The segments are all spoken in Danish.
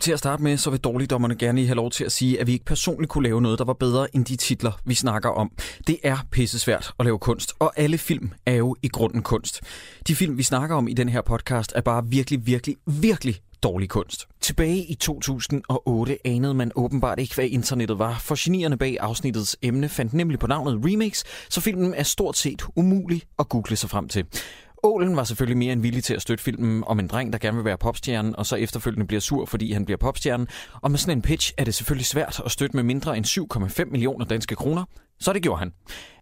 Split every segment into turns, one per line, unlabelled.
Til at starte med, så vil dårligdommerne gerne lige have lov til at sige, at vi ikke personligt kunne lave noget, der var bedre end de titler, vi snakker om. Det er pissesvært at lave kunst, og alle film er jo i grunden kunst. De film, vi snakker om i den her podcast, er bare virkelig, virkelig, virkelig dårlig kunst. Tilbage i 2008 anede man åbenbart ikke, hvad internettet var, for genierne bag afsnittets emne fandt nemlig på navnet Remix, så filmen er stort set umulig at google sig frem til. Ålen var selvfølgelig mere end villig til at støtte filmen om en dreng, der gerne vil være popstjerne, og så efterfølgende bliver sur, fordi han bliver popstjerne. Og med sådan en pitch er det selvfølgelig svært at støtte med mindre end 7,5 millioner danske kroner. Så det gjorde han.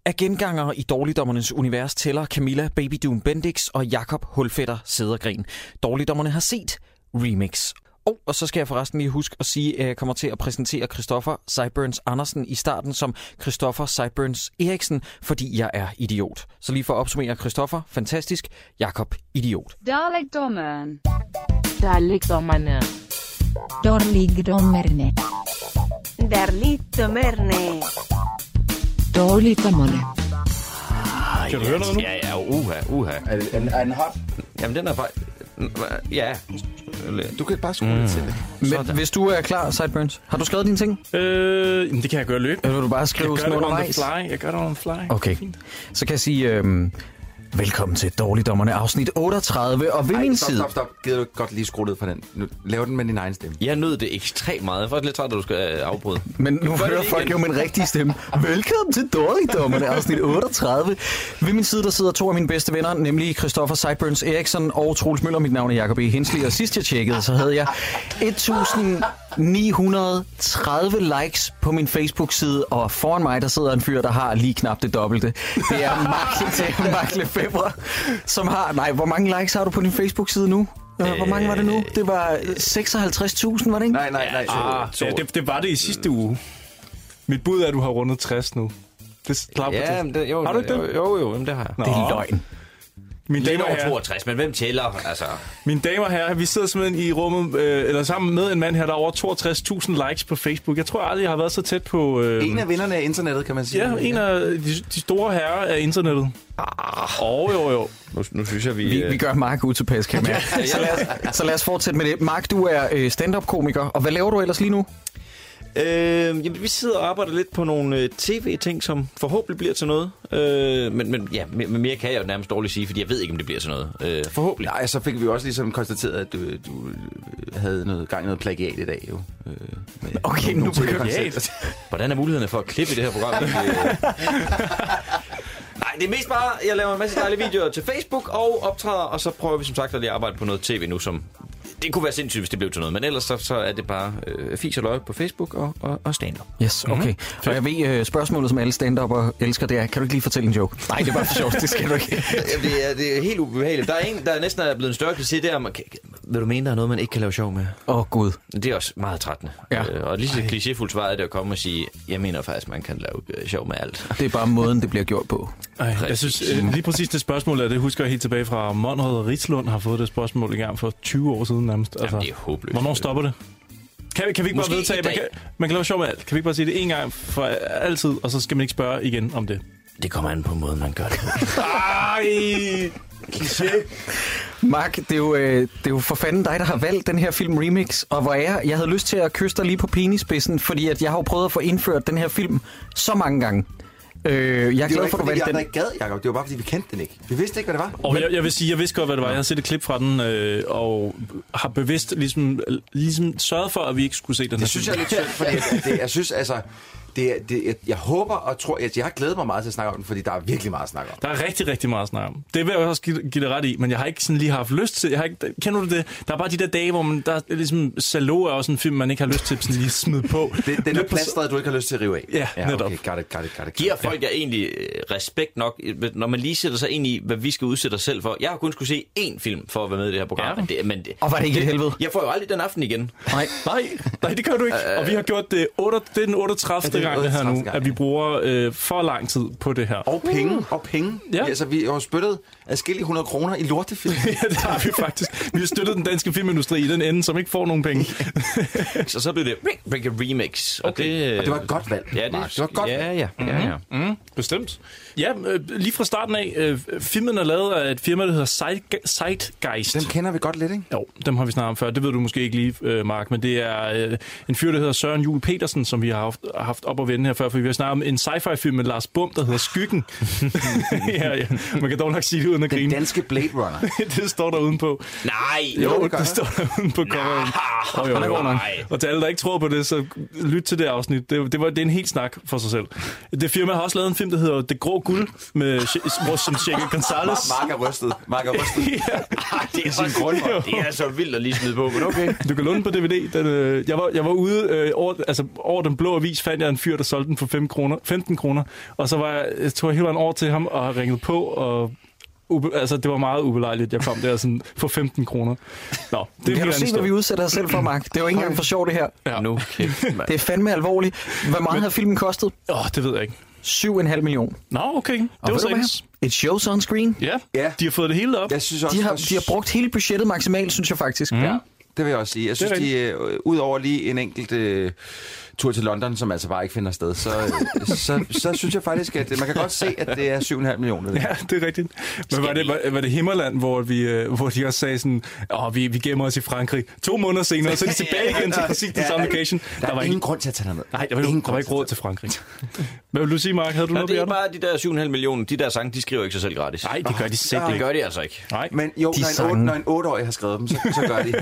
Af gengangere i Dårligdommernes univers tæller Camilla Baby Doom Bendix og Jakob Hulfætter Sædergren. Dårligdommerne har set Remix. Oh, Og, og så skal jeg forresten lige huske at sige, at jeg kommer til at præsentere Christoffer Sideburns Andersen i starten som Christoffer Sideburns Eriksen, fordi jeg er idiot. Så lige for at opsummere, Christoffer, fantastisk, Jakob, idiot.
Dalekdommeren.
Dalekdommerne.
Dårligdommerne.
Darligdommerne.
Dårligdommerne.
Kan du høre noget nu?
Ja, ja, uha, uha.
Er, er, er den hot?
Jamen, den er bare... Ja.
Du kan bare skrue mm. lidt til det.
Men hvis du er klar, Sideburns, har du skrevet dine ting?
Øh, jamen, det kan jeg gøre løbende.
Eller vil du bare
Jeg gør
skrive sådan
det on the
undervejs?
fly. Jeg gør det on the fly.
Okay,
Fint.
så kan jeg sige... Øhm, velkommen til Dårligdommerne, afsnit 38, og ved min
stop,
side...
stop, stop. Gider du ikke godt lige skrue ned for den? Nu, lav den med din egen stemme.
Jeg nød det ekstremt meget. Jeg er faktisk lidt træt, at du skal øh, afbryde.
Men nu
Gør det
hører
lige
folk
igen.
jo min rigtige stemme. Velkommen til Dårligdommerne, afsnit 38. Ved min side, der sidder to af mine bedste venner, nemlig Christoffer Seiburns Eriksen og Troels Møller. Mit navn er Jacob E. Hensley, og sidst jeg tjekkede, så havde jeg 1930 likes på min Facebook-side, og foran mig, der sidder en fyr, der har lige knap det dobbelte. Det er Markle, Markle Febre, som har... Nej, hvor mange likes har du på din Facebook-side nu? Øh, Hvor mange var det nu? Det var 56.000, var det ikke?
Nej, nej, nej.
Ah,
Ja, det, det var det i sidste uge. Mit bud er, at du har rundet 60 nu. Det klapper
Ja, men det, jo,
Har du ikke
jo,
det?
jo, jo, jamen, det har jeg.
Det er løgn.
Mine
Lidt
damer, og
over
herrer,
62, men hvem tæller? Altså,
mine damer og herrer, vi sidder simpelthen i rummet, øh, eller sammen med en mand her, der har over 62.000 likes på Facebook. Jeg tror aldrig, jeg har været så tæt på... Øh,
En af vinderne af internettet, kan man sige.
Ja, en af de, de store herrer af internettet. Ah. Oh, jo, jo.
nu, nu synes jeg, vi... øh,
Vi, vi gør Mark utilpas, kan jeg mærke. Så lad, os, så lad os fortsætte med det. Mark, du er øh, stand-up-komiker, og hvad laver du ellers lige nu?
Øh, jamen, vi sidder og arbejder lidt på nogle øh, tv-ting, som forhåbentlig bliver til noget. Øh, men, men ja, me- men mere kan jeg jo nærmest dårligt sige, fordi jeg ved ikke, om det bliver til noget. Øh, forhåbentlig.
Nej, så fik vi jo også ligesom konstateret, at du, du øh, havde noget gang i noget plagiat i dag, jo. Øh, med
Okay, nu
nogle tidligere
begynder-
koncepter.
Hvordan er mulighederne for at klippe i det her program? egentlig? Øh, Nej, det er mest bare, jeg laver en masse dejlige videoer til Facebook og optræder, og så prøver vi som sagt at lige arbejde på noget tv nu, som... Det kunne være sindssygt, hvis det blev til noget, men ellers så, så er det bare øh, fis og løg på Facebook og, og, og stand
Yes, okay. Mm-hmm. Og jeg ved, øh, spørgsmålet, som alle stand-upper elsker, det er, kan du ikke lige fortælle en joke? Nej, det var for sjovt, det skal du ikke.
Jamen, det, er, det er helt ubehageligt. Der er en, der næsten er blevet en større kliché, det er, man, kan- vil du mene, der er noget, man ikke kan lave sjov med?
Åh, oh, Gud.
Det er også meget trættende.
Ja.
Øh, og lige så klichéfuldt svaret er det at komme og sige, jeg mener faktisk, man kan lave øh, sjov med alt.
Det er bare måden, det bliver gjort på.
Ej, jeg synes, øh, lige præcis det spørgsmål, er, det husker jeg helt tilbage fra Monrad og Ridslund har fået det spørgsmål i gang for 20 år siden nærmest. Altså,
Jamen, det er håbløst.
Hvornår stopper det? Kan, vi- kan vi ikke
Måske
bare vedtage,
i
man kan,
dag.
man kan lave sjov med alt? Kan vi ikke bare sige det en gang for altid, og så skal man ikke spørge igen om det?
Det kommer an på måden, man gør det på.
Ej!
Mark, det er, jo, øh, det er jo for fanden dig, der har valgt den her film Remix, og hvor er jeg? Jeg havde lyst til at kysse dig lige på penispidsen, fordi at jeg har jo prøvet at få indført den her film så mange gange. Øh, jeg er glad
Det var ikke,
for, at du
fordi vi
valgte
andre
den.
ikke gad, Jacob. Det var bare, fordi vi kendte den ikke. Vi vidste ikke, hvad det var.
Og jeg, jeg vil sige, jeg vidste godt, hvad det var. Jeg havde set et klip fra den, øh, og har bevidst ligesom, ligesom sørget for, at vi ikke skulle se den her
Det synes jeg
film.
er lidt synd, fordi at- at det, jeg synes, altså... Det, er- det, jeg, jeg håber og tror, at jeg har glædet mig meget til at snakke om den, fordi der er virkelig meget at snakke om.
Der er rigtig, rigtig meget at snakke om. Det vil jeg også give, give det ret i, men jeg har ikke sådan lige haft lyst til... Jeg har ikke, kender du det? Der er bare de der dage, hvor man, der er ligesom... Salo er også en film, man ikke har lyst til sådan lige at smide på.
Det, det er noget plastret, du ikke har lyst til at rive af.
Ja, netop.
Okay, got it, got it, got it.
Giver folk jer egentlig øh, respekt nok, øh, når man lige sætter sig ind i, hvad vi skal udsætte os selv for? Jeg har kun skulle se én film for at være med i det her program.
Ja.
Men det, men det,
Og var det ikke et helvede?
jeg får jo aldrig den aften igen.
Nej.
Nej, nej, det gør du ikke. Og vi har gjort det, 8, det er den 38.
Øh, Ja, det er den
gang, det her nu,
38. gang,
at vi
ja.
bruger øh, for lang tid på det her.
Og penge, og penge.
Ja.
Ja. Altså, vi har jo spyttet adskillige 100 kroner i lortefilm.
ja, det har vi faktisk. Vi har støttet den danske filmindustri i den ende, som ikke får nogen penge.
Så så blev det Ring Breaker Remix. Og, det,
Og det var et godt valg,
Ja, det,
Mark. Det var et godt
Ja, ja. Mm-hmm. ja, ja.
Mm, bestemt. Ja, øh, lige fra starten af, øh, filmen er lavet af et firma, der hedder Zeitge- Zeitgeist.
Dem kender vi godt lidt, ikke?
Jo, dem har vi snakket om før. Det ved du måske ikke lige, øh, Mark, men det er øh, en fyr, der hedder Søren Jule Petersen, som vi har haft, haft op at vende her før, for vi har snakket om en sci-fi-film med Lars Bum, der hedder Skyggen. ja, ja, man kan dog nok sige det uden at
Den
grine.
danske Blade Runner.
det står der udenpå.
Nej,
Jo,
det
det,
gør
det står der uden på coveren. Oh, jo, jo, jo.
Nej.
Og til alle, der ikke tror på det, så lyt til det afsnit. Det, det, var, det er en helt snak for sig selv. Det firma har også lavet en film, der hedder Det Grå Guld, med, Che- hvor- som Cheque Gonzalez.
Mark er rystet. Mark er rystet.
det er sin grund. Det er så vildt at lige smide på, men okay.
Du kan låne den på DVD. Den, øh, jeg, var, jeg var ude øh, over, altså, over den blå avis, fandt jeg en fyr, der solgte den for 5 kroner, 15 kroner. Og så var jeg, jeg tog jeg hele vejen over til ham og ringede på, og ube, altså, det var meget ubelejligt, jeg kom der sådan, for 15 kroner. Nå, det er en
Kan
helt
du
anden
se, hvad
historie.
vi udsætter os selv for, Mark? Det er jo ikke engang for sjov, det her.
Ja.
Nu kæft, mand.
Det er fandme alvorligt. Hvor meget har filmen kostet?
Åh, oh, det ved jeg ikke.
7,5 millioner.
Nå, okay.
Og
Det var
ved du hvad?
seks.
Et show sunscreen.
Ja,
Ja.
de har fået det hele op.
Jeg synes også,
De har,
der-
de har brugt hele budgettet maksimalt, synes jeg faktisk. Mm.
Ja, det vil jeg også sige. Jeg synes, de, øh, ud over lige en enkelt øh, tur til London, som altså bare ikke finder sted, så, øh, så, så synes jeg faktisk, at øh, man kan godt se, at det er 7,5 millioner. Ja.
Ja, det er rigtigt. Men var det, var, var det Himmerland, hvor, vi, øh, hvor de også sagde sådan, åh, vi, vi gemmer os i Frankrig. To måneder senere, så er de tilbage igen til præcis den samme location.
Der, der var ingen grund til at tage derned.
Nej, der var,
ingen
ingen, der var ikke råd til Frankrig. Hvad vil du sige, Mark? Havde du
Nå,
noget
det er
på
bare de der 7,5 millioner, de der sange, de skriver ikke sig selv gratis.
Nej, det gør de selv
det
ikke.
gør de altså ikke.
Nej.
Men jo,
De
når en,
sange.
8, når en 8-årig har skrevet dem, så, så gør de.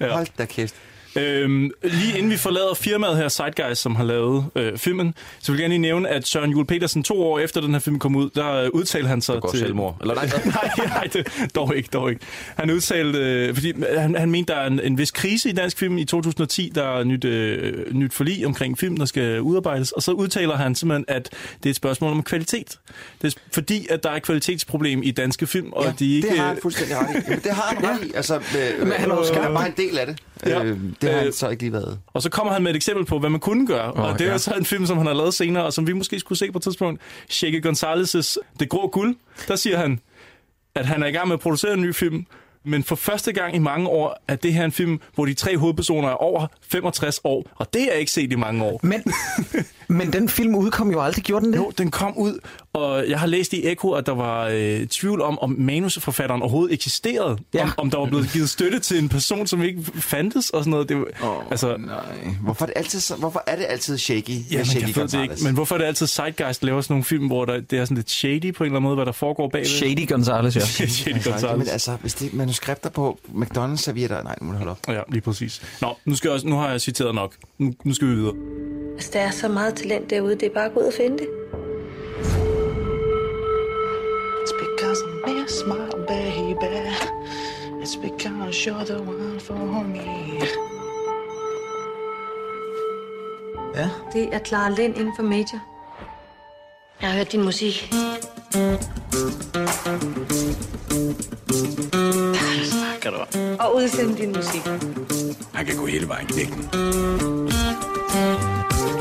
Ja.
Hold da kæft.
Øhm, lige inden vi forlader firmaet her, Sideguys, som har lavet øh, filmen, så vil jeg gerne lige nævne, at Søren Jule Petersen to år efter den her film kom ud, der øh, udtalte han sig
Går
til...
selvmord. Eller nej,
nej, nej, det, dog ikke, dog ikke. Han udtalte, øh, fordi han, han mente, der er en, en vis krise i dansk film i 2010, der er nyt, øh, nyt forlig omkring film, der skal udarbejdes, og så udtaler han simpelthen, at det er et spørgsmål om kvalitet. Det er fordi, at der er et kvalitetsproblem i danske film, og
Ja,
at de ikke...
det har han fuldstændig ret i. Jamen, det har han ret i. Altså, øh, Men
han
han
er
er
jo
også
skarp.
bare en del af det.
Ja.
Ja. Øh, det har
Øh,
han så ikke lige været.
Og så kommer han med et eksempel på, hvad man kunne gøre. Oh, og det er ja. så en film, som han har lavet senere, og som vi måske skulle se på et tidspunkt. Shake Gonzalez' Det Grå Guld. Der siger han, at han er i gang med at producere en ny film, men for første gang i mange år er det her en film, hvor de tre hovedpersoner er over 65 år, og det er ikke set i mange år.
Men, men den film udkom jo aldrig, gjorde den det?
Jo, den kom ud, og jeg har læst i Eko, at der var øh, tvivl om, om manusforfatteren overhovedet eksisterede. Ja.
Ja.
Om, om der var blevet givet støtte til en person, som ikke fandtes og sådan noget. Det, oh, altså,
Nej. Hvorfor er det altid, så, hvorfor er det altid shaky? med
Ja, men
shaky altså.
jeg ved det ikke.
Gonzales?
Men hvorfor er det altid Zeitgeist laver sådan nogle film, hvor der, det er sådan lidt shady på en eller anden måde, hvad der foregår bagved?
Shady Gonzales, ja.
shady
Jamen
Gonzales.
altså, hvis det er manuskripter på McDonald's servietter... Nej, nu må du holde op.
Ja, lige præcis. Nå, nu, skal jeg også, nu har jeg citeret nok. Nu, nu skal vi videre.
Altså, der er så meget talent derude, det er bare at gå ud og finde det.
It's because I miss my baby. It's because you're the one for me.
Det er Clara Lind inden for Major. Jeg har hørt din musik. Og udsende din musik.
Han kan gå hele vejen knækken.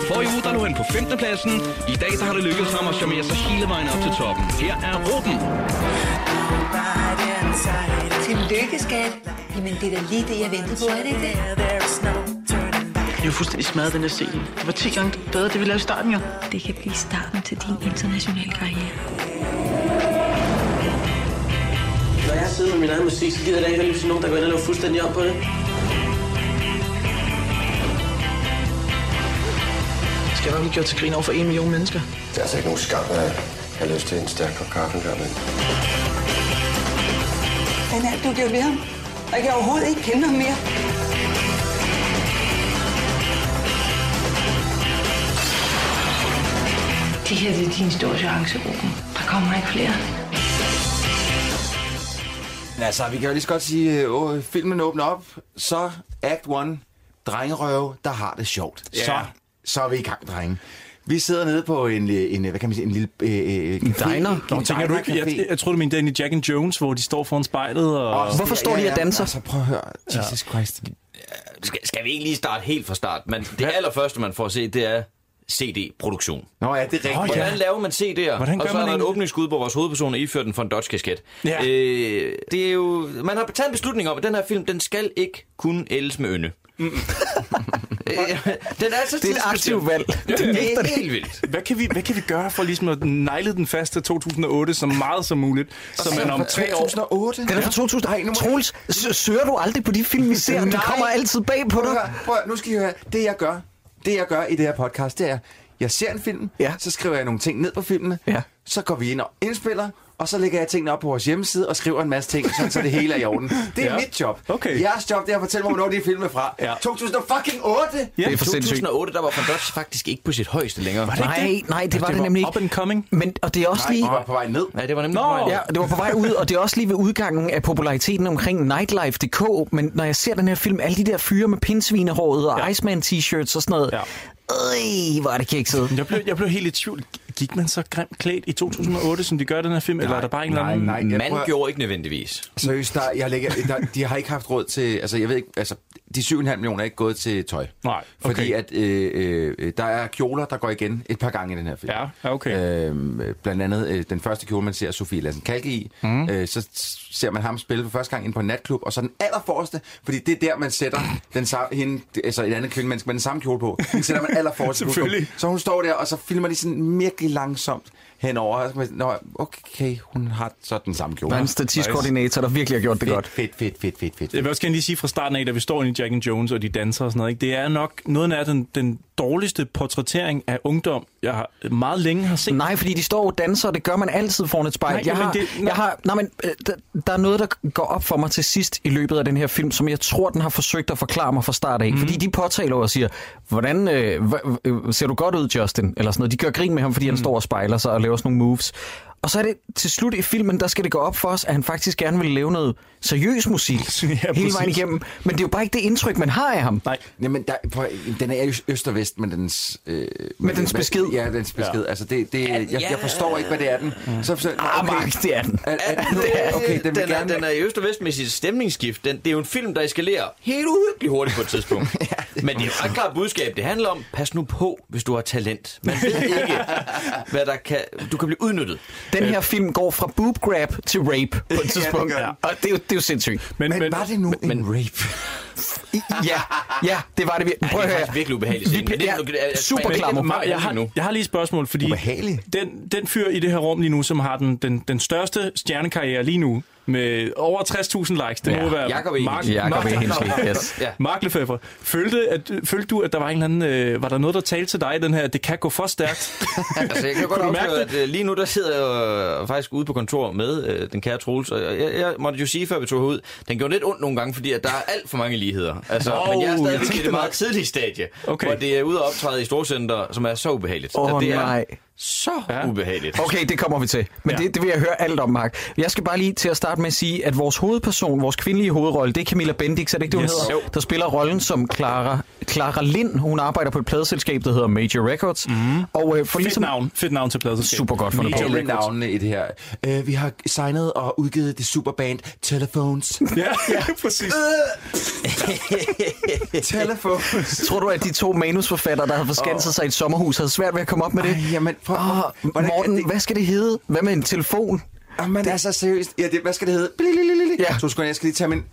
Forrige uge, der lå han på 5. pladsen. I dag, der har det lykkedes ham at charmere sig hele vejen op til toppen. Her er Ruben.
Tillykke, skat. Jamen, det er da lige det, jeg ventede på, er det ikke det?
Det er jo fuldstændig smadret, den her scene. Det var 10 gange bedre, det vi lavede i starten, jo.
Det kan blive starten til din internationale karriere.
Når jeg sidder med min egen musik, så gider jeg da ikke at til nogen, der går ind og laver fuldstændig om på det.
Skal jeg bare blive gjort til grin over for en million mennesker?
Det er altså ikke nogen skam, at jeg har lyst til en stærk kop kaffe en gang, men
Hvad er det, du gjorde ved ham? Og jeg kan overhovedet ikke kende ham mere. Det her det er din store chance, Ruben. Der kommer ikke flere.
Men altså, vi kan jo lige så godt sige, at øh, filmen åbner op, så act one, drengerøve, der har det sjovt.
Ja.
Så, så er vi i gang, drenge. Vi sidder nede på en, øh, en øh, hvad kan man sige, en lille... Øh, øh, café,
diner? Nå,
Nå, tænker du ikke, jeg, jeg,
diner-café.
jeg tror, du mener Danny Jack and Jones, hvor de står foran spejlet og...
Og-
Hvorfor står de og danser?
Altså, prøv at høre. Jesus Christ.
Skal, skal vi ikke lige starte helt fra start? Men det allerførste, man får at se, det er CD-produktion.
Nå ja, det er rigtigt.
Hvordan
ja.
laver man CD'er?
Hvordan
og
gør
så er
man
der en
en-
åbningsskud, hvor vores hovedperson er iført en von Dutch kasket.
Ja.
Øh, det er jo, man har taget en beslutning om, at den her film, den skal ikke kunne ældes med ynde. Mm. den er så
Det er et aktivt valg.
Det er helt vildt.
Hvad kan, vi, hvad kan vi gøre for ligesom at negle den fast til 2008 så meget som muligt, så man om tre år...
2008?
Den er fra 2000. Ej, Troels, s- søger du aldrig på de film, vi ser? Den
Nej.
kommer altid bag på
Prøv at
dig.
høre, prøv at høre, nu skal I høre. Det jeg gør, det jeg gør i det her podcast, det er, jeg ser en film, ja. så skriver jeg nogle ting ned på filmene, ja. så går vi ind og indspiller, og så lægger jeg tingene op på vores hjemmeside og skriver en masse ting, sådan, så det hele er i orden. Det er
Ja.
ja. mit job.
Okay.
Jeres job, det er at fortælle mig, hvornår de er filmet fra.
Ja.
Ja. 2008!
Ja, 2008, der var von Dutch faktisk ikke på sit højeste længere.
Nej, nej, det var det nemlig ikke.
Up and coming.
Men, og det er også
Nej,
lige...
det var på vej ned.
Nej, det var nemlig
Nå!
på vej ned.
Ja, det var på vej ud, og det er også lige ved udgangen af populariteten omkring Nightlife.dk, men når jeg ser den her film, alle de der fyre med pindsvinehåret og ja. Iceman-t-shirts og sådan noget,
Ja.
ja. øj, hvor er det kikset.
Jeg blev, jeg blev helt i tvivl. Gik man så grimt klædt i 2008, som de gør i den her film, nej, eller er der bare en eller anden...
nej, nej.
Man
prøver-
gjorde ikke nødvendigvis.
Seriøst, der, jeg lægger, der, de har ikke haft råd til... Altså, jeg ved ikke... Altså, de 7,5 millioner er ikke gået til tøj.
Nej, okay.
Fordi at øh, øh, der er kjoler, der går igen et par gange i den her film.
Ja, ja, okay.
Øhm, blandt andet øh, den første kjole, man ser Sofie Lassen Kalke i.
Mhm.
Mm. Øh, så s- ser man ham spille for første gang ind på en natklub. Og så den allerforreste, fordi det er der, man sætter den samme, hende, altså et andet kvindemenneske med den samme kjole på. Den sætter man allerforreste på.
Selvfølgelig.
Så hun står der, og så filmer de sådan virkelig langsomt henover. Og så kan man, Nå, okay, hun har så den samme kjole.
Der er en statistkoordinator, der virkelig har gjort det godt.
Fedt, fedt, fedt, fedt, fedt.
Jeg
fedt.
vil også gerne lige sige fra starten af, da vi står inde i Jack and Jones, og de danser og sådan noget, ikke? det er nok noget af den, den dårligste portrættering af ungdom, jeg har, meget længe har set.
Nej, fordi de står og danser, og det gør man altid foran et spejl.
Nej,
Nej, jeg,
men
har,
det-
det,
nej.
jeg har, nej, men øh, der, der er noget, der går op for mig til sidst i løbet af den her film, som jeg tror, den har forsøgt at forklare mig fra start af. Mm. Fordi de påtaler og siger, hvordan øh, hva- øh, ser du godt ud, Justin? Eller sådan noget. De gør grin med ham, fordi mm. han står og spejler sig og laver sådan nogle moves. Og så er det til slut i filmen, der skal det gå op for os, at han faktisk gerne vil lave noget seriøs musik ja, hele vejen
præcis.
igennem. Men det er jo bare ikke det indtryk, man har af ham.
Nej.
Jamen, der, prøv, at- den er øst- øst og vest, men dens... Øh, men-
dens
men-
besked.
Ja, dens besked. Ja. Mm. Altså, det, det, jeg, jeg forstår ikke, hvad det er, den. Så, så,
Ah, Mark, det er den.
At, at, okay, okay, den
den,
vil
er,
gerne...
den er i øst og vest med sit stemningsskift. Den, det er jo en film, der eskalerer helt uhyggeligt hurtigt på et tidspunkt. ja, Men det er jo et ret klart budskab. Det handler om, pas nu på, hvis du har talent. Man ved ikke, hvad der kan... Du kan blive udnyttet.
Den her film går fra boob grab til rape på et tidspunkt.
gør den.
og det er, jo, det er jo sindssygt.
Men,
men, men, var det nu men, en rape?
Ja, ja, det var det virkelig.
Ja, det er faktisk virkelig ubehageligt.
Vi bliver ja, super klammer.
Meget
jeg, har,
nu.
jeg har lige et spørgsmål, fordi
Ubehagelig.
den, den fyr i det her rum lige nu, som har den, den, den største stjernekarriere lige nu, med over 60.000 likes, det ja, må være
Jakob E.
Mark,
Jakob
Mark,
E. Henske, yes.
ja. Mark Lefebvre. Følte, at, følte du, at der var, en eller anden, øh, var der noget, der talte til dig i den her, at det kan gå for stærkt?
Altså, jeg kan godt
Kunne du mærke
afsløre, at øh, lige nu der sidder jeg øh, faktisk ude på kontor med øh, den kære Troels, og jeg, jeg måtte jo sige, før vi tog ud, den gjorde lidt ondt nogle gange, fordi at der er alt for mange ligheder. Altså,
Åh,
oh, men jeg er
jeg
stadigvæk i
tænkte
det meget
nok.
tidlige stadie,
Okay.
okay. hvor det er ude og optræde i storcenter, som er så ubehageligt.
Åh,
At det er
nej.
så
Ja.
ja. ubehageligt.
Okay, det kommer vi til. Men
Ja.
ja. det, det vil jeg høre alt om, Mark. Jeg skal bare lige til at starte med at sige, at vores hovedperson, vores kvindelige hovedrolle, det er Camilla Bendix, er det ikke det, hun
Yes.
yes. hedder? Der spiller rollen som Clara, Clara Lind. Hun arbejder på et pladeselskab, der hedder Major Records. Mm. Og øh, for
Fedt
ligesom...
navn. Fedt navn til pladsen.
Super godt fundet på.
Alle navnene i det her. Øh, vi har signet og udgivet det superband Telephones. Øh.
Ja, ja, præcis.
Telephones.
Tror du, at de to manusforfattere, der havde forskanset sig i et sommerhus, havde svært ved at komme op med det?
Ej, jamen, prøv-
Åh,
hvordan-
Morten,
det-
hvad skal det hedde? Hvad med en telefon?
Jamen, det... altså seriøst. Ja, det, hvad skal det hedde? Blilililili.
Ja.
To sekunder, jeg skal lige tage min...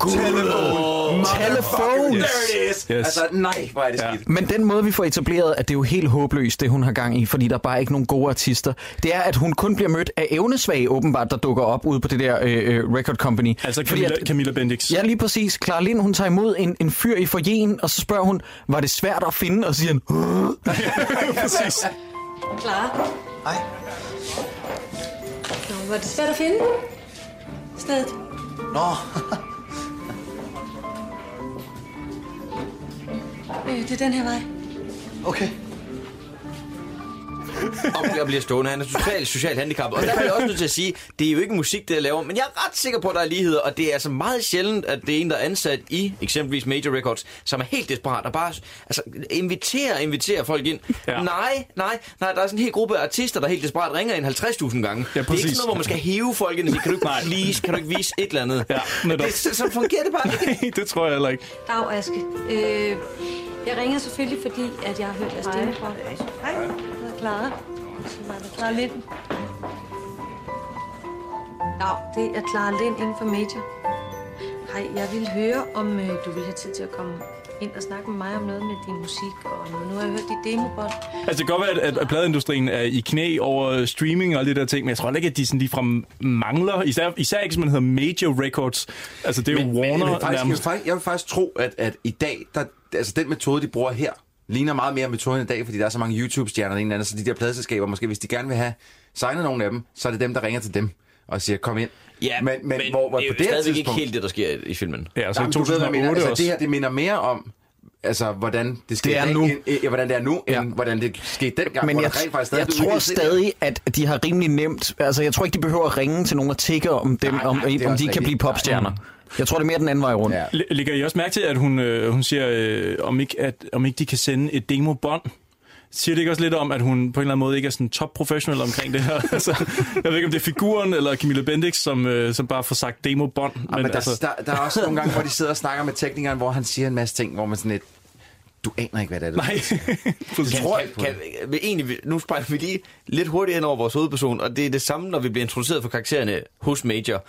Telefon.
Telefon.
There it is.
Yes.
Altså, nej, hvor er det skidt.
Men den måde, vi får etableret, at det er jo helt håbløst, det hun har gang i, fordi der er bare ikke nogen gode artister, det er, at hun kun bliver mødt af evnesvage, åbenbart, der dukker op ude på det der øh, øh, record company.
Altså
Fordi
Camilla,
at-
Camilla Bendix.
Ja, lige præcis. Clara Lind, hun tager imod en, en fyr i forjen, og så spørger hun, var det svært at finde? Og siger han, "Åh."
præcis.
Klar.
Hej.
Nå, var det svært at finde? Stedet.
Nå,
Øh, det er den her vej.
okay.
Og jeg bliver stående. Han er totalt socialt handicappet. Og der er jeg også nødt til at sige, det er jo ikke musik, det jeg laver, men jeg er ret sikker på, at der er ligheder, og det er altså meget sjældent, at det er en, der er ansat i eksempelvis Major Records, som er helt desperat og bare altså, inviterer inviterer folk ind.
Ja.
Ja. Nej, nej, nej, der er sådan en hel gruppe af artister, der helt desperat ringer ind 50.000 gange. det er ikke
præcis.
sådan noget, hvor man skal hive folk ind og sige, kan du ikke please, kan du ikke vise et eller andet?
Ja, netop.
det, så, så fungerer det bare ikke.
det tror jeg heller ikke.
Dag, Aske. Øh, Jeg ringede selvfølgelig, fordi at jeg har hørt jeres stemmeprop. Hej. Jeg hedder Clara. Som er Clara Lind. Nå, det er Clara Lind inden for Major. Hej, jeg ville høre, om øh, du ville have tid til at komme ind og snakke med mig om noget med din musik. Og nu, nu har jeg hørt dit demobånd.
Altså, det kan godt være, at, at pladeindustrien er i knæ over streaming og alle de der ting, men jeg tror heller ikke, at de sådan ligefrem mangler, især, især ikke, som man hedder Major Records. Altså, det er jo Warner
Men, men faktisk, jeg, vil
nærmest.
faktisk, jeg vil faktisk tro, at, at i dag, der, altså den metode, de bruger her, ligner meget mere metoden i dag, fordi der er så mange YouTube-stjerner og en eller anden, så de der pladeselskaber, måske hvis de gerne vil have signet nogen af dem, så er det dem, der ringer til dem og siger, kom ind.
Ja,
men, men,
men
hvor, hvor
det er
på
jo
det her
stadigvæk ikke
tidspunkt...
helt det, der sker i filmen.
Ja,
Altså, Jamen, du ved, hvad jeg mener. Altså, det her, det minder mere om, altså, hvordan det sker
Det er
i dag,
nu.
End, end, hvordan det er nu, end hvordan det skete dengang,
Men
hvor
jeg,
der rent faktisk
jeg
blev
tror
udgivet serier.
stadig, at de har rimelig nemt... Altså, jeg tror ikke, de behøver at ringe til nogen og tikke om, dem, om,
det er
om
også
de kan
rigtigt.
blive popstjerner. Jeg tror, det er mere den anden vej rundt. Ja.
Læ- Lægger I også mærke til, at hun, øh, hun siger, øh, om, ikke, at, om ikke de kan sende et demobånd? Siger det ikke også lidt om, at hun på en eller anden måde ikke er sådan top professional omkring det her? altså, jeg ved ikke, om det er figuren eller Camilla Bendix, som, øh, som bare får sagt demobånd.
Ja, men der, altså... der, der er også nogle gange, hvor de sidder og snakker med teknikeren, hvor han siger en masse ting, hvor man sådan lidt, du aner ikke, hvad det er. du
Nej.
Jeg tror, kan, kan, vi egentlig, nu spejler vi lige lidt hurtigt hen over vores hovedperson, og det er det samme, når vi bliver introduceret for karaktererne hos Major.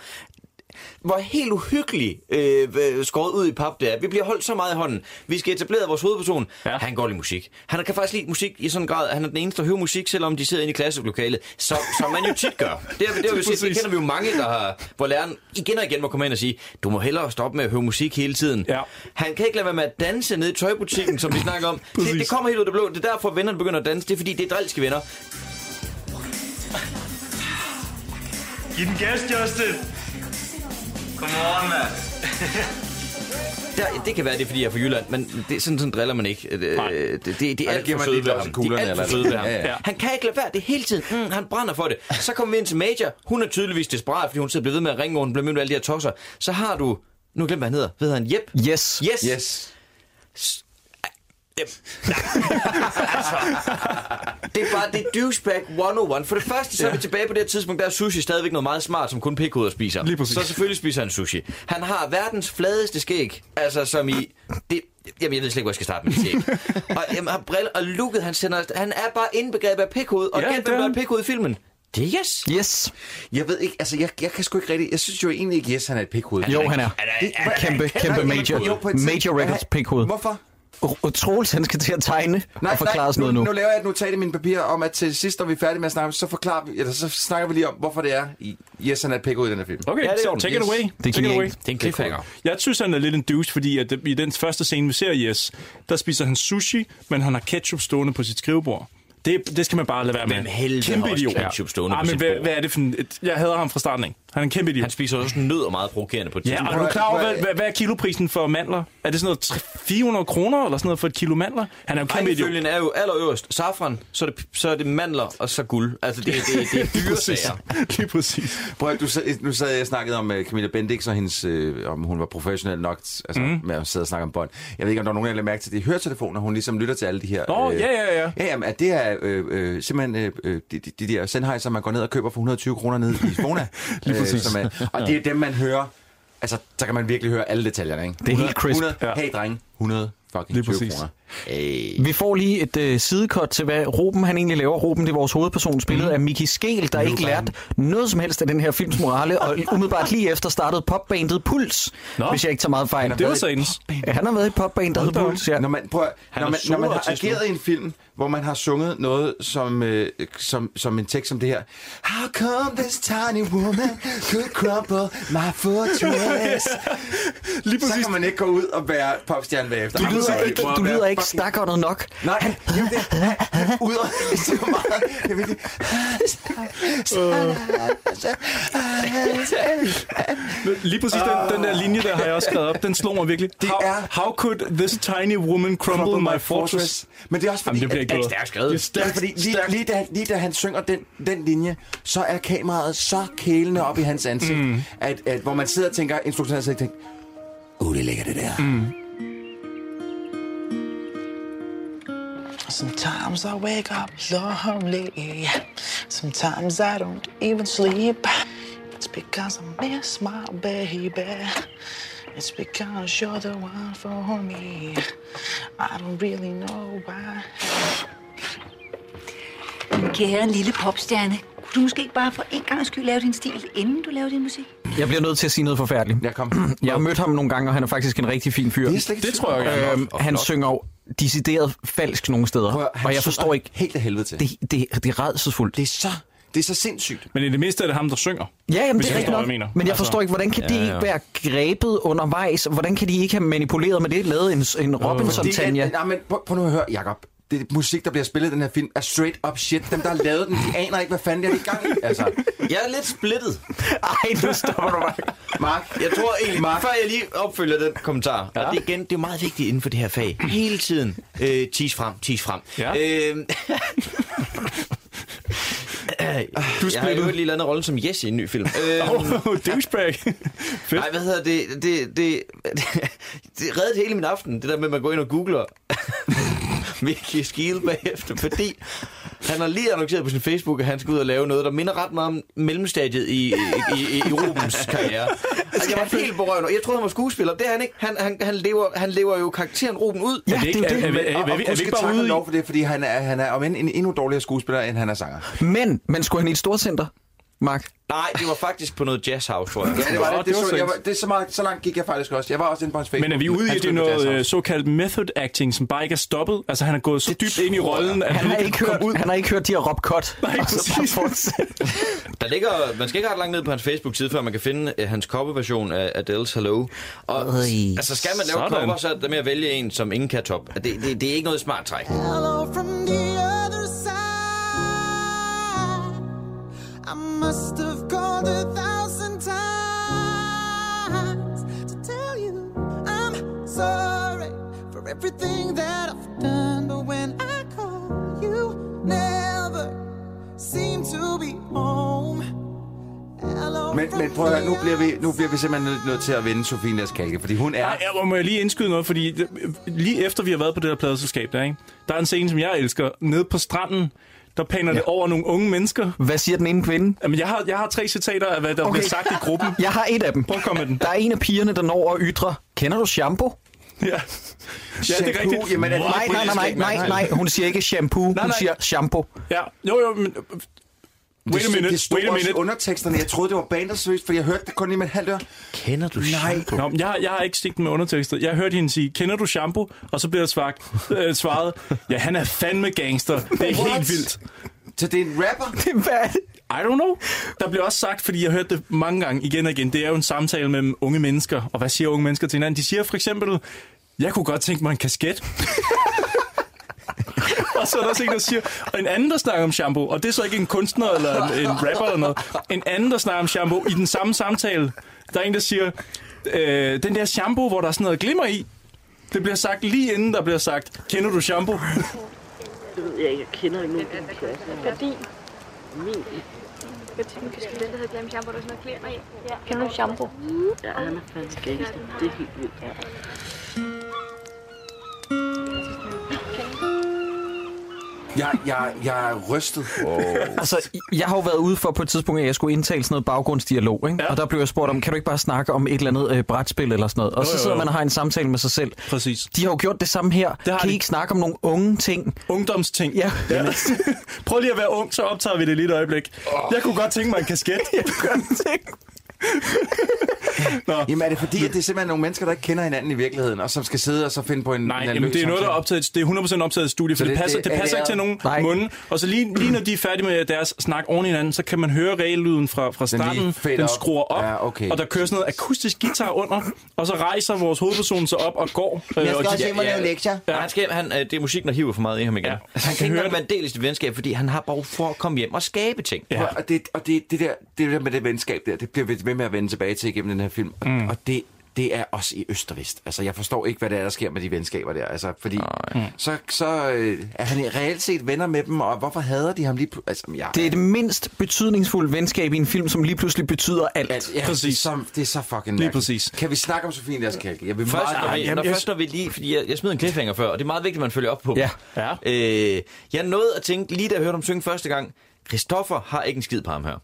Hvor helt uhyggeligt øh, øh, skåret ud i pap det er. Vi bliver holdt så meget i hånden. Vi skal etablere vores hovedperson. Ja. Han går lide musik. Han kan faktisk lide musik i sådan en grad, at han er den eneste, der hører musik, selvom de sidder inde i klasselokalet. Som, som man jo tit gør. Det, har vi- det, har vi set, det kender vi jo mange, der har, hvor læreren igen og igen må komme hen og sige, du må hellere stoppe med at høre musik hele tiden. Ja. Han kan ikke lade være med at danse nede i tøjbutikken, som vi snakker om. det, det, kommer helt ud af det blå. Det er derfor, at vennerne begynder at danse. Det er fordi, det er drilske venner.
Giv den gas, Justin. Kom on, mand.
Der, det kan være, det er, fordi jeg er fra Jylland, men det, sådan, sådan driller man ikke. Øh, Det, det, det, det
Ej,
er
det
alt
giver
for
man
søde
lidt
ved
også
ham. De
kuglerne
er alt for
eller
søde ved
sådan.
ham.
Ja, ja.
Han kan ikke lade være. Det er hele tiden. Mm, han brænder for det. Så kommer vi ind til Major. Hun er tydeligvis desperat, fordi hun sidder og bliver ved med at ringe, og hun bliver mødt med alle de her tosser. Så har du... Nu glemmer jeg, hvad han hedder. Ved han Jep?
Yes.
Yes.
yes.
Det er bare det er douchebag 101. For det første, så er vi tilbage på det her tidspunkt, der er sushi stadigvæk noget meget smart, som kun pikhoveder spiser.
Lige præcis.
Så selvfølgelig spiser han sushi. Han har verdens fladeste skæg, altså som i... Det, jamen, jeg ved slet ikke, hvor jeg skal starte med det skæg. og jamen, han briller, og looket, han sender... Han er bare indbegrebet af pikhoved, og
Ja,
ja, gæt,
det er
hvem der er
han.
pikhoved i filmen? Det er yes.
Yes.
Jeg ved ikke, altså jeg, jeg kan sgu ikke rigtig, jeg synes jo egentlig ikke, yes, han er et pikhoved.
Jo, han er.
Det-
Han er kæmpe, kæmpe major,
Jo, på et
major
tidspunkt-
records pikhoved.
Hvorfor?
Og Troels, han skal til at tegne og forklare os noget nu.
nu. Nu laver jeg et notat i mine papirer om, at til sidst, når vi er færdige med at snakke, så, forklarer vi, eller så snakker vi lige om, hvorfor det er, yes, han er et pikhoved i den her film.
Okay, ja, det er take it away. take it away. Jeg synes, han er lidt en douche, fordi at i den første scene, vi ser i Yes, der spiser han sushi, men han har ketchup stående på sit skrivebord. Det, det skal man bare lade være med.
Hvem helvede har også ketchup stående
Ej,
på
men
sit
hvad,
bord?
hvad er det for en, et- Jeg hader ham fra starten, ikke? Han er en kæmpe idiot.
Han spiser også nødder meget provokerende på et
Ja, og er du klar over, hvad, hvad, hvad er kiloprisen for mandler? Er det sådan noget tre- 400 kroner, eller sådan noget for et kilo mandler? Han er jo en kæmpe idiot.
Rækkefølgen er jo allerøverst safran, så er, det, så er det mandler, og så guld. Altså, det, det, det er dyre
Præcis.
sager.
Lige præcis.
Prøv at, du, sad- nu sad jeg og snakkede om uh, Camilla Bendix og hendes, øh, om hun var professionel nok altså,
Mhm.
mm. med at sidde og snakke om bånd. Jeg ved ikke, om der er nogen, der lagde mærke til det i høretelefoner, hun ligesom lytter til alle de her...
Nå, ja, ja, ja.
Ja, jamen, at det er øh, øh, simpelthen øh, øh, de, de, de der sendhejser, man går ned og køber for 120 kroner ned i Fona. Øh,
Lige præcis.
er, og det er dem, man hører... Altså, så kan man virkelig høre alle detaljerne, ikke?
Det er helt crisp.
100,
Ja.
Hey, dreng, 100 fucking
Lige
20
præcis.
kroner. Hey.
Vi får lige et øh, sidekort til, hvad Ruben han egentlig laver. Ruben, det er vores hovedperson, spillet
Mhm.
mm. af Mickey Skel, der ikke lærte noget som helst af den her films morale, og umiddelbart lige efter startede popbandet Puls, Nå. hvis jeg ikke tager meget fejl.
Det var så
ens.
Ja, han har været i et popband, der hedder Puls, ja.
Når man, prøv, at-
Han
når
er
man, når man
solo
har
artist nu.
ageret i en film, hvor man har sunget noget som, øh, som, som en tekst som det her. How come this tiny woman could crumple my fortress? Lige så kan man ikke gå ud og være popstjerne bagefter.
Du
Ej,
lyder
hvor
ikke,
er
du
det-
lyder ikke
fucking-
stakkernet nok.
Nej, jamen, det, han udånder så meget. Jeg ved det.
Men Lige præcis den, den der linje, der har jeg også skrevet op, den slog mig virkelig. Det how, er... how could this tiny woman crumble,
Crumble
my
my
fortress?
fortress. Men det er også fordi,
Jamen, det bliver ikke bedre.
Det
Det
er stærkt, fordi lige, lige, da, lige da han synger den, den linje, så er kameraet så kælende op i hans ansigt, mm. at, at, hvor man sidder og tænker, instruktøren sidder og tænker, uh, det er lækkert det der. Mm.
Sometimes I wake up lonely. Sometimes I don't even sleep. It's because I miss my baby. It's because you're the one for me. I don't really know why.
Kære lille popstjerne, kunne du måske ikke bare for en gang skyld lave din stil, inden du laver din musik?
Jeg bliver nødt til at sige noget forfærdeligt.
Ja, kom.
Jeg har mødt ham nogle gange, og han er faktisk en rigtig fin fyr.
Det er slet ikke Det tror jeg ikke, han er.
Øhm, han synger jo decideret falsk nogle steder,
Prøv at høre, han
og jeg
synger
forstår ikke...
helt af helvede til.
Det, det, det er redselsfuldt.
Det er så... Det er så sindssygt.
Men i det mindste er det ham, der synger.
Ja, jamen,
hvis
det er
du
rigtigt
forstår,
nok.
hvad jeg mener.
Men jeg
Altså-
forstår ikke, hvordan kan de
Ja, ja.
ikke være grebet undervejs? Hvordan kan de ikke have manipuleret med det? Lavet en, en
Øh,
Robinson-Tanja?
Fordi, at- nej, men prøv, prøv nu at høre, Jacob. Det musik, der bliver spillet i den her film, er straight up shit. Dem, der har lavet den, de aner ikke, hvad fanden de er i gang i. Altså.
Jeg er lidt splittet.
Ej, nu stopper du, Mark.
Mark, jeg tror egentlig, Mark. før jeg lige opfølger den kommentar, ja. og det, er igen, det er meget vigtigt inden for det her fag, hele tiden, øh, tis frem, tis frem.
Ja.
Øh, du jeg har jo lige landet rollen som Jesse i en ny film. Øhm.
Åh, Oh, douchebag.
Nej, hvad hedder det? Det, det, det, det reddede hele min aften, det der med, at man går ind og googler Mickey Skiel bagefter, fordi han har lige annonceret på sin Facebook, at han skal ud og lave noget, der minder ret meget om mellemstadiet i, i, i, i, i Rubens karriere. Altså, jeg var helt berørt. Jeg troede, han var skuespiller. Det er han ikke. Han, han, han, lever, han lever jo karakteren Ruben ud.
Men det ikke- men- og- og
og-
husk at takke ham lov for det, fordi han er, han er om end en endnu dårligere skuespiller, end han er sanger.
Men, men skulle han i et storcenter, Mark?
Nej, det var faktisk på noget jazzhouse, tror jeg.
Ja, det var
Åh,
det. det,
det var
så, jeg, var-
sødt.
det er så, meget, så langt gik jeg faktisk også. Jeg var også inde på hans Facebook.
Men er vi ude i
Han
at det er
spillede
noget
jazz
øh,
house.
såkaldt method acting, som bare ikke er stoppet? Altså, han er gået så dybt ind i rollen, at
Han har,
kan
ikke
komme
hørt, han har ikke hørt, de har råbt cut. Nej, præcis.
Der ligger, man skal ikke ret langt ned på hans Facebook-side, før man kan finde øh, hans coverversion af Adele's Hello. Og
Øj,
altså, skal man lave
sådan.
cover, så er det med at vælge en, som ingen kan toppe. Det, det, det er ikke noget smart træk.
Hello from the other side. I must have called a thousand times to tell you I'm sorry for everything that I've done. But when I call, you never seem to be home. Hello.
øh,
Men, men prøv at høre, nu bliver, vi, nu bliver vi simpelthen nødt- nødt til at vende Sofie Næs Kalke, fordi hun er...
Nej, jeg må- må jeg lige indskyde noget, fordi det- lige efter vi har været på det der pladeselskab der, ikke? der er en scene, som jeg elsker, nede på stranden, der paner ja. det over nogle unge mennesker.
Hvad siger den ene kvinde?
Jamen, jeg har, jeg har tre citater af, hvad der okay. bliver sagt i gruppen.
Jeg har et af dem.
Prøv at komme med den.
Der er en af pigerne, der når at ytre, kender du shampoo?
Ja, ja det er rigtigt.
jamen, er det
nej, nej, nej, nej, nej, nej, hun siger ikke shampoo, nej, nej. hun
nej.
siger shampoo.
Ja, jo, jo, men... Wait a
det,
minute,
det stod
wait a
også i
minute.
underteksterne. Jeg troede, det var bandersøst, for jeg hørte det kun lige med et halvt øre.
Kender du
Nej.
Nå, men jeg, har- jeg har ikke stikket med undertekster. Jeg hørte hende sige, kender du shampoo? Og så bliver der svaret, øh, svaret ja, han er fandme gangster. Det er
What?
helt vildt.
Så det er en rapper?
Hvad er det?
I don't know. Der blev også sagt, fordi jeg hørte det mange gange igen og igen, det er jo en samtale mellem unge mennesker, og hvad siger unge mennesker til hinanden? De siger for eksempel, jeg kunne godt tænke mig en kasket. og så er der også en, der siger, og en anden, der snakker om shampoo, og det er så ikke en kunstner eller en, en rapper eller noget, en anden, der snakker om shampoo i den samme samtale. Der er en, der siger, øh, den der shampoo, hvor der er sådan noget glimmer i, det bliver sagt lige inden, der bliver sagt, kender du shampoo?
Det ved jeg ikke. Jeg kender ikke nogen din klasse. Fordi? Min.
Jeg tænkte, vi skulle den, der hedder Glam Shampoo, der er sådan noget glimmer i. Ja.
Kender du shampoo? Ja, han er fandme gangster. Det er helt vildt. Ja.
Jeg, jeg, jeg er rystet. Oh.
Altså, jeg har jo været ude for på et tidspunkt, at jeg skulle indtale sådan noget baggrundsdialog, ikke? Ja. og der blev jeg spurgt om, kan du ikke bare snakke om et eller andet øh, brætspil eller sådan noget? Og
Jo,
så
jo, jo.
sidder man og har en samtale med sig selv.
Præcis.
De har jo gjort det samme her. Det kan I
de.
ikke snakke om nogle unge ting?
Ungdomsting.
Ja.
ja. altså, Prøv lige at være ung, så optager vi det lige et øjeblik. Oh. Jeg kunne godt tænke mig en kasket.
Jamen er det fordi, at det er simpelthen nogle mennesker, der ikke kender hinanden i virkeligheden, og som skal sidde og så finde på en
Nej,
en
jamen, det er noget, der er
samtale?
optaget, det er 100% optaget i studiet, for
Så
det, det,
det-
passer,
det-
det, det
er
passer
det-
ikke til nogen
Nej.
munde. Og så lige, lige når de er færdige med deres snak oven i hinanden, så kan man høre regellyden fra, fra
lige
starten. Den,
fader
den
op.
skruer op,
Ja, okay.
og der kører sådan noget akustisk guitar under, og så rejser vores hovedperson sig op og går. øh, og de-
ja, ja. Ja. Han skal, han, øh, det er musikken, der hiver for meget i ham igen. Ja. Han kan ikke være en del af sit venskab, fordi han har behov for at komme hjem og skabe ting.
Ja. Og, det, og det, det, der, det der med det venskab der, det bliver vi ved med at vende tilbage til igennem den her film. Og, mm. og det, det er også i øst og vest. Altså, jeg forstår ikke, hvad det er, der sker med de venskaber der. Altså, fordi så, så øh, er han reelt set venner med dem, og hvorfor hader de ham lige pl- altså, jeg,
Det er det mindst betydningsfulde venskab i en film, som lige pludselig betyder alt.
Altså, ja,
Præcis.
Det, er så, det er så fucking
Lige
mærkeligt.
præcis.
Kan vi snakke om Sofie Lars Kalke? Jeg vil
Først,
meget
når,
gerne.
vi, når, først når vi lige, fordi jeg, jeg smed en cliffhanger før, og det er meget vigtigt, at man følger op på. dem.
Ja.
Øh, jeg nåede at tænke, lige da jeg hørte om synge første gang, Christoffer har ikke en skid på ham her.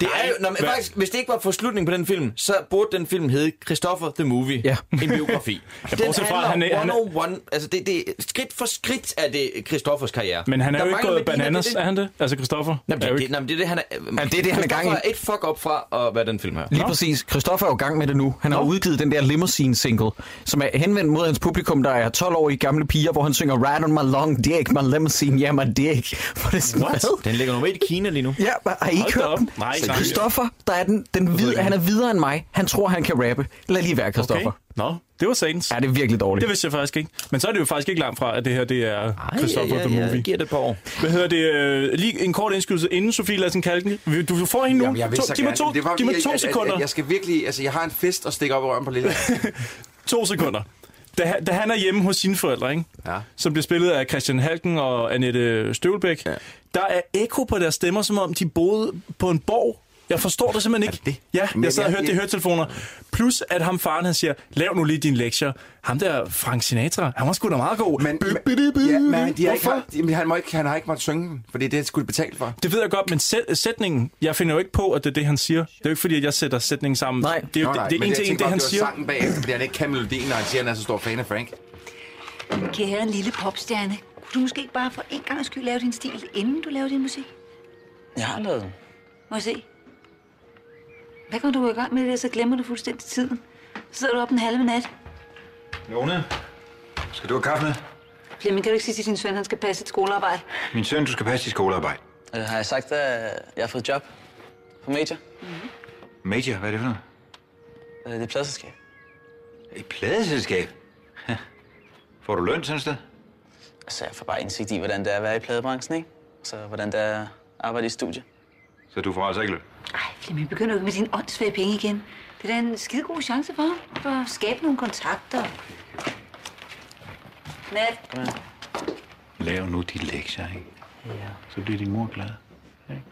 Det er jo, når, man, faktisk, hvis det ikke var for slutningen på den film, så burde den film hedde Christopher the Movie, ja. en biografi.
Ja,
den
bortset fra,
handler
han er- han er-
101, altså det, det, skridt for skridt er det Christoffers karriere.
Men han er
Der
jo ikke
mangler
gået
værdien,
bananas,
det
er han det? Altså Christoffer?
Jamen, det, det, nej, men det er det, han er...
Jamen, det er det, han er gang i.
Christopher er et fuck op fra at være den film her.
Lige præcis. Christoffer er jo i gang med det nu. Han har udgivet den der limousine-single, som er henvendt mod hans publikum, der er 12 år i gamle piger, hvor han synger Ride on my long dick, my limousine, yeah, my dick. Hvor det er sådan,
What?
hvad?
Den ligger nummer et i Kina lige nu.
Ja, hva- har I ikke hørt den?
Nej,
Så
nej.
Christoffer, der er den, den vid, han er videre end mig. Han tror, han kan rappe. Lad lige være, Christoffer.
Okay. Nå, det var satans.
Ja, det er virkelig dårligt.
Det vidste jeg faktisk ikke. Men så er det jo faktisk ikke langt fra, at det her det er Christopher
ja,
the
ja,
Movie.
giver det et par år.
Hvad hedder det? øh, Lige en kort indskydelse inden Sofie Lassen Kalken. Du du får hende nu.
Jamen, jeg vil
To-
så
Giv mig
gerne.
to,
Det er bare
giv mig
fordi,
to
jeg- jeg-
sekunder.
Jeg, jeg, skal virkelig... Altså, jeg har en fest at stikke op i røven på lille.
To sekunder. Da, han- da han er hjemme hos sine forældre, ikke? Ja. som bliver spillet af Christian Halken og Annette Støvlbæk, ja. der er ekko på deres stemmer, som om de boede på en borg. Jeg forstår det simpelthen ikke. det? Ja,
Men
jeg sad og
jeg-
hørte det i
jeg-
høretelefoner. Plus, at ham faren, han siger, lav nu lige dine lektier. Ham der Frank Sinatra, han var sgu da meget god. Men,
ja, men de har ikke,
Hvorfor?
jamen, han, må ikke, han har ikke måttet synge den, fordi det skulle de betale for.
Det ved jeg godt, men sæt, sætningen, jeg finder jo ikke på, at det er det, han siger. Det er jo ikke fordi, at jeg sætter sætningen sammen. Nej, det er jo
Nå, nej,
det, det, er
men
en
jeg
til en,
tænkte
det
bare,
han
var
siger.
sangen bagefter, fordi han ikke kan melodien, når han siger, at han er så stor fan af Frank.
Kære lille popstjerne, kunne du måske ikke bare for en gang skyld lave din stil, inden du laver din musik?
Jeg har lavet den.
Må jeg se? Hvad går du i gang med det, så glemmer du fuldstændig tiden? Så sidder du op den halve nat.
Lone, skal du have kaffe med?
Flemming, kan du ikke sige til din søn, han skal passe et skolearbejde?
Min søn, du skal passe dit skolearbejde.
Øh, har jeg sagt, at jeg har fået job på Major?
Major, hvad er det for noget?
Øh, det er pladserskab.
Et pladeselskab? Ha. Får du løn sådan et sted?
Altså, jeg får bare indsigt i, hvordan det er at være i pladebranchen, ikke? Så hvordan det er at arbejde i studie.
Så du får altså ikke løn?
Flemming, begynder jo ikke med dine åndssvage penge igen. Det er da en skide god chance for ham, for at skabe nogle kontakter. Nat.
Lav nu dit lektier, ikke? Ja. Så bliver din mor glad. ikke?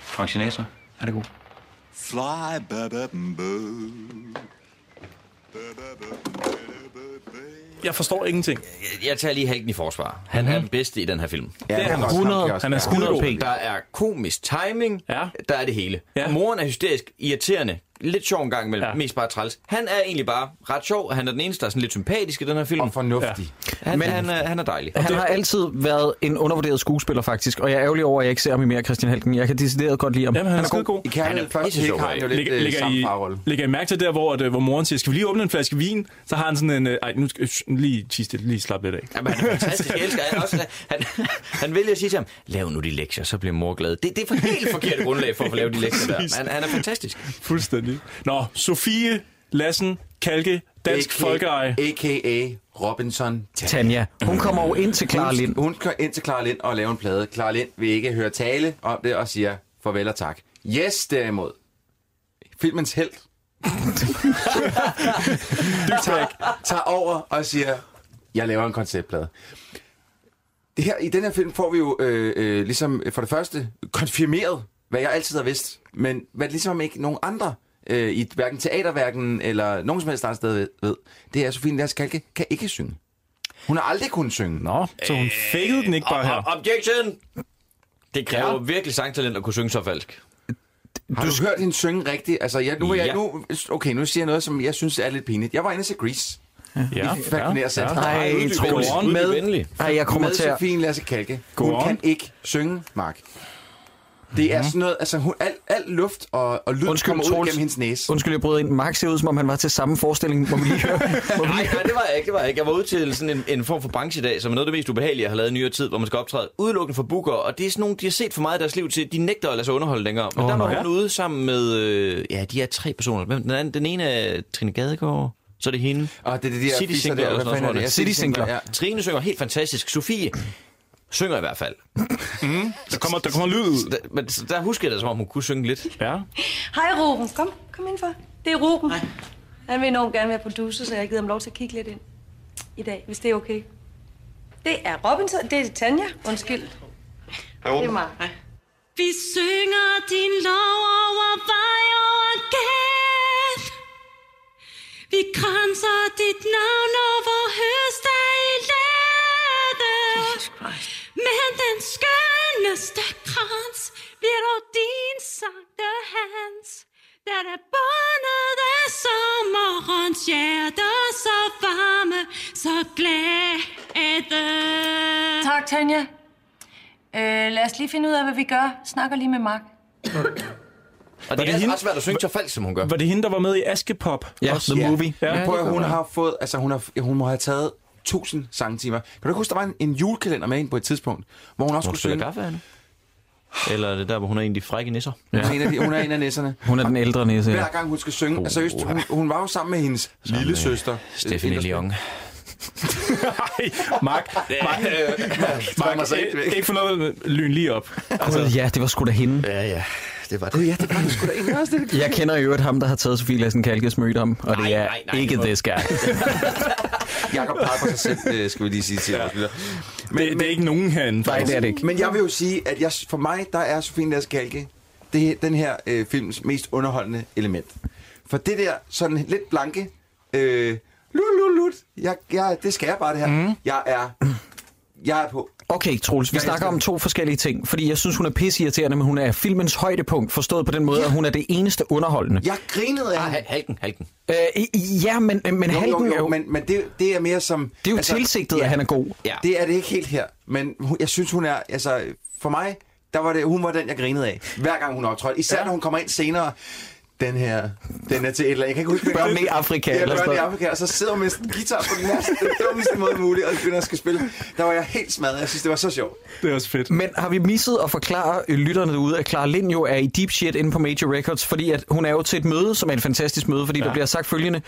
Frank Sinatra, er det god?
Fly, ba ba boo.
Jeg forstår ingenting.
Jeg, jeg tager lige Halken i forsvar. Han er den bedste i den her film.
Ja, Det er han. han er 100. også- Han er skidegod.
Der er komisk timing. Ja. Der er det hele. Ja. Moren er hysterisk, irriterende, lidt sjov en gang imellem, ja. mest bare træls. Han er egentlig bare ret sjov, og han er den eneste, der er sådan lidt sympatisk i den her film. Og fornuftig. Ja. Han, Men, han, er, han er dejlig.
Han har altid været en undervurderet skuespiller, faktisk. Og jeg er ærgerlig over, at jeg ikke ser ham i mere, Christian Helgen. Jeg kan decideret godt lide ham.
Jamen, han, er, er god.
I kærlighed først, ikke? Har han jo lidt, øh, samme farrolle.
Lægger I mærke til der, hvor, at, øh, hvor moren siger, skal vi lige åbne en flaske vin? Så har han sådan en, øh, ej, nu skal sh, lige, tis det, lige slap lidt af.
Jamen, han er fantastisk. Jeg elsker han også. Han, han vælger at sige til ham, lav nu de lektier, så bliver mor glad. Det, det er for helt forkert grundlag for at få lavet de lektier der. Men han, han er fantastisk.
Fuldstændig. Nå, Sofie Lassen Kalke, Dansk
AK
Folkeeje.
A.k.a. Robinson
Tanja. Hun kommer jo ind til Clara Lind.
Hun, hun kører ind til Clara Lind og laver en plade. Clara Lind vil ikke høre tale om det og siger farvel og tak. Yes, derimod. Filmens held. tager, tager over og siger, jeg laver en konceptplade. Det her, I den her film får vi jo øh, øh, ligesom øh, for det første konfirmeret, hvad jeg altid har vidst, men hvad ligesom ikke nogen andre øh, i hverken teaterverken eller nogen som helst andet sted ved- ved, det er, at Sofie Lars Kalke kan ikke synge. Hun har aldrig kunnet synge.
Nå, så hun fakede den ikke bare her.
Objection! Det kræver ja. virkelig sangtalent at kunne synge så falsk.
Har du, hørt hende synge rigtigt? Altså, jeg, nu, er jeg,
Ja.
nu, okay, nu siger jeg noget, som jeg synes er lidt pinligt. Jeg var inde og se Grease.
Ja.
I fascinerer sig.
Ja.
Ej, Troels. Med- Ej, jeg kommer
med
til at-
Sofie Lasse Kalke.
Go
hun
on.
kan ikke synge, Mark. Det er
Mhm.
sådan noget, altså hun, al, al luft og, og lyd Undskyld,
Undskyld,
kommer ud
Troels.
gennem hendes næse.
Undskyld, jeg bryder ind. Mark ser ud, som om han var til samme forestilling, hvor vi lige hører.
Nej, nej, det var jeg ikke. Det var jeg ikke. Jeg var ude til sådan en, en form for branche i dag, som er noget af det mest ubehagelige, jeg har lavet i nyere tid, hvor man skal optræde udelukkende for booker, og det er sådan nogle, de har set for meget i deres liv til, de nægter at lade sig underholde længere. Men
Åh,
oh, der
nå,
var
ja.
hun ude sammen med, øh, ja, de er tre personer. Hvem, den, anden, den ene er Trine Gadegaard, så er det hende.
Og det er det, de her
City
fisser
Singler,
der.
eller
Hvad
sådan
fanden er
noget, tror jeg,
det?
det.
City Singler, ja.
Trine synger helt fantastisk. Sofie synger i hvert fald.
Mm. Der kommer, der kommer lyd ud.
Der, men så der husker jeg det, som om hun kunne synge lidt.
Ja.
Hej Ruben, kom, kom indenfor. Det er Ruben. Hej. Han vil enormt gerne være producer, så jeg har givet ham lov til at kigge lidt ind i dag, hvis det er okay. Det er Robinson, det er Tanja, undskyld.
Hej,
Det er
Ruben.
mig.
Vi synger din lov over vej over gæt. Vi kranser dit navn over høstdag i lade. Men den skønneste krans bliver dog din sang. glæde.
Tak, Tanja. Øh, lad os lige finde ud af, hvad vi gør. Snakker lige med Mark.
Og det, er altså ret svært at synge så falsk, som hun gør.
Var det hende, der var med i Askepop?
Ja. Prøv, at, hun har fået, altså hun, har, hun må have taget 1000 sangtimer. Kan du ikke huske, der var en, en julekalender med ind på et tidspunkt, hvor hun også
Hun
skulle synge?
spiller kaffe, Anne. Eller er det der, hvor hun er en af de frække nisser?
Hun er en af de- hun er en af nisserne.
Hun er den ældre næse, ja.
Hver gang hun skal synge, altså seriøst, hun, hun var jo sammen med hendes lille søster.
Stephanie Leong.
Mark, Mark,
øh,
Mark, Mark ikke, ikke for noget, men lyn lige op.
Altså. Gud, ja, det var sgu da hende.
Ja, ja. Det var det.
Gud, ja, det var det sgu da egentlig også det.
Jeg kender jo et ham, der har taget Sofie Lassen Kalkes mødt om, og det er nej, nej, ikke det skal.
Jakob peger på sig selv, øh, skal vi lige sige til ja. men,
det, det, er ikke nogen herinde.
Nej,
faktisk.
det er det ikke. Men jeg vil jo sige, at jeg, for mig, der er Sofie Lasse Kalke det, er den her øh, films mest underholdende element. For det der sådan lidt blanke, øh, lut, lut, lut, jeg, jeg, det skal jeg bare det her. Mm. Jeg er, jeg er på.
Okay, Troels, vi
Jeg
snakker
elsker
om to forskellige ting, fordi jeg synes, hun er pisseirriterende, men hun er filmens højdepunkt, forstået på den måde, at hun er det eneste underholdende.
Jeg grinede af
ah, Halken, halken.
Øh, i- i- ja, men, men
Jo,
Halken
jo,
er
jo,
jo...
men, men det, det er mere som... Altså,
Det er jo tilsigtet, at han er god.
Ja. Det er det ikke helt her, men hun, jeg synes, hun er... Altså, for mig, der var det, hun var den, jeg grinede af, hver gang hun optrådte. Især ja. når hun kommer ind senere. Den her, den er til et eller andet. Jeg kan ikke huske,
Børn i Afrika
Ja,
eller sådan
børn i
noget.
Afrika, og så sidder hun med en guitar på den, værste, den dummeste måde muligt, og begynder at skal spille. Der var jeg helt smadret. Jeg synes, det var så sjovt.
Det er også fedt.
Men har vi misset at forklare øh, lytterne derude, at Clara Lind jo er i deep shit inde på Major Records, fordi at hun er jo til et møde, som er et fantastisk møde, fordi ja. der bliver sagt følgende,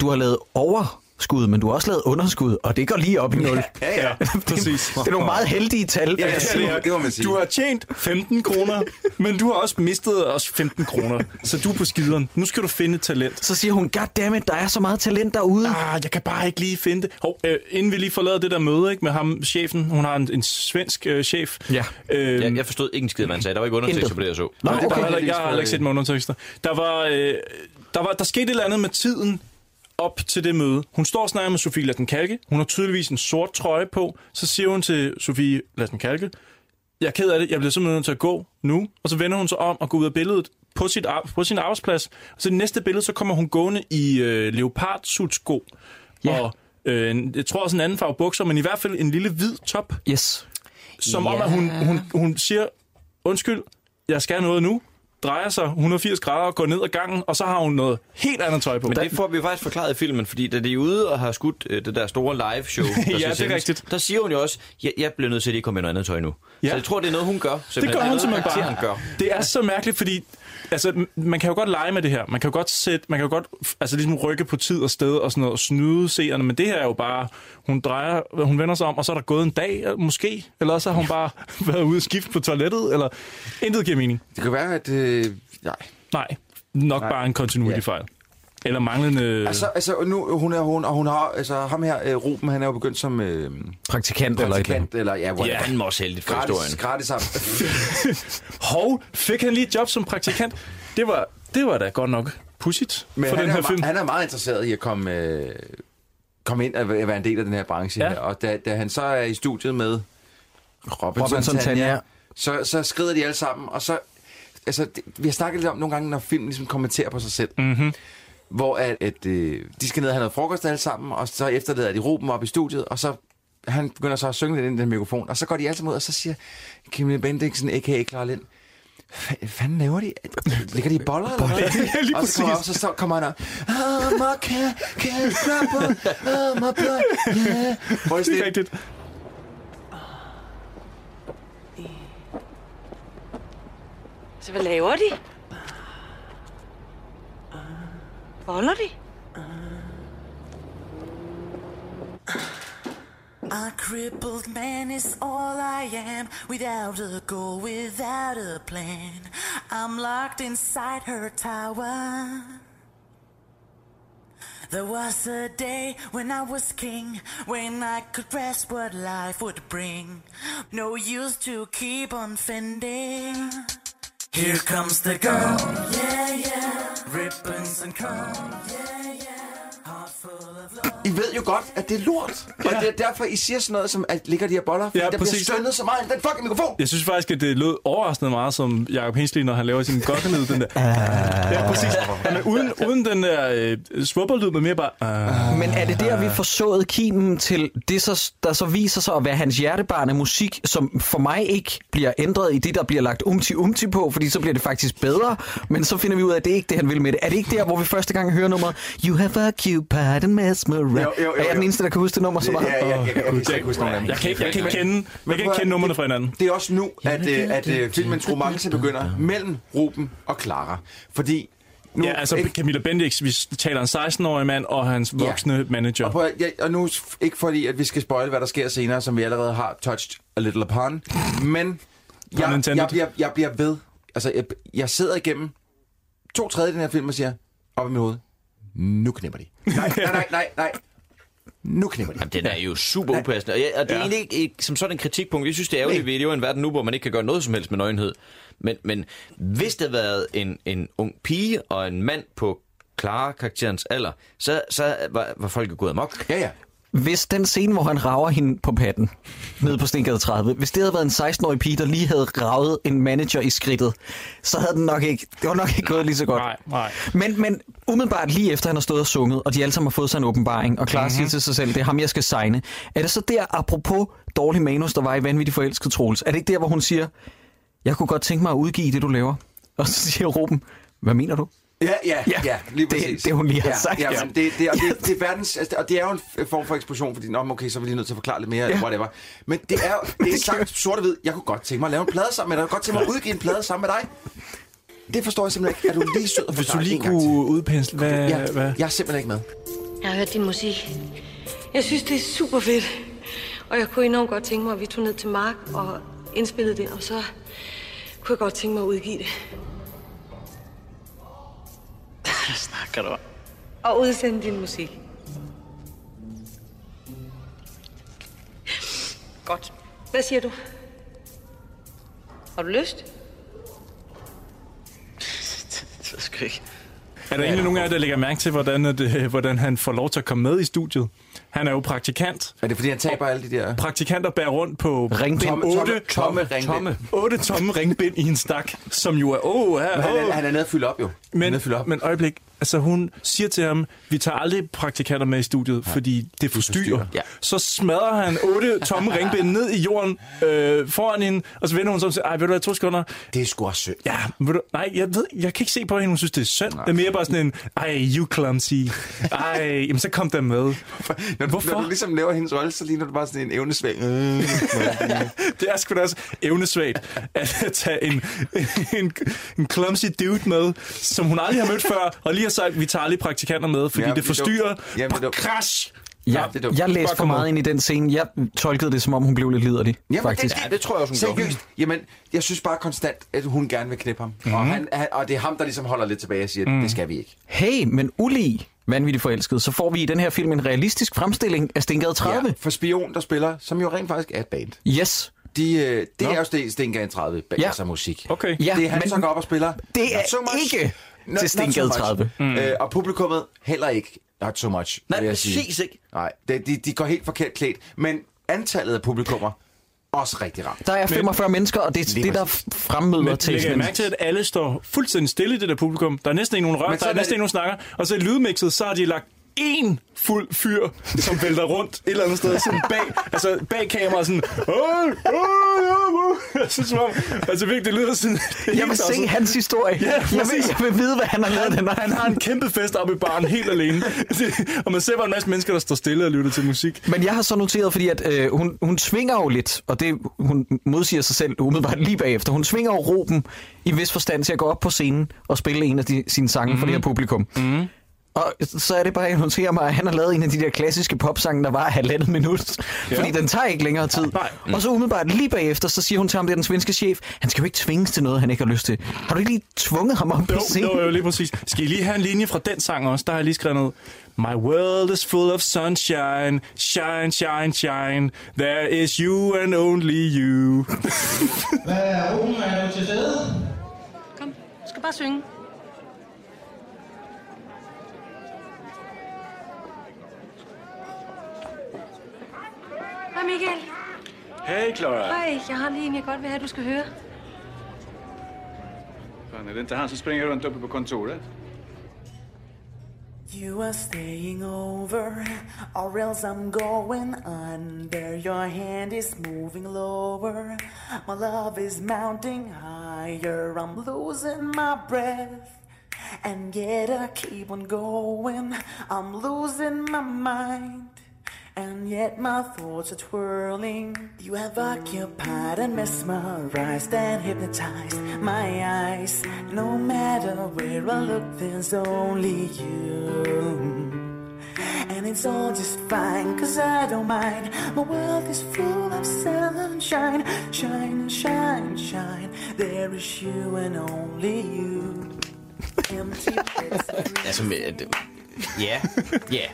du har lavet overskud, men du har også lavet underskud, og det går lige op i nul.
Ja, ja.
Præcis.
Det er nogle meget heldige tal.
Ja, ja, det, må- det må man sige.
Du har tjent 15 kroner, men du har også mistet også 15 kroner. Så du er på skideren. Nu skal du finde et talent.
Så siger hun, goddammit, der er så meget talent derude.
Ah, jeg kan bare ikke lige finde det. Hov, øh, inden vi lige forlader det der møde ikke, med ham, chefen. Hun har en, en svensk øh, chef.
Ja.
Øhm,
Jeg, jeg forstod ikke en skid, hvad han sagde. Der var ikke undertekster
Intet.
på det, jeg så.
Nå,
Nå,
okay.
okay.
der var, heller ikke- jeg har heller ikke set med undertekster. Der var, øh, der var, der skete et eller andet med tiden op til det møde. Hun står og snakker med Sofie Lassen-Kalke. Hun har tydeligvis en sort trøje på. Så siger hun til Sofie Lassen-Kalke, jeg er ked af det, jeg bliver simpelthen nødt til at gå nu. Og så vender hun sig om og går ud af billedet på, sit, ar- på sin arbejdsplads. Og så i det næste billede, så kommer hun gående i øh, leopard-sutsko. Ja. Og øh, en- jeg tror også en anden farve bukser, men i hvert fald en lille hvid top.
Yes.
Som om, at hun, hun, hun siger, undskyld, jeg skal noget nu, drejer sig 180 grader og går ned ad gangen, og så har hun noget helt andet tøj på.
Men det får vi jo faktisk forklaret i filmen, fordi da de er ude og har skudt øh, det der store live show, der
Ja,
skal
det er
sendes,
rigtigt.
der siger hun jo også, jeg, jeg bliver nødt til at ikke komme i noget andet tøj nu.
Ja.
Ja. Så jeg tror, det er noget, hun gør.
det gør hun
noget,
simpelthen bare.
karakteren gør.
Det er så mærkeligt, fordi altså, m- man kan jo godt lege med det her. Man kan jo godt, sætte, man kan jo godt f- altså, ligesom rykke på tid og sted og sådan noget, og snyde seerne, men det her er jo bare, hun drejer, hun vender sig om, og så er der gået en dag, øh, måske, eller også har hun bare været ude og skifte på toilettet, eller intet giver mening.
Det kan være, at... Øh, nej.
Nej, nok Nej. bare en continuity fejl. Eller manglende...
Altså, altså nu, hun er hun, og hun har... Altså, ham her, øh, Ruben, han er jo begyndt som... Øh,
Praktikant, eller et eller andet.
praktikant, eller... Ja,
Ja,
whatever.
han må også heldigt for
Gratis,
historien.
gratis ham.
Hov, fik han lige et job som praktikant? Det var, det var da godt nok pudsigt
Men
for
han
den
er,
her
me-
film.
han er meget interesseret i at komme, øh, komme ind og væ- være en del af den her branche.
Ja.
Ja. Her. Og da, da han så er i studiet med Robinson,
Robinson
Robinson Tanja,
Tanja.
Så, så skrider de alle sammen, og så... Altså, det, vi har snakket lidt om nogle gange, når film ligesom kommenterer på sig selv.
Mm-hmm.
Hvor at, at, øh, de skal ned og have noget frokost alle sammen, og så efterlader de Ruben op i studiet, og så han begynder så at synge lidt ind i den mikrofon, og så går de alle sammen ud, og så siger Kim Bendiksen, a.k.a. Clara Lind, hvad fanden laver de? Ligger de i boller? Eller hvad?
Ja, lige
og så kommer, han op,
præcis.
så står- kommer han op. I'm a cat, cat rapper, I'm a blood, yeah. Hvor er
Det er
det
rigtigt.
Så hvad laver de? Boller de?
A crippled man is all I am, without a goal, without a plan. I'm locked inside her tower. There was a day when I was king, when I could grasp what life would bring. No use to keep on fending. Here comes the girl, yeah, yeah. Ribbons and comb, yeah, yeah. Heart full of love.
I ved jo godt, at det er lort. Og det er derfor, I siger sådan noget, som at ligger de her boller, fordi
Ja,
ja, der
præcis.
bliver stønnet så meget i den fucking mikrofon.
Jeg synes faktisk, at det lød overraskende meget som Jacob Hensley, når han laver sin gokkelyd, den der. ja, præcis. Han er uden, uden den der øh, svubberlyd, men mere bare... Øh.
Men er det der, vi forsåede kimen til det, så, der så viser sig at være hans hjertebarn af musik, som for mig ikke bliver ændret i det, der bliver lagt umti umti på, fordi så bliver det faktisk bedre, men så finder vi ud af, at det er ikke det, han vil med det. Er det ikke der, hvor vi første gang hører nummeret You have a cupid and mesmer?
jo, jo,
Er jeg den
jo.
eneste, der kan huske det nummer så meget?
Jeg kan ikke, jeg kan ikke kende, jeg kan ikke kende numrene fra hinanden.
Det er også nu, at, øh, at øh, filmen Tromance begynder mellem Ruben og Clara. Fordi
Nu, ja, altså ikke... Camilla Bendix, vi taler en 16-årig mand og hans voksne ja. manager.
Og, prøv, at- ja, og nu f- ikke fordi, at vi skal spoil, hvad der sker senere, som vi allerede har touched a little upon, men jeg,
intended.
jeg, bliver, jeg bliver ved. Altså, jeg, jeg sidder igennem to tredjedele af den her film og siger, op i mit hoved, nu knipper de. Nej, nej, nej, nej, nej. Nu knipper de.
Jamen, den er jo super upassende. Og, jeg, og det er
Ja.
egentlig ikke, ikke som sådan en kritikpunkt. Jeg synes, det er ærgerligt, at vi lever i en verden nu, hvor man ikke kan gøre noget som helst med nøgenhed. Men, men hvis det havde været en, en ung pige og en mand på klare karakterens alder, så, så var, var folk jo gået amok.
Ja, ja.
Hvis den scene, hvor han rager hende på patten, nede på Stengade 30, hvis det havde været en 16-årig pige, der lige havde ravet en manager i skridtet, så havde den nok ikke, det var nok ikke gået lige så godt. Nej,
nej.
Men, men umiddelbart lige efter, han har stået og sunget, og de alle sammen har fået sig en åbenbaring, og Clara mm-hmm. siger til sig selv, det er ham, jeg skal signe. Er det så der, apropos dårlig manus, der var i Vanvittig Forelsket Troels, er det ikke der, hvor hun siger, jeg kunne godt tænke mig at udgive det, du laver? Og så siger Ruben, hvad mener du?
Ja, ja,
Ja,
ja, ja lige
det-
præcis.
det hun lige har
ja,
sagt.
Ja, men det, det, og det, det er verdens, altså, og det er jo en f- form for eksplosion, fordi, nå, men okay, så er vi lige nødt til at forklare lidt mere,
Ja.
ja. whatever. Men det er, jo- det er sagt sort og hvid, jeg kunne godt tænke mig at lave en plade sammen med dig, jeg kunne godt tænke mig at udgive en plade sammen med dig. Det forstår jeg simpelthen ikke. Er du lige sød at
Hvis du
forklare
lige
en gang til?
kunne udpensle, hvad...
Ja,
hvad?
jeg er simpelthen ikke med.
Jeg har hørt din musik. Jeg synes, det er super fedt. Og jeg kunne enormt godt tænke mig, at vi tog ned til Mark og indspillede det, og så kunne jeg godt tænke mig at udgive det.
Hvad snakker du om?
Og udsende din musik. Godt. Hvad siger du? Har du lyst?
Det ved jeg sgu ikke.
Er der egentlig nogen af jer, der lægger mærke til, hvordan, at, øh, hvordan han får lov til at komme med i studiet? Han er jo praktikant.
Er det, fordi han taber alle de der...
Praktikanter bærer rundt på
Ringbind. Tomme-
otte
tomme- tomme ringbind.
tomme, otte tomme ringbind i en stak, som jo er... Åh, oh,
Men han, er, han er nede at fylde op, jo.
Men, men øjeblik, altså hun siger til ham, vi tager aldrig praktikanter med i studiet, ja. fordi det forstyrrer. Ja. Så smadrer han otte tomme ringbind ned i jorden øh, foran hende, og så vender hun sig om og siger, ej, ved du hvad, to sekunder.
Det er sgu også synd.
Ja, ved du, nej, jeg, ved, jeg kan ikke se på hende, hun synes, det er synd. Det er mere bare sådan en, ej, you clumsy. Ej, jamen så kom der med.
Når,
Hvorfor?
Når du ligesom laver hendes rolle, så ligner du bare sådan en evnesvag. Øh.
det er sgu da også evnesvagt at tage en, en, en clumsy dude med, som hun aldrig har mødt før, og lige har sagt, vi tager aldrig praktikanter med, fordi ja, det forstyrrer.
Jamen, det er dumt.
Crash!
Jeg,
det er
ja,
dumt.
jeg læste
Fuck,
for
kom
meget
ud.
ind i den scene. Jeg tolkede det, som om hun blev lidt liderlig,
Jamen,
faktisk.
Det, det, det tror jeg også, hun Seriøst. Jamen, jeg synes bare konstant, at hun gerne vil knippe ham. Mm.
Mhm.
Og, han, han, og det er ham, der ligesom holder lidt tilbage og siger, mm. det skal vi ikke.
Hey, men ulig vanvittigt forelsket, så får vi i den her film en realistisk fremstilling af Stengade 30.
Ja, for Spion, der spiller, som jo rent faktisk er et band.
Yes.
De, øh, det er jo Sten- Stengade 30, bag
Ja.
ja. sig musik.
Okay.
Ja,
det er han,
men
som går op og spiller.
det er
Not so much.
ikke
Not-
til
not
Stengade
so much.
30. Mm.
Øh, og publikummet heller ikke. Not so much.
Nej,
vil jeg sige.
præcis ikke.
Nej, de, de, de går helt forkert klædt. Men antallet af publikummer, også rigtig rart.
Der er 45 mennesker, og det er
Lige
det, der
præcis.
fremmøder
Men
til
lægger I mærke til, at alle står fuldstændig stille i det der publikum? Der er næsten ikke nogen rør,
Men så
der er
er det-
næsten ikke nogen snakker. Og så i lydmixet, så har de lagt en fuld fyr, som vælter rundt et eller andet sted, sådan bag, altså bag kameraet, sådan, åh, åh, åh, åh, så som om, altså virkelig, det lyder sådan,
Jeg vil se hans historie.
Ja,
jeg, vil,
præcis.
jeg vil vide, hvad han har lavet den
Han har en kæmpe fest oppe i baren helt alene. Det- og man ser bare en masse mennesker, der står stille og lytter til musik.
Men jeg har så noteret, fordi at, øh, hun, hun svinger jo lidt, og det, hun modsiger sig selv umiddelbart lige bagefter. Hun svinger jo Ruben i en vis forstand til at gå op på scenen og spille en af de, sine sange mm. for det her publikum. Mm. Og så er det bare, at jeg noterer mig, at han har lavet en af de der klassiske popsange, der var halvandet minut. Ja. Fordi den tager ikke længere tid. Mm. Og så umiddelbart lige bagefter, så siger hun til ham, det er den svenske chef, han skal jo ikke tvinges til noget, han ikke har lyst til. Har du ikke lige tvunget ham op på
Jo,
scenen?
jo, jo, lige præcis. Skal I lige have en linje fra den sang også? Der har jeg lige skrevet noget. My world is full of sunshine, shine, shine, shine. There is you and only you.
Hvad er Ruben? Er du til stede?
Kom, du skal bare synge. Michael.
Hey, Clara.
Hej, jeg har lige en, jeg godt vil have, du skal høre.
Fan, är det inte han som springer runt uppe på kontoret?
You are staying over, or else I'm going under. Your hand is moving lower, my love is mounting higher. I'm losing my breath, and yet I keep on going. I'm losing my mind. And yet my thoughts are twirling. You have occupied and mesmerized and hypnotized my eyes. No matter where I look, there's only you. And it's all just fine, cause I don't mind. My world is full of sunshine. Shine, shine, shine. There is you and only you. Empty pits of
Altså, men, det- ja, ja.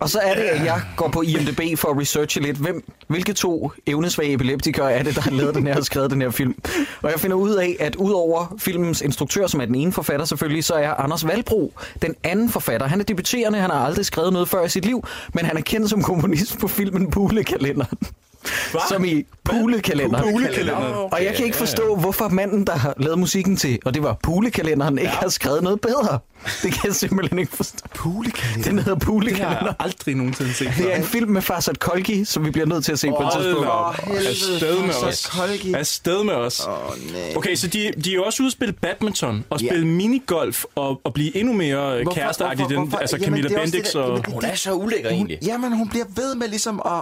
Og så er det, at jeg går på IMDb for at researche lidt, hvem, hvilke to evnesvage epileptikere er det, der har lavet den her og skrevet den her film. Og jeg finder ud af, at udover filmens instruktør, som er den ene forfatter selvfølgelig, så er Anders Valbro den anden forfatter. Han er debuterende, han har aldrig skrevet noget før i sit liv, men han er kendt som komponist på filmen Pulekalenderen. Hva? Som i Pulekalenderen.
Pulekalenderen.
Og jeg kan ikke forstå, hvorfor manden, der har lavet musikken til, og det var Pulekalenderen, ikke har skrevet noget bedre. Det kan jeg simpelthen ikke forstå. Pulekalenderen? Den hedder Pulekalenderen.
Det har jeg aldrig nogensinde set.
Det er en film med Farsad Kolki, som vi bliver nødt til at se på et
Hold
tidspunkt.
da op. Afsted med os. Afsted med os. Okay, så de, de er jo også ude at spille badminton, og spille minigolf, og, og blive endnu mere
Hvorfor-
kæresteagtige.
hvorfor-
den-
hvorfor-
Altså
Jamen,
Camilla
det er også
Bendix
det der-
og...
Jamen, det- Hun er så ulækker, egentlig. Jamen, hun bliver ved med ligesom at...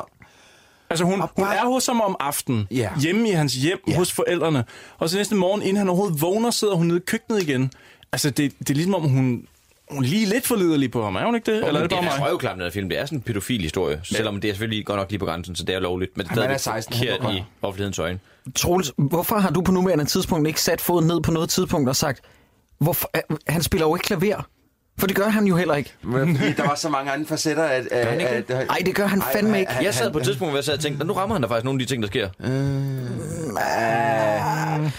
Altså hun, hun er hos ham om aftenen,
Ja.
hjemme i hans hjem hos forældrene, og så næste morgen, inden han overhovedet vågner, sidder hun nede i køkkenet igen. Altså det, det er ligesom om, hun, hun er lige lidt forliderlig på ham, er hun ikke det? Eller er det bare
det er
mig?
røvklamt, den film. Det er sådan en pædofil historie. Selvom det er selvfølgelig godt nok lige på grænsen, så det er lovligt. Men det
Han er
er
16,
stadig
han må
forkert
godt.
i offentlighedens øjne.
Troels, hvorfor har du på nuværende tidspunkt ikke sat foden ned på noget tidspunkt og sagt, hvorfor, han spiller jo ikke klaver? For det gør han jo heller ikke.
Fordi der var så mange andre facetter, at... at,
han ikke
at,
det?
at
Ej, det gør han fandme ikke.
Jeg sad på et tidspunkt, hvor jeg sad og tænkte, "Nå, nu rammer han da faktisk nogle af de ting, der sker.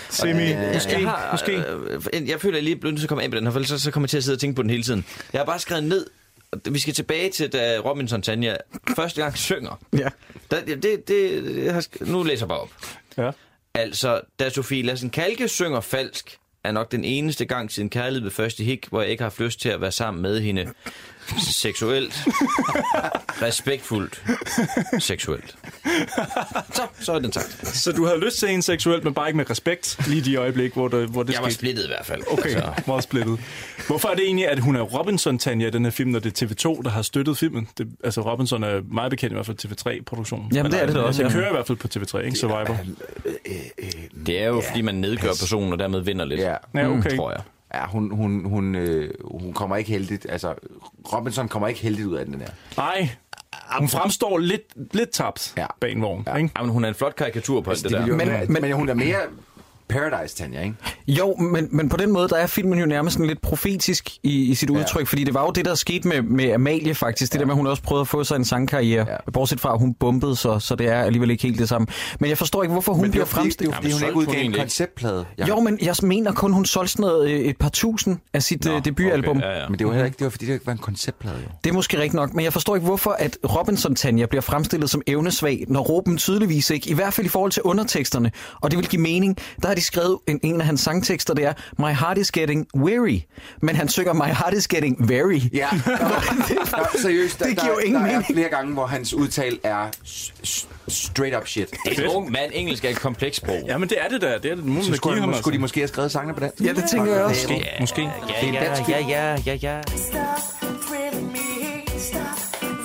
Semi. Måske,
jeg har,
måske.
Øh, jeg føler, jeg lige er blevet nødt til at komme af med den her, for ellers så- så kommer jeg til at sidde og tænke på den hele tiden. Jeg har bare skrevet ned, og vi skal tilbage til, da Robinson Tanja første gang synger.
Ja.
Der, det, det, det, jeg har, sk- nu læser jeg bare op.
Ja.
Altså, da Sofie Lassen Kalke synger falsk, er nok den eneste gang siden kærlighed ved første hik, hvor jeg ikke har haft lyst til at være sammen med hende seksuelt, respektfuldt, seksuelt. Så, så er den sagt.
Så du havde lyst til en seksuelt, men bare ikke med respekt, lige i de øjeblik, hvor det, hvor det
Jeg var
skete.
splittet i hvert fald. Altså,
Okay,
Så.
meget splittet. Hvorfor er det egentlig, at hun er Robinson, Tanja, i den her film, når det er TV2, der har støttet filmen? Det, altså, Robinson er meget bekendt i hvert fald TV3-produktionen.
Jamen, det er det da også,
Den
ja.
kører i hvert fald på TV3, ikke? Survivor.
Det er jo, fordi man nedgør personen, og dermed vinder lidt. Ja,
Ja, okay.
Tror jeg.
Ja, hun, hun, hun, øh, hun kommer ikke heldigt. Altså, Robinson kommer ikke heldigt ud af den der.
Nej, hun fremstår lidt, lidt tabt ja. bag en vogn, ja. ikke?
Jamen, hun er en flot karikatur på alt det
Altså, Det
der.
ville jo
Men-
være-
men-
men hun er mere Paradise, Tanja, ikke?
Jo, men, men på den måde, der er filmen jo nærmest sådan lidt profetisk i, i sit udtryk, fordi det var jo det, der skete med, med Amalie faktisk, det der med, at hun også prøvede at få sig en sangkarriere, ja. bortset fra, at hun bumpede så, så det er alligevel ikke helt det samme. Men jeg forstår ikke, hvorfor hun
Men det er
bliver
jo fordi, det er
fremstillet.
jo fordi, hun ikke udgav en konceptplade.
Ja. Jo, men jeg mener kun, hun solgte sådan noget, øh, et par tusind af sit Nå, debutalbum.
Okay, ja, ja. Men det var heller ikke, det var fordi, det ikke var en konceptplade, jo.
Det er måske rigtigt nok, men jeg forstår ikke, hvorfor at Robinson Tanja bliver fremstillet som evnesvag, når Ruben tydeligvis ikke, i hvert fald i forhold til underteksterne, og det vil give mening, der har de skrevet en, en af hans sangtekster, det er My heart is getting weary, men han synger My heart is getting very.
Ja, Nå, seriøst, der,
Det giver jo
der,
ingen
der
mening.
er flere gange, hvor hans udtale er s- s- straight up shit.
Det er en ung mand. Engelsk er et kompleks sprog.
Ja, men det er det der. Det er det, nu må
Så
man
skulle,
give ham,
skulle
altså.
de måske have skrevet sangene på dansk?
Ja, det tænker jeg også.
Måske, måske.
Ja, ja, ja, ja, ja, ja.
Stop thrilling me, stop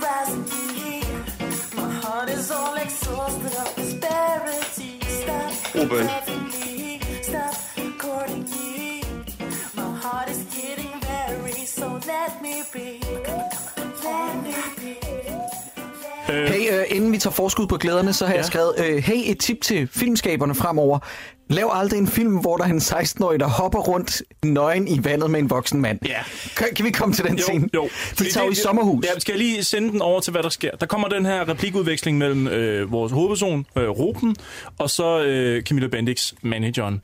rising me. My heart is all exhausted of disparity. Stop
Ruben.
loving me, stop courting me. My heart is getting very, so let me be. Let me be.
Hey, øh, inden vi tager forskud på glæderne, så har ja. jeg skrevet, øh, hey, et tip til filmskaberne fremover. Lav aldrig en film, hvor der er en 16-årig, der hopper rundt nøgen i vandet med en voksen mand.
Ja.
Kan, kan vi komme til den
jo,
scene?
Jo.
De
Fordi
tager jo i
det-
sommerhus.
Ja, skal jeg lige sende den over til, hvad der sker. Der kommer den her replikudveksling mellem øh, vores hovedperson, øh, Ruben, og så øh, Camilla Bendix, manageren.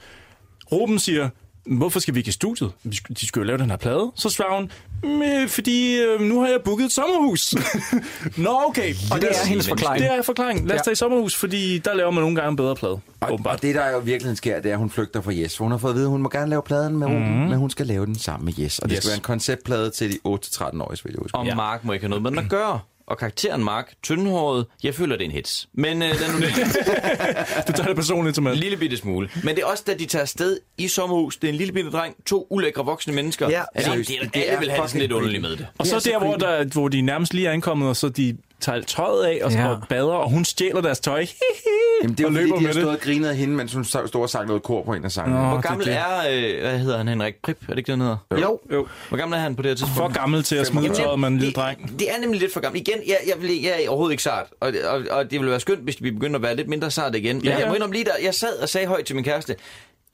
Ruben siger, hvorfor skal vi ikke i studiet? Vi sk- De skal jo lave den her plade. Så svarer hun, "Mm, øh, fordi øh, nu har jeg booket et sommerhus. Nå, okay.
Og det er hendes forklaring.
Det er forklaringen. Lad os
Ja.
tage i sommerhus, fordi der laver man nogle gange en bedre plade.
Og, og det, der jo virkelig sker, det er, at hun flygter fra Jes. for Hun har fået at vide, at hun må gerne lave pladen med Ruben,
Mhm.
men hun skal lave den sammen med Jes. Og det
Yes.
skal være en konceptplade til de 8-13-årige, vil jeg huske.
Og ja. Mark må ikke have noget med den at gøre. Og karakteren Mark, tyndhåret, jeg føler, det er en hits. Men øh, den er nu
Du tager det personligt til med.
En lille bitte smule. Men det er også, da de tager afsted i sommerhus. Det er en lille bitte dreng, to ulækre voksne mennesker.
Ja,
altså, det,
seriøst.
det,
Det
det,
er
alle vil have det sådan
fucking
lidt underligt
creepy.
med det.
Og så der, hvor, der, hvor de nærmest lige er ankommet, og så de tager tøjet af og, ja. og bader, og hun stjæler deres tøj.
Jamen, det er
og
jo fordi,
løber
de har
med det.
stået og grinet af hende, mens hun stod og sang noget kor på en af sangene.
Nå, Hvor gammel det, er, øh, hvad hedder han, Henrik Prip? Er det ikke, den hedder?
Jo.
jo.
Hvor gammel er han på det her tidspunkt?
For gammel til at smide tøjet med en lille dreng.
Det er nemlig lidt for gammelt. Igen, jeg, jeg, vil, jeg er overhovedet ikke sart, og, og, og det ville være skønt, hvis vi begyndte at være lidt mindre sart igen. Men
Ja,
ja, jeg
ja.
må indrømme lige der, jeg sad og sagde højt til min kæreste,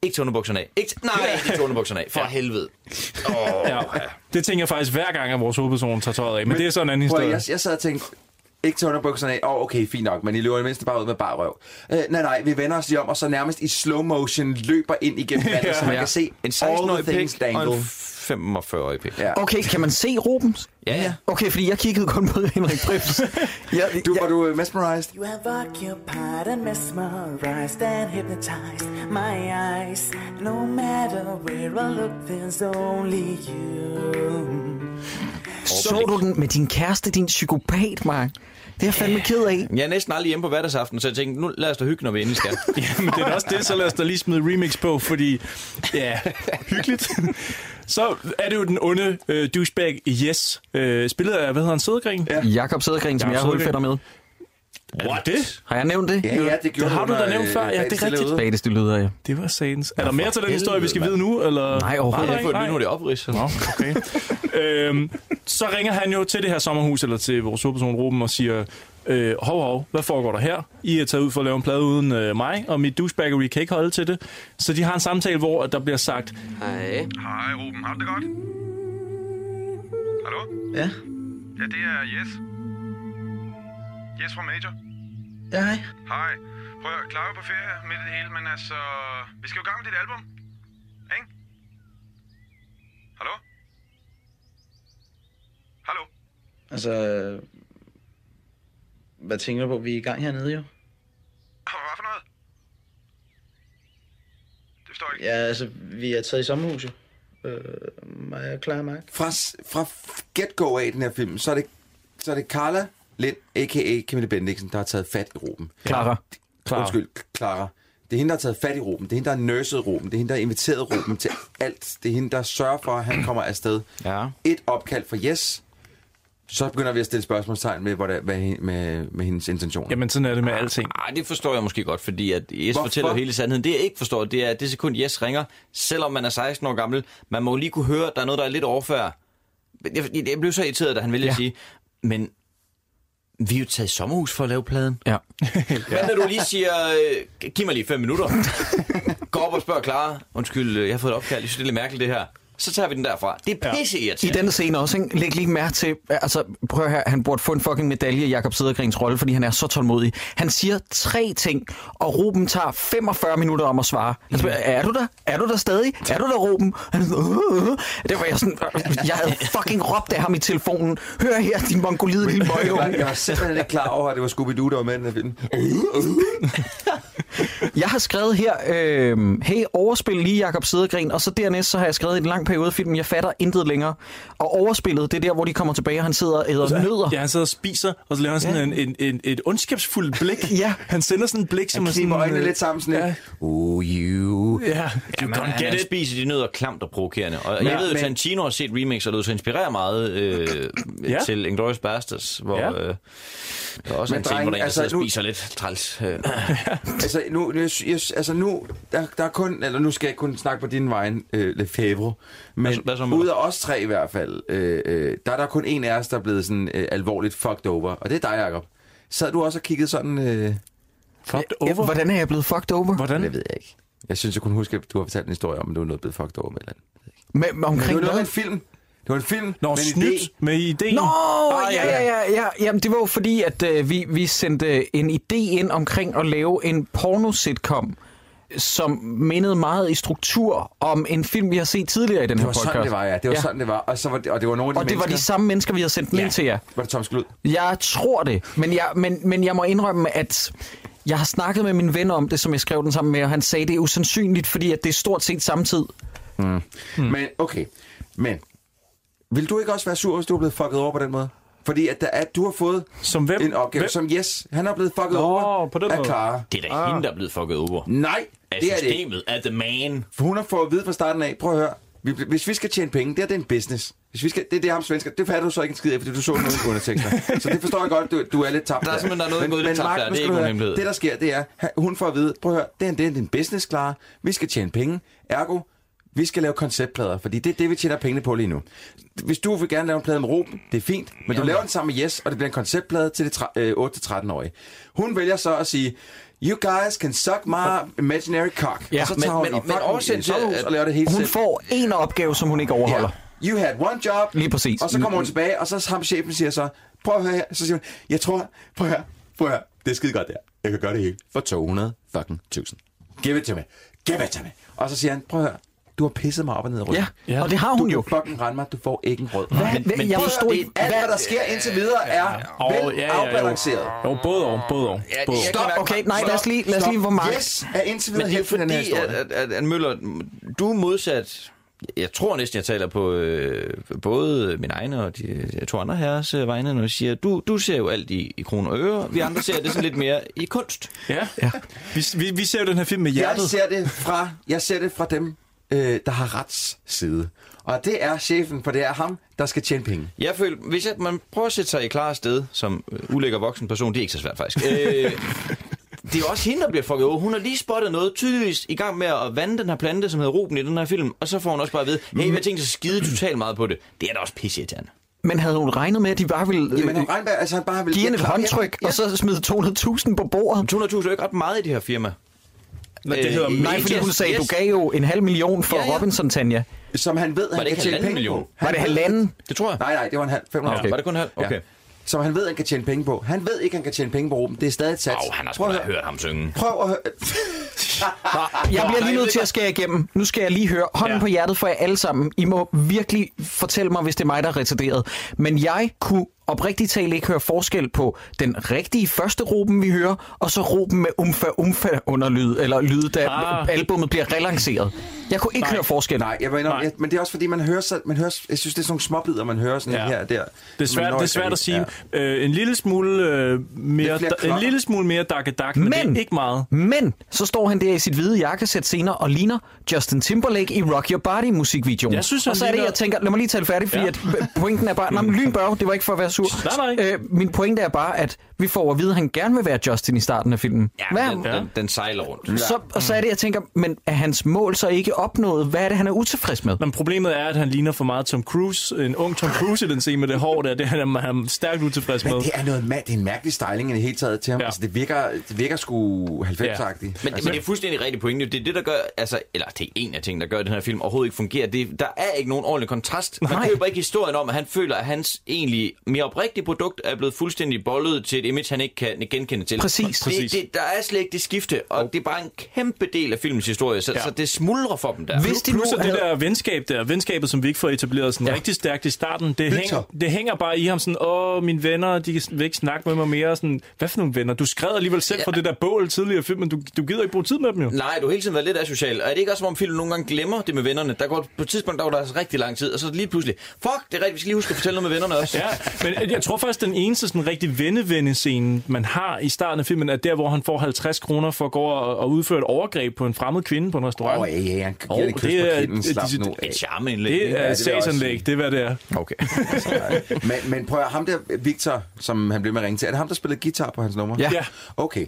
ikke tage underbukserne af. Ikke, t- nej, ikke tage underbukserne af. For ja. helvede. Åh,
Ja. Det tænker jeg faktisk hver gang, at vores hovedperson tager tøjet af. Men, men det er sådan en anden
Prøv,
historie.
jeg, jeg sad og tænkte, ikke til underbukserne af, åh, oh, okay, fint nok, men I løber i det mindste bare ud med bare røv. Øh, nej, nej, vi vender os lige om, og så nærmest i slow motion løber ind igennem vandet,
Ja.
så man
Ja.
kan se
En
all
16-årig
the things
pik og
dangled.
en 45-årig pik.
Ja.
Okay, kan man se Rubens?
Ja, ja.
Okay, fordi jeg kiggede kun på Henrik Prips. ja,
du, var du øh, mesmerized?
You have occupied and mesmerized and hypnotized my eyes. No matter where I look, there's only you.
Så du den med din kæreste, din psykopat, Mark? Det er jeg fandme ked af.
Jeg er næsten aldrig hjemme på hverdagsaften, så jeg tænkte, nu lad os da hygge, når vi endelig skal.
Jamen, det er da også det, så lad os da lige smide remix på, fordi, ja, hyggeligt. Så er det jo den onde øh, douchebag Yes, øh, spillet af, hvad hedder han, Sædegren? Ja.
Jakob Sædegren, som jeg er hulfætter med.
What? Det?
Har jeg nævnt det?
Ja, ja, det gjorde
det
Det har du du, da øh, nævnt før. Ja, bag det er det stille rigtigt. ude.
Bag det stille lyder, ja.
Det var sagens. Er
Ja,
der mere
for
til den
helvede,
historie, vi skal
mand.
vide nu? Eller?
Nej, overhovedet
ikke. Jeg har fået nu, det er opridset.
Nå, okay. øhm, så ringer han jo til det her sommerhus, eller til vores hovedperson Ruben, og siger, øh, hov, hov, hvad foregår der her? I er taget ud for at lave en plade uden øh, mig, og mit douchebaggery kan ikke holde til det. Så de har en samtale, hvor der bliver sagt,
Hej.
Hej Ruben, har du det godt? Hallo?
Ja.
Ja, det er Jes. Jes fra Major.
Ja, hej.
Hej. Prøv at klare på ferie midt i det hele, men altså... Vi skal jo i gang med dit album. Ikke? Hallo? Hallo?
Altså, hvad tænker du på? Vi er i gang hernede jo.
Hvad for noget?
Ja, altså, vi er taget i sommerhuset. Øh, mig og Clara Mark.
Fra, s- fra f- get-go af den her film, så er det, så er det Carla Lind, a.k.a. Camille Bendiksen, der har taget fat i Ruben.
Clara.
Clara. Undskyld, Clara. Det er hende, der har taget fat i Ruben. Det er hende, der har nurset Ruben. Det er hende, der har inviteret Ruben til alt. Det er hende, der sørger for, at han kommer afsted.
Ja.
Et opkald fra Yes. Så begynder vi at stille spørgsmålstegn med, hvordan, hvad, hen- med, med hendes intentioner.
Jamen, sådan er det med alting.
Nej, Ah, det forstår jeg måske godt, fordi at Jes
Hvorfor?
fortæller jo hele sandheden. Det jeg ikke forstår, det er, at det sekund Jes ringer, selvom man er 16 år gammel, man må jo lige kunne høre, at der er noget, der er lidt overfærd. Jeg, jeg blev så irriteret, da han ville ja. sige, men vi er jo taget i sommerhus for at lave pladen.
Ja.
Hvad når du lige siger, øh, giv mig lige fem minutter. Gå op og spørg Clara, undskyld, øh, jeg har fået et opkald, jeg synes, det er lidt mærkeligt det her. Så tager vi den derfra. Det er pisse
I
irriterende.
denne scene også, ikke? læg lige mærke til, altså prøv at høre, han burde få en fucking medalje i Jakob Sædergrens rolle, fordi han er så tålmodig. Han siger tre ting, og Ruben tager 45 minutter om at svare. Han spørger, er du der? Er du der stadig? Er du der, Ruben? Han er sådan, "Øh, øh." det var jeg sådan, øh, jeg havde fucking råbt af ham i telefonen. Hør her, din mongolide lille møgunge.
Jeg var simpelthen ikke klar over, at det var Scooby-Doo, der var med i den her film.
Jeg har skrevet her, øh, hey, overspil lige Jakob Sædegren, og så dernæst så har jeg skrevet en lang periode af filmen, jeg fatter intet længere. Og overspillet, det er der, hvor de kommer tilbage, og han sidder og æder nødder.
Ja, han sidder og spiser, og så laver han sådan ja. en, en, en, et ondskabsfuldt blik. ja. Han sender sådan et blik, som
Han
er sådan...
kniber øjnene
øh,
lidt sammen sådan ja. Oh, you.
Ja,
Du kan
han-
get
han
it. spiser de nødder klamt og provokerende. Og
Men-
jeg ved jo,
men-
Tarantino har set remix, og det så inspirerer meget øh, ja. til Inglourious Basterds, hvor
Ja.
ja. øh, der er også
Men
men en scene,
drenge,
hvor der altså, sidder
altså, nu- Ah.
og spiser nu... lidt træls. Øh.
altså nu, nu- jeg, sy- jeg, sy- altså nu der, der er kun, eller nu skal jeg kun snakke på din vej, øh, Lefebvre, men ud af os tre i hvert fald, øh, øh, der er der kun en af os, der er blevet sådan øh, alvorligt fucked over, og det er dig, Jacob. Sad du også og kiggede sådan...
Mm.
Øh,
fucked
over? Hvordan er jeg blevet fucked over?
Hvordan?
Det ved jeg ikke. Jeg synes, jeg kunne huske, at du har fortalt en historie om, at du er noget blevet fucked over med et eller andet.
Med, med
Men det
omkring
var noget
hvad?
med en film. Det var en film
Nå,
med en
snydt
idé.
med ideen.
Nå, ah, ja, ja, ja, ja. Jamen, det var jo fordi, øh, at øh, vi, vi sendte en idé ind omkring at lave en porno-sitcom. som mindede meget i struktur om en film, vi har set tidligere i den
Det
her
var
podcast.
sådan, det var, ja. Det var sådan, det var. Og, så var det, og det var nogle af de
Og det var de
mennesker-
samme mennesker, vi havde sendt den
Ja.
ind til jer.
Var det Thomas Glud?
Jeg tror det, men jeg, men, men jeg må indrømme, at jeg har snakket med min ven om det, som jeg skrev den sammen med, og han sagde, det er usandsynligt, fordi at det er stort set samtidig.
Mm. Mm. Men okay, men vil du ikke også være sur, hvis du er blevet fucket over på den måde? Fordi at, der er, du har fået
som hvem?
en
Hvem?
opgave, hvem? som yes, han er blevet fucket
Nå,
over
på den
af
måde.
Clara.
Det er da hende, der er blevet fucket over.
Nej,
Af
det er det ikke.
systemet, af the man.
For hun har fået at vide fra starten af, prøv at høre, vi, hvis vi skal tjene penge, det er, det er en business. Hvis vi skal, det er det ham svensker. Det fatter du så ikke en skid af, fordi du så den uden undertekster. Så det forstår jeg godt, du, du er lidt tabt.
Der er simpelthen- der er noget
men,
gået lidt
men
tabt
Mark,
der.
nu
Det er
skal
ikke
du
nogen
høre,
hemmelighed.
Det, der sker, det er, ha- hun får at vide, prøv at høre, det er, det er din business, Clara. Vi skal tjene penge. Ergo, vi skal lave konceptplader, fordi det er det, vi tjener pengene på lige nu. Hvis du vil gerne lave en plade med Ruben, det er fint, men du laver den sammen med Yes, og det bliver en konceptplade til de tre- øh, 8-13-årige. Hun vælger så at sige, you guys can suck my imaginary cock.
Ja,
og så
men-
tager hun
men-
i
men
fucking
oversæt
et
til,
sommerhus
at
og laver det hele
hun
selv.
får en opgave, som hun ikke overholder.
Ja. You had one job.
Lige præcis. Mm.
Og så kommer hun tilbage, og så ham chefen siger så, prøv at høre her. Så siger hun, jeg tror, prøv at høre, prøv at høre. Det er skide godt der. Jeg kan gøre det hele. For 200 fucking 1000. Give it to me. Give it to me. Og så siger han, prøv at høre, du har pisset mig op og ned i ryggen.
Ja, ja. og det har hun
du
jo.
Du fucking rende mig, du får ikke en rød.
Hvad? Men- Hvad? men- Jeg
Prøv at
forstod
høre,
ikke,
Alt,
hvad-
hvad der sker indtil videre, er
Og-
vel
ja, ja, jo.
afbalanceret.
Jo, både og, både og.
Ja,
Både
jeg
og.
kan være-
okay, nej, lad os lige- lad os
Stop.
lige, hvor meget- øh,
Yes, er indtil videre
Men det er
helt
fordi,
den her historie.
at, at, at, at Møller, du er modsat... Jeg tror næsten, jeg taler på øh, både min egen og de jeg tror andre herres øh, vegne, når jeg siger, du, du ser jo alt i, i kroner og øre. Vi andre ser det sådan lidt mere i kunst.
Ja. ja. Vi, vi, vi ser jo den her film med
Jeg
hjertet.
ser det fra, jeg ser det fra dem, øh, der har rets side. Og det er chefen, for det er ham, der skal tjene penge.
Jeg føler, hvis jeg, man prøver at sætte sig i klare sted, som øh, ulækker voksen person, det er ikke så svært faktisk. Øh, det er også hende, der bliver fucket over. Hun har lige spottet noget, tydeligvis i gang med at vande den her plante, som hedder Ruben i den her film, og så får hun også bare at vide, hey, vi har tænkt os at skide totalt meget på det. Det er da også pisseirriterende.
Men havde hun regnet med, at de bare ville
Jamen,
øh,
han Reinberg, altså han bare vil...
give hende et håndtryk, og så smide 200.000 på bordet?
200.000 er jo ikke ret meget i det her firma.
Nå,
det
Øh,
hedder
Nej, fordi hun
medias-
sagde,
yes.
du gav jo en halv million for
Ja, ja.
Robinson, Tanja.
Som han ved,
Var det
han
ikke
kan tjene
halvanden
penge
million?
på.
Var det halvanden?
Det tror jeg.
Nej, nej, det var en halv. 500.
Okay. Var det kun en halv? Okay.
Som han ved, han kan tjene penge på. Han ved ikke, han kan tjene penge på Ruben. Det er stadig et sats.
Au, han har sgu
Prøv at
da
høre.
hørt ham synge.
Prøv at høre.
Jeg bliver
Nej,
lige nødt
det
til at skære igennem. Nu skal jeg lige høre hånden ja. på hjertet for jer alle sammen. I må virkelig fortælle mig, hvis det er mig, der er retarderet. Men jeg kunne oprigtigt talt ikke høre forskel på den rigtige første Ruben, vi hører, og så Ruben med umfa umfa underlyd, eller lyde, da
Ah.
ah. albummet bliver relanceret. Jeg kunne ikke
Nej.
Nej. høre forskel.
Nej, jeg mener,
Nej.
jeg, men det er også fordi, man hører, så, man hører, jeg synes, det er sådan nogle småbider, man hører sådan
Ja.
ja. her og der.
Det er svært, det er svært at sige. Ja. Øh, en lille smule øh, mere,
Lidt flere
en
klokker.
lille smule mere dak dak, men, men,
Men-
det er ikke meget.
Men så står han der i sit hvide jakkesæt senere og ligner Justin Timberlake i Rock Your Body musikvideoen.
Jeg synes, han
og så er det,
ligner-
jeg tænker, lad mig lige tale færdigt, fordi
Ja.
ja. at p- pointen er bare, nej, men lynbørge, det var ikke for at være sur.
Nej, nej.
Øh, min pointe er bare, at vi får at vide, at han gerne vil være Justin i starten af filmen.
Ja,
Hvad?
men den, den, den sejler rundt.
Så, og så er det, jeg tænker, men er hans mål så ikke opnået? Hvad er det, han er utilfreds med?
Men problemet er, at han ligner for meget Tom Cruise. En ung Tom Cruise i den scene med det hår der, det er han, han er stærkt utilfreds med.
Men det er, noget, ma- det er en mærkelig styling i det hele taget til ham.
Ja.
Ja. Altså, det virker, det virker sgu
Men,
90-agtigt.
altså, men det er fuldstændig rigtig pointe. Det er det, der gør, altså, eller det er en af tingene, der gør, at den her film overhovedet ikke fungerer. Det, der er ikke nogen ordentlig kontrast. Man
Nej.
køber ikke historien om, at han føler, at hans egentlig mere oprigtige produkt er blevet fuldstændig bollet til et image, han ikke kan genkende til.
Præcis.
Det, det, der er slet ikke det skifte, og det er bare en kæmpe del af filmens historie, så, ja. så det smuldrer for dem der.
Hvis de nu
Plus at det
havde...
der venskab der, venskabet, som vi ikke får etableret sådan ja. rigtig stærkt i starten, det, hænger,
Victor.
det hænger bare i ham sådan, åh, mine venner, de kan- vil ikke snakke med mig mere. og Sådan, Hvad for nogle venner? Du skred alligevel selv ja. fra det der bål tidligere i filmen, du, du gider ikke bruge tid med dem jo.
Nej, du har hele tiden været lidt asocial. Og er det ikke også, som om filmen nogle gange glemmer det med vennerne? Der går på et tidspunkt, der var der altså rigtig lang tid, og så lige pludselig, fuck, det er rigtigt, vi skal lige huske at fortælle noget med vennerne også.
Ja, men jeg tror faktisk, den eneste sådan rigtig venne-venne-scene, man har i starten af filmen, er der, hvor han får 50 kroner for at gå og, og udføre et overgreb på en fremmed kvinde på en restaurant.
Åh, oh, ja, ja, han giver
Åh,
oh, det en kys
det
på
er-
kinden.
det-
Slap
det-
nu af.
Et charmeindlæg. ikke?
Det
det vil
er
jeg
sagsanlæg,
også
det er, hvad det er.
Okay.
men, men prøv at ham der, Victor, som han blev med at ringe til, er det ham, der spillede guitar på hans nummer?
Ja.
Ja.
Okay.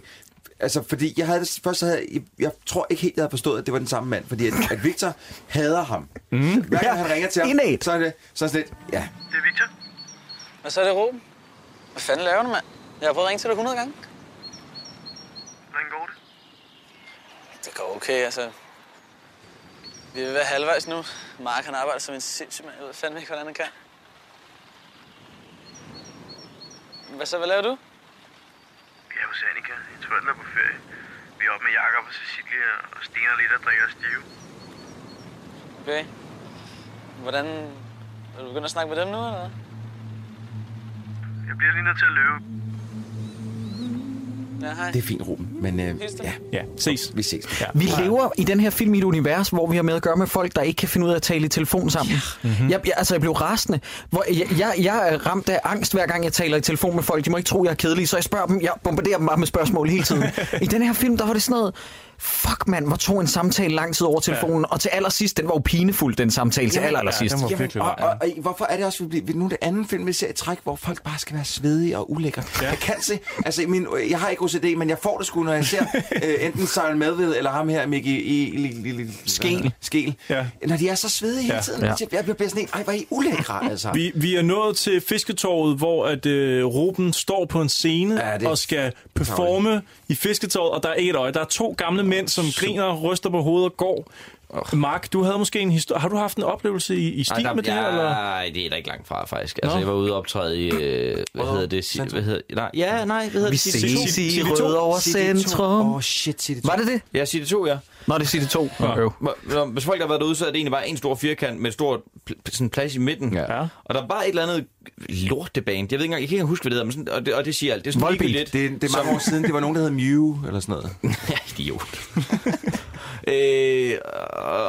Altså, fordi jeg havde det, først havde, jeg, jeg tror ikke helt, jeg havde forstået, at det var den samme mand, fordi at, at Victor hader ham. Mm. Hver gang han ringer til ham,
Mhm. Innate.
så er det så er det sådan lidt, ja,
Det er Victor.
Og så er det Ruben. Hvad fanden laver du, mand? Jeg har prøvet at ringe til dig 100 gange.
Hvordan går det?
Det går okay, altså. Vi er ved at være halvvejs nu. Mark han arbejder som en sindssyg mand. Jeg ved fandme ikke, hvordan han kan. Hvad så, hvad laver du?
Jeg er hos Annika. Jeg tror, den er på ferie. Vi lige op med Jakob og Cecilie og stener lidt og drikker stive.
Okay. Hvordan... Er du begyndt at snakke med dem nu, eller hvad?
Jeg bliver lige nødt til at løbe.
Ja, hej.
Det er fint, Ruben, men øh, ja.
ja, ses.
Vi ses. Ja.
Vi lever i den her film i et univers, hvor vi har med at gøre med folk, der ikke kan finde ud af at tale i telefon sammen. Ja. Mm-hmm. Jeg, jeg, altså, jeg blev rasende. Hvor, jeg, jeg, jeg er ramt af angst, hver gang jeg taler i telefon med folk. De må ikke tro, jeg er kedelig, så jeg spørger dem. Jeg bombarderer dem bare med spørgsmål hele tiden. I den her film, der var det sådan noget... Fuck, mand, hvor tog en samtale lang tid over telefonen. Ja. Og til allersidst, den var jo pinefuld, den samtale til allersidst.
Jamen, og, og, og, hvorfor er det også, vi bliver, nu er det anden film, vi ser i træk, hvor folk bare skal være svedige og ulækre. Ja. Jeg kan se, altså min, jeg har ikke OCD, men jeg får det sgu, når jeg ser øh, enten Søren Medved eller ham her, Mickey E- i, i, i, i,
Skeel.
Skel.
Ja.
Når de er så svedige hele
Ja.
tiden,
Ja.
ja. jeg bliver bare sådan en, ej, hvor er I ulækre, altså.
Vi, vi er nået til fisketorvet, hvor at øh, Ruben står på en scene
Ja, det
ja,
er
og skal performe i fisketorvet, og der er ikke et øje. Der er to gamle mænd, som griner, ryster på hovedet og går. Mark, du havde måske en historie. Har du haft en oplevelse i, i stil
Ej, der-
med det her?
ja,
Eller?
Nej, det er da ikke langt fra, faktisk. Altså,
Nå.
Nå. jeg var ude og optræde i, øh, hvad hedder det? Si, hvad hedder, nej, ja, nej, hvad hedder
Vi
det? City
ses
to.
i
City to.
Rødovre
City to.
Centrum.
Åh, shit, City 2.
Var det det?
Ja, City 2, ja.
Nå, det er City 2. Ja. Øv.
Hvor- når- Hvis folk har været derude, så er det egentlig bare en stor firkant med et stort pl- sådan plads i midten. Ja. Og der er bare et eller andet lorteband. Jeg ved ikke engang, jeg kan ikke huske, hvad det hedder, men sådan, og, det, og det siger alt. Det er sådan
Volbeat.
ligegyldigt,
Det, det er mange
som-
år siden, det var nogen, der hed Mew, eller sådan noget.
Ja, idiot. øh,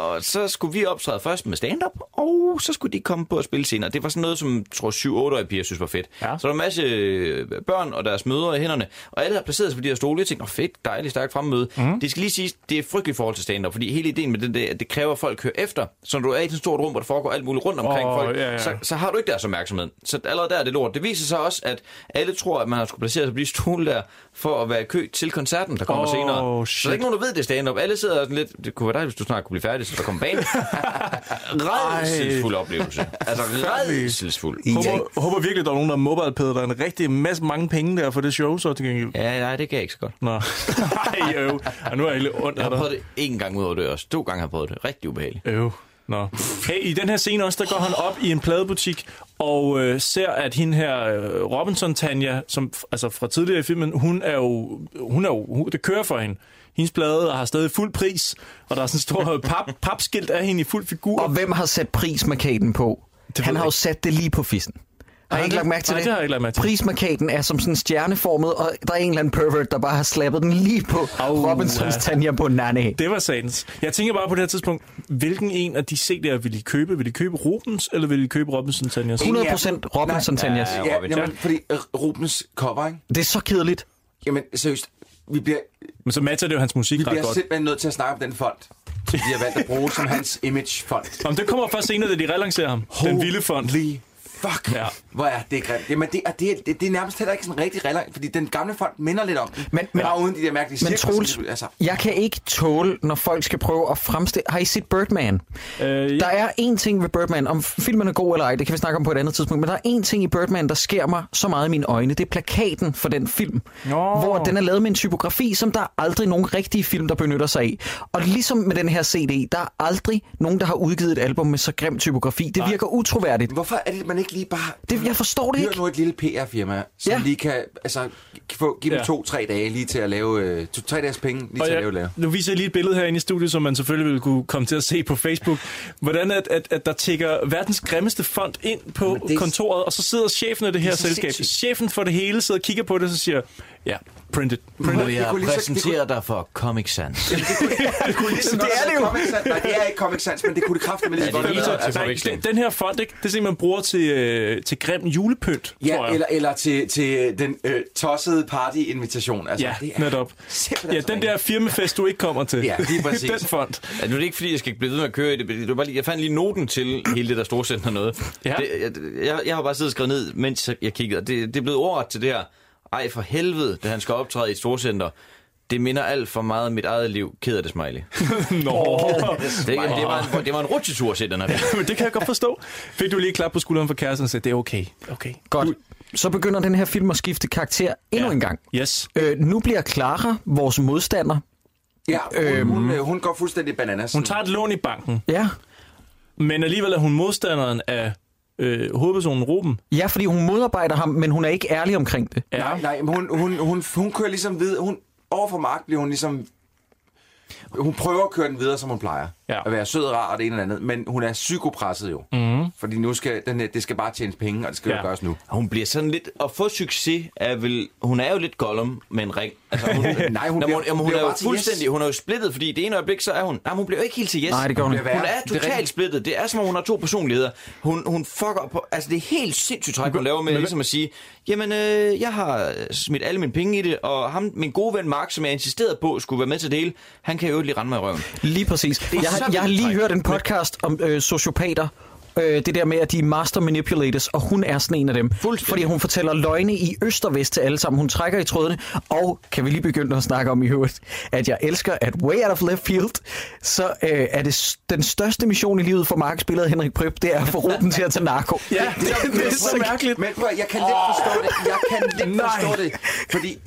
og så skulle vi optræde først med stand-up, og så skulle de komme på at spille senere. Det var sådan noget, som tror 7-8-årige piger synes var fedt. Ja. Så der var en masse øh, børn og deres mødre i hænderne, og alle havde placeret sig på de her stole. Jeg tænkte, Nå, fedt, dejligt, stærkt fremmøde. Mm. Det skal lige siges, det er frygteligt i forhold til stand-up, fordi hele ideen med det, der, at det kræver, at folk hører efter. Så når du er i et stort rum, hvor der foregår alt muligt rundt omkring
Åh,
folk,
ja, ja.
Så, så har du ikke deres opmærksomhed. Så allerede der er det lort. Det viser sig også, at alle tror, at man har skulle placere sig på de stole der, for at være i kø til koncerten, der kommer
Åh,
senere. Så der er
shit.
ikke nogen, der ved, det er stand-up. Alle sidder sådan lidt, det kunne være dig, hvis du snart kunne blive færdig, så der kommer bane. Redselsfuld oplevelse. Altså redselsfuld.
Jeg håber, jeg håber virkelig, der er nogen, der mobile dig en rigtig masse mange penge der for det show, så til gengæld.
Ja, nej, det gav ikke så godt.
Nå. Nej, øv. Og nu er jeg lidt ondt af
Jeg har
dig.
prøvet det en gang ud over døren. To gange har jeg prøvet det. Rigtig ubehageligt.
Øv. Nå. Hey, I den her scene også, der går han op i en pladebutik og øh, ser, at hende her øh, Robinson Tanja, som f- altså fra tidligere i filmen, hun er jo, hun er jo hun, det kører for hende. Hendes plade har stadig fuld pris, og der er sådan en stor øh, pap, papskilt af hende i fuld figur.
Og hvem har sat prismarkaden på? Han har jo sat det lige på fissen. Har
Har
I
han
ikke lagt
det?
mærke til
Nej,
det?
det har jeg ikke lagt mærke til.
Prismarkaden er som sådan stjerneformet, og der er en eller anden pervert, der bare har slappet den lige på oh, Robinsons
ja.
ja. Tanja på nanne.
Det var satans. Jeg tænker bare på det her tidspunkt, hvilken en af de CD'er vil I købe? Vil I købe Rubens, eller vil I købe Robinson Tanjas?
100% Robinson Tanjas.
Ja, ja, jamen, fordi øh, Rubens cover, ikke?
Det er så kedeligt.
Jamen, seriøst, vi bliver,
Men så matcher det jo hans musik
vi
ret
bliver
godt.
simpelthen nødt til at snakke om den fond, som de har valgt at bruge som hans image-fond.
Om det kommer først senere, da de relancerer ham. Den vilde fond.
Lige Fuck,
Ja.
hvor er det grimt. Jamen, det er, det, er, det er nærmest heller ikke sådan rigtig relevant, fordi den gamle fond minder lidt om den. Men, men, bare uden de der mærkelige
Men
cirkler, som
Troels,
de- altså,
jeg kan ikke tåle, når folk skal prøve at fremstille... Har I set Birdman?
Øh, ja.
Der er én ting ved Birdman, om filmen er god eller ej, det kan vi snakke om på et andet tidspunkt, men der er én ting i Birdman, der sker mig så meget i mine øjne. Det er plakaten for den film,
Nå.
hvor den er lavet med en typografi, som der er aldrig nogen rigtige film, der benytter sig af. Og ligesom med den her CD, der er aldrig nogen, der har udgivet et album med så grim typografi. Det virker utroværdigt.
Hvorfor er det, man ikke lige bare...
Det, jeg forstår det
Hyr
ikke.
nu et lille PR-firma, som
Ja.
ja. lige kan altså, gi- få, give dem
Ja.
ja. to-tre dage lige til at lave... Øh, to-tre dages penge lige
Og
til at
jeg,
lave lave.
nu viser jeg lige et billede herinde i studiet, som man selvfølgelig vil kunne komme til at se på Facebook. Hvordan at, at, at der tækker verdens grimmeste fond ind på
det er-
kontoret, og så sidder chefen af det her
så
selskab.
sindssygt.
Chefen for det hele sidder og kigger på det, og så siger, ja, print it. Print
Nu
it.
vil
Det
jeg
kunne lige så- det
præsentere dig for Comic Sans.
Det er det jo. Comic Sans. Nej, det er ikke Comic Sans, men det kunne det kræfte med lige
Ja,
så
det
godt.
er lige
have
så
været.
til
Altså,
Nej,
forveksling.
den- den her fond, ikke? det er sådan, man bruger til, øh, til grim julepynt, tror
Ja,
jeg.
eller, eller til, til den øh, tossede party-invitation. Altså,
Ja,
det er
netop.
simpelthen
Ja,
så
den
ringe.
der firmafest, du ikke kommer til.
Ja, lige præcis.
den fond.
Ja, Altså, nu er det ikke, fordi jeg skal blive ved med at køre i det. men det var bare lige, jeg fandt lige noten til hele det der storcenter noget.
Ja.
Det, jeg, jeg, jeg har bare siddet og skrevet ned, mens jeg kiggede. og Det, det er blevet ordet til det her. Ej, for helvede, da han skal optræde i et storcenter. Det minder alt for meget om mit eget liv. Ked af det, smiley.
Nå.
Det, det, var, en, det var en rutsjetur at se den her. film.
Men det kan jeg godt forstå. Fik du lige et klap på skulderen for kæresten og sagde, det er okay. Okay.
Godt. Så begynder den her film at skifte karakter endnu
Ja.
en gang.
Yes.
Øh, nu bliver Clara vores modstander.
Ja, hun,
Øhm.
hun, øh, hun går fuldstændig bananas.
Hun tager et lån i banken,
Ja.
men alligevel er hun modstanderen af øh, hovedpersonen Ruben.
Ja, fordi hun modarbejder ham, men hun er ikke ærlig omkring det.
Ja.
Nej, nej, men hun, hun, hun, hun kører ligesom videre. Hun, over for Mark bliver hun ligesom Hun prøver at køre den videre, som hun plejer. Ja. At være sød og rar og det ene eller andet. Men hun er psykopresset jo.
Mhm.
Fordi nu skal, den, her- det skal bare tjenes penge, og det skal ja. jo gøres nu.
Hun bliver sådan lidt... At få succes er vel... Hun er jo lidt Gollum med en ring. Altså, hun,
Nej, hun
Nå,
bliver-
hun, jamen, hun
bliver
er jo
bare til yes.
fuldstændig... Hun er jo splittet, fordi det ene øjeblik, så er hun... Nej, hun bliver jo ikke helt til yes.
Nej, det gør hun
hun
ikke.
Hun
Det
er
er
totalt
rigtigt.
splittet. Det er, som om hun har to personligheder. Hun, hun fucker op på... Altså, det er helt sindssygt træk, hun laver med ligesom at sige... Jamen, øh, jeg har smidt alle mine penge i det, og ham, min gode ven Mark, som jeg insisterede på, skulle være med til det hele, han kan jo lige rende mig i røven.
Lige præcis.
er
Jeg
så
har, jeg har
vildt
lige
frækt.
hørt en podcast om øh, sociopater. Øh, det der med, at de er master manipulators, og hun er sådan en af dem. Fordi hun fortæller løgne i øst og vest til alle sammen. Hun trækker i trådene, og kan vi lige begynde at snakke om i øvrigt, at jeg elsker, at way out of left field, så øh, er det s- den største mission i livet for markspillet Henrik Prøb, det er at få roten til at tage narko.
Men prøv, at- jeg kan lidt forstå det. Jeg kan lidt
Nej.
forstå det. Fordi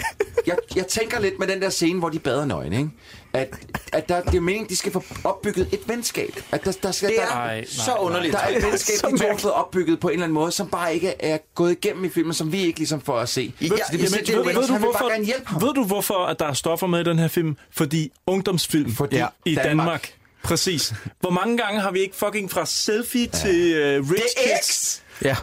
jeg, jeg tænker lidt med den der scene, hvor de bader nøgne, ikke? At, at der, det er meningen, de skal få opbygget et venskab. At der, der skal,
Det er
der,
Nej, så nej. underligt.
Der er et venskab,
Så
de to har fået opbygget på en eller anden måde, som bare ikke er gået igennem i filmen, som vi ikke ligesom får at se.
Ved,
Så
ja,
det
jamen, ved,
vil sige,
ved,
det er
ved,
Dennis,
du,
han vil bare gerne
hvorfor, ved du, hvorfor at der er stoffer med i den her film? Fordi ungdomsfilm Fordi
Ja.
i Danmark.
Danmark.
Danmark. Præcis. Hvor mange gange har vi ikke fucking fra selfie ja. til uh, rich
Det er
kids?
Ja.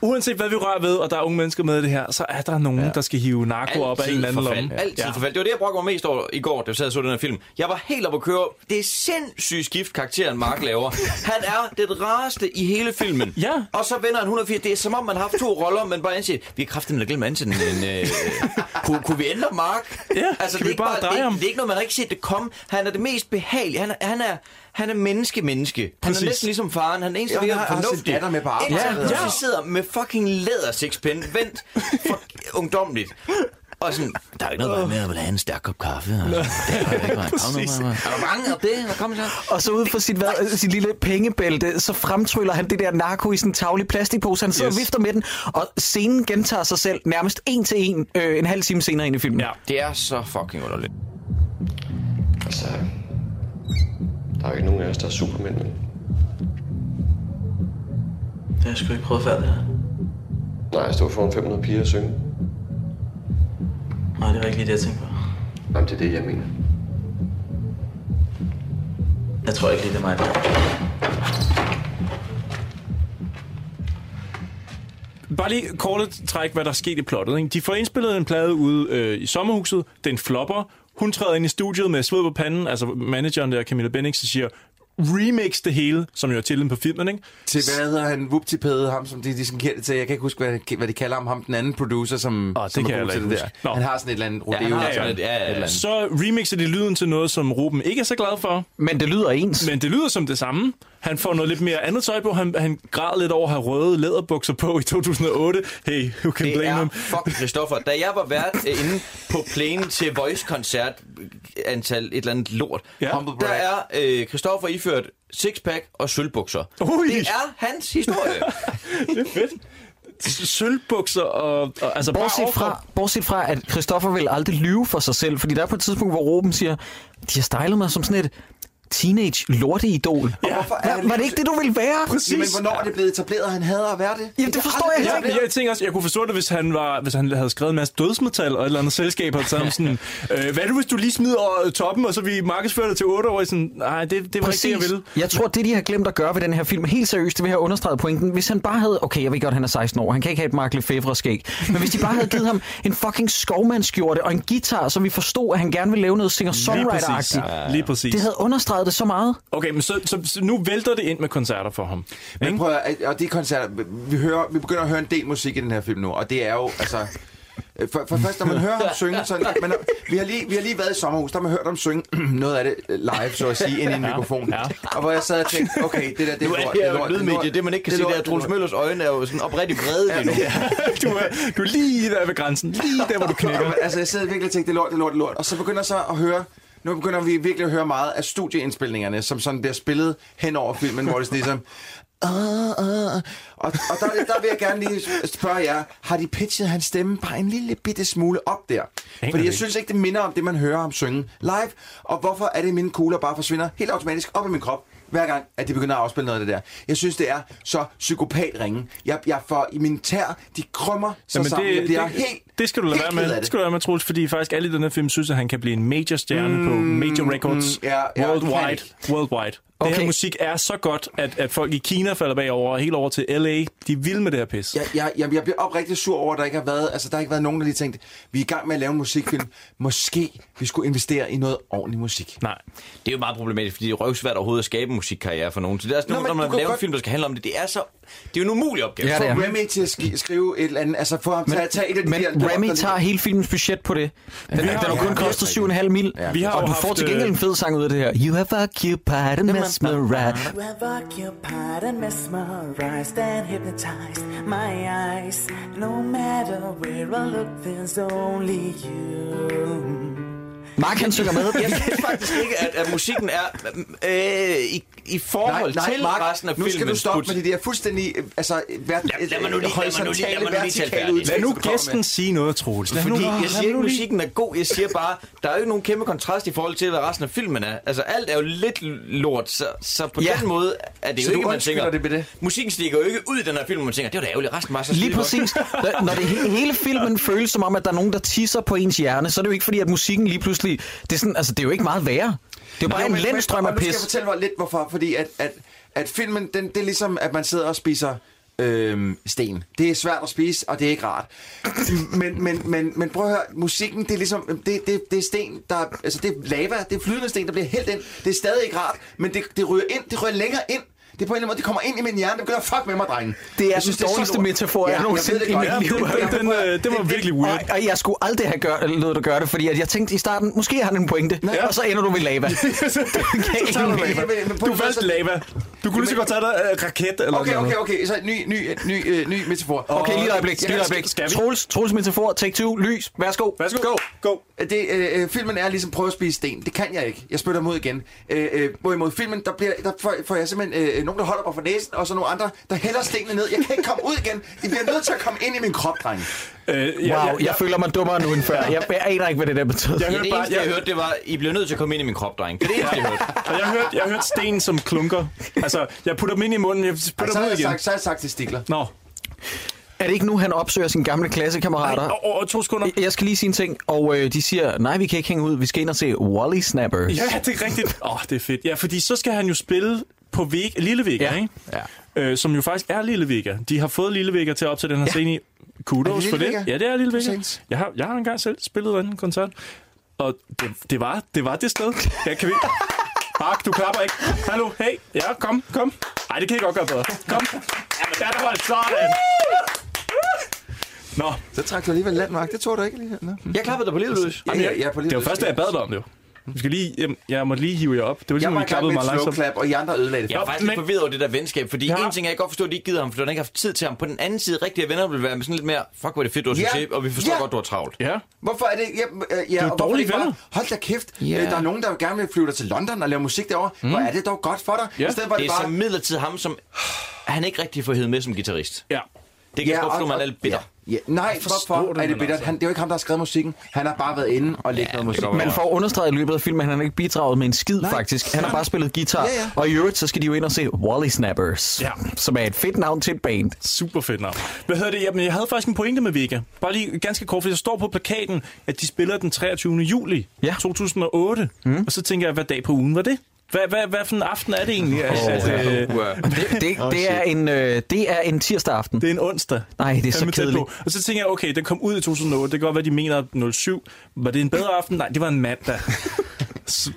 Uanset hvad vi rører ved, og der er unge mennesker med i det her, så er der nogen, ja. der skal hive narko op af en eller anden
forfald.
lomme.
Altid
ja.
forfald. Det var det, jeg brokkede mig mest over i går, da jeg sad og så den her film. Jeg var helt oppe at køre. Det er sindssygt skift, karakteren Mark laver. Han er det rareste i hele filmen. Ja. Og så vender han 180. Det er som om, man har haft to roller, men bare anset. Vi har kraftigt med at glemme ansigt, men øh, kunne, kunne, vi ændre Mark? Ja, altså,
kan
det, er
vi
ikke
bare dreje
det, er-
ham?
det, er ikke noget, man har ikke set det komme. Han er det mest behagelige. Han er, han er han er menneske-menneske. Han
Præcis.
er næsten ligesom faren. Han er den eneste,
Ja,
der
han
er
har sin
fornuftig.
datter med på arbejde.
Indtil han
Ja.
pludselig
Ja.
sidder med fucking læder sixpen, vendt for ungdomligt. Og sådan, der er ikke noget vej med at ville have en stærk kop kaffe. Og sådan, det er der ikke vej.
Præcis.
Er du bange om det? Og kom så.
Og så ud fra sit, hvad, sit lille pengebælte, så fremtryller han det der narko i sådan en tavlig plastikpose. Han sidder yes.
Yes.
og vifter med den, og scenen gentager sig selv nærmest en til en, øh, en halv time senere ind i filmen. Ja.
Det er så fucking underligt.
Altså, der er jo ikke nogen af os, der er supermænd. vel?
Det har jeg sgu ikke prøvet før, det her.
Nej, jeg stod foran 500 piger og synge.
Nej, det var ikke lige det, jeg tænkte på.
Jamen, det er det, jeg mener.
Jeg tror ikke lige, det er mig, der
Bare lige kort træk, hvad der er sket i plottet. Ikke? De får indspillet en plade ude øh, i sommerhuset. Den flopper. Hun træder ind i studiet med sved på panden. Altså manageren der, Camilla Bennings, siger, remix det hele, som jo er titlen på filmen. Ikke?
Til hvad hedder han? Wuptipede, ham som de, de sådan kender det til. Jeg kan ikke huske, hvad, hvad de kalder ham. Ham, den anden producer, som, oh,
det
som
kan jeg
god
heller
til
ikke
det
huske.
der.
Nå.
Han har sådan et eller andet rodeo.
han har sådan
eller
et- ja, ja, ja.
et eller andet.
Så remixer de lyden til noget, som Ruben ikke er så glad for.
Men det lyder ens.
Men det lyder som det samme. Han får noget lidt mere andet tøj på. Han, han græd lidt over at have røde læderbukser på i 2008. Hey, who can
Det
blame
er
him?
fucking Christoffer. Da jeg var vært øh, inde på Plane til Voice-koncert, øh, antal et eller andet lort, ja. der er øh, Christoffer iført sixpack og sølvbukser.
Ui.
Det er hans historie.
det er fedt. S- Sølvbukser og... og altså
Bortset
bare
fra, bortset fra, at Christoffer vil aldrig lyve for sig selv, fordi der er på et tidspunkt, hvor Ruben siger, de har stylet mig som sådan et teenage lorteidol. Ja,
han
var det ikke det, du ville være?
Jamen, hvornår er det blevet etableret, at han hader at være det?
Jamen, det forstår jeg
Ja, men jeg tænker også, jeg kunne forstå det, hvis han, var, hvis han havde skrevet en masse dødsmetal og et eller andet selskab, og taget ham sådan, øh, hvad er det, hvis du lige smider øh, toppen, og så vi markedsfører det til 8 år, i sådan, nej, det, det var
Præcis.
ikke det, jeg ville.
Jeg tror, det de har glemt at gøre ved den her film, helt seriøst, det vil jeg have understreget pointen. Hvis han bare havde, okay, jeg ved godt, han er 16 år, han kan ikke have et Mark Lefebvre-skæg, men hvis de bare havde givet ham en fucking skovmandskjorte og en guitar, så vi forstod, at han gerne ville lave noget singer-songwriter-agtigt.
Lige præcis. Lige præcis.
Det havde understreget det så meget.
Okay, men så, så, så nu vælter det ind med koncerter for ham.
Men prøv at, og det er koncerter, vi, hører, vi begynder at høre en del musik i den her film nu, og det er jo, altså... øh, For, for først, når man hører ham synge, sådan, man har, vi, har lige, vi har lige været i sommerhus, der har man hørt ham synge noget af det øh, live, så at sige, ind i en mikrofon. Ja. Og hvor jeg sad og tænkte, okay, det der, det er
nu er
lort,
det
det
her
er
jo
lort,
et
det er
lydmedie,
lort,
det man ikke kan
er
se, det er,
lort,
at
det er
Troels
lort.
Møllers øjne er jo sådan oprigtigt vrede lige nu.
du, er, du er lige der ved grænsen, lige der, hvor du knækker.
altså, jeg sidder virkelig og tænker, det er lort, det er lort, det er lort. Og så begynder jeg så at høre, nu begynder vi virkelig at høre meget af studieindspilningerne, som sådan bliver spillet hen over filmen, hvor det sådan ligesom... Uh, uh. Og, og der, der vil jeg gerne lige spørge jer, har de pitchet hans stemme bare en lille bitte smule op der?
Aner
Fordi jeg
ikke.
synes ikke, det minder om det, man hører ham synge live. Og hvorfor er det, at mine kugler bare forsvinder helt automatisk op i min krop? hver gang, at det begynder at afspille noget af det der. Jeg synes, det er så psykopat ringe. Jeg, jeg får i min tær, de krømmer sig Jamen, sammen. Det, jeg bliver
det,
helt
det skal du lade
helt
være
ked
med.
af
Det
det.
skal du lade være med, Troels, fordi faktisk alle i den her film synes, at han kan blive en major stjerne mm, på major records
mm, ja, ja,
worldwide.
panic.
worldwide. Okay. Det her musik er så godt, at, at folk i Kina falder bagover og helt over til LA. De er vilde med det her pis.
Jeg, jeg, jeg, jeg bliver oprigtigt sur over, at der ikke har været, altså, der har ikke været nogen, der lige tænkte, vi er i gang med at lave en musikfilm. Måske vi skulle investere i noget ordentlig musik.
Nej.
Det er jo meget problematisk, fordi det er røvsvært overhovedet at skabe en musikkarriere for nogen. Så det er også
Nå,
nogen,
men
når man
du kan
laver en
godt-
film, der skal handle om det. Det er så... Det er jo en umulig opgave.
Ja, det er. Remy til at sk- skrive et eller andet, altså få ham til at tage et af de
men
der...
Remy tager hele filmens budget på det. Den, den
har-
har jo kun
ja,
kostet
det er rigtigt.
7,5 mil.
Ja.
Vi har og
jo
du
haft,
får til
øh,
gengæld en fed sang ud af det her. You have occupied and mesmerized.
You have occupied and mesmerized and hypnotized my eyes. No matter where I look, there's only you.
Mark, han synger med.
Jeg synes faktisk ikke, at, at musikken er øh, i, i forhold nej, nej, til Mark, resten af
nu
filmen.
skal du stoppe med de der fuldstændig... øh, Altså, ver-
Lad, lad mig nu lige, lad mig nu lige, lad mig nu lige tale færdigt.
Lad nu gæsten sige noget, Troels. Lad
Fordi
nu,
jeg siger ikke, at musikken er god. Jeg siger bare, der er jo ikke nogen kæmpe kontrast i forhold til, hvad resten af filmen er. Altså, alt er jo lidt lort, så, så på
Ja.
den måde er det jo
Så
ikke,
du
man tænker...
undskylder
det.
Musikken stikker jo ikke ud i den her film, hvor man tænker, det var da ærgerligt, resten var så
Lige
skide godt.
præcis. Når- Når det he- hele filmen føles som om, at der er nogen, der tisser på ens hjerne, så er det jo ikke fordi, at musikken lige pludselig... Det er, sådan, altså, det er jo ikke meget værre. Det er jo bare
Jo,
en
men-
landstrøm
men-
af
og Nu skal jeg
pis.
fortælle mig lidt, hvorfor. Fordi at, at, at filmen, den, det er ligesom, at man sidder og spiser øhm, sten. Det er svært at spise, og det er ikke rart. Men, men, men, men prøv at høre, musikken, det er ligesom, øhm, det, det, det er sten, der, er- altså det er lava, det er flydende sten, der bliver hældt ind. Det er stadig ikke rart, men det, det ryger ind, det ryger længere ind. Det er på en eller anden måde, det kommer ind i min hjerne, det begynder at fuck med mig, drenge.
Det er
Jeg
den
så
dårligste
lort.
metafor, jeg
ved
nogensinde
det
i
godt.
mit liv har øh, hørt.
det var virkelig weird.
Og, og jeg skulle aldrig have gør, lavet dig gøre det, fordi at jeg tænkte i starten, måske har den en pointe, og så ender du ved lava. Det kan
tager du
ingen-
lava. Men- men
Du
på en måde,
valgte
så-
lava. Du kunne lige så godt tage dig øh, raket eller
Okay,
noget.
okay, okay. Så ny, ny, ny, øh, ny metafor.
Okay, lige et øjeblik. Lige et øjeblik. Troels, Troels metafor, take two, lys. Værsgo.
Værsgo. Go. Go.
Det, øh, filmen er ligesom prøve at spise sten. Det kan jeg ikke. Jeg spytter mod igen. Øh, øh, hvorimod filmen, der, bliver, der får, får jeg simpelthen øh, nogen, der holder mig for næsen, og så nogle andre, der hælder stenene ned. Jeg kan ikke komme ud igen. De bliver nødt til at komme ind i min krop, dreng.
Øh,
Wow, jeg føler mig dummere nu end før. Jeg, jeg aner ikke, hvad det der betød.
Jeg det eneste, jeg, jeg hørte, det var, I bliver nødt til at komme ind i min krop, dreng. Det er det eneste, jeg hørte.
Og jeg hørte, jeg hørte sten som klunker. Altså, jeg putter dem ind i munden, jeg
Ej,
putter
så,
dem
har
ud
jeg
igen.
sagt, så har jeg sagt til Stikler.
Nå.
Er det ikke nu, han opsøger sine gamle klassekammerater?
Ej, og- to sekunder.
Jeg skal lige sige en ting, og øh, de siger, nej, vi kan ikke hænge ud, vi skal ind og se Wally Snappers.
Ja, det er rigtigt. Åh, oh, det er fedt. Ja, fordi så skal han jo spille på Vig, Lille Vega, ja. ikke?
Ja.
Øh, som jo faktisk er Lille Vega. De har fået Lille Vega til at opsætte den her ja. scene i.
Er
Kudos
det
for
Lille
det.
Vega?
Ja, det er Lille Vega.
Præcis.
Jeg har, jeg har engang selv spillet den koncert. Og det, det, var, det var det sted. Ja, kan vi... Mark, du klapper ikke. Hallo, hey. Ja, kom, kom. Nej, det kan jeg godt gøre bedre. Kom. Ja, der var det sådan. Nå.
Så trak du alligevel land, Mark. Det tog du ikke lige. Nå.
Jeg klappede dig på lille løs.
Ja,
Jamen,
ja, ja, på lige
det var
løs.
først, da jeg bad dig om det. jo. Vi skal lige, jeg, jeg måtte lige hive jer op. Det var
Jeg
ligesom,
var
at
i
vi
gang
klappede
med
mig
et slow
langsomt.
clap, og I andre ødelagde det.
Jeg
for
var
mig.
faktisk lidt forvirret over det der venskab, fordi ja. en ting er, jeg godt forstår, at de ikke gider ham, for han ikke har haft tid til ham. På den anden side, rigtige venner vil være med sådan lidt mere, fuck, hvor er det fedt, du har
Ja.
succes, og vi forstår
Ja.
godt, du har travlt.
Ja.
Hvorfor er det... Ja, øh, ja,
jo
og hvorfor
dårlige
ikke bare-
venner.
Hold da kæft.
Ja.
Yeah. Der er nogen, der gerne vil flyve dig til London og lave musik derovre. Mm. Hvor er det dog godt for dig.
Ja.
I stedet var
det
det
er så
bare...
midlertidigt ham, som han ikke rigtig får hed med som guitarist.
Ja.
Det kan jeg godt forstå,
og-
man er lidt bitter.
Ja, ja. Nej,
forstår
hvorfor
det,
er det
men
bittert?
altså.
Han, det er jo ikke ham, der har skrevet musikken. Han har bare været inde og lægget noget musik.
Man får understreget i løbet af filmen, at han har ikke bidraget med en skid, Nej. faktisk. Han har bare spillet guitar.
Ja, ja.
Og i øvrigt, så skal de jo ind og se Wally Snappers,
Ja.
som er et fedt navn til et band.
Super fedt navn. Hvad hedder det? Jamen, jeg havde faktisk en pointe med Vega. Bare lige ganske kort, for der står på plakaten, at de spiller den 23. juli ja. 2008. Mm. Og så tænker jeg, hvad dag på ugen var det? Hvad, hvad, hvad for en aften er det egentlig?
Åh, ja.
øh,
Det, det, oh, det, er en, øh, det er en tirsdag aften.
Det er en onsdag.
Nej, det er så
Fandme tæt
kedeligt.
på. Og så tænker jeg, okay, den kom ud i 2008. Det kan godt være, de mener 07. Var det en bedre aften? Nej, det var en mandag. Så-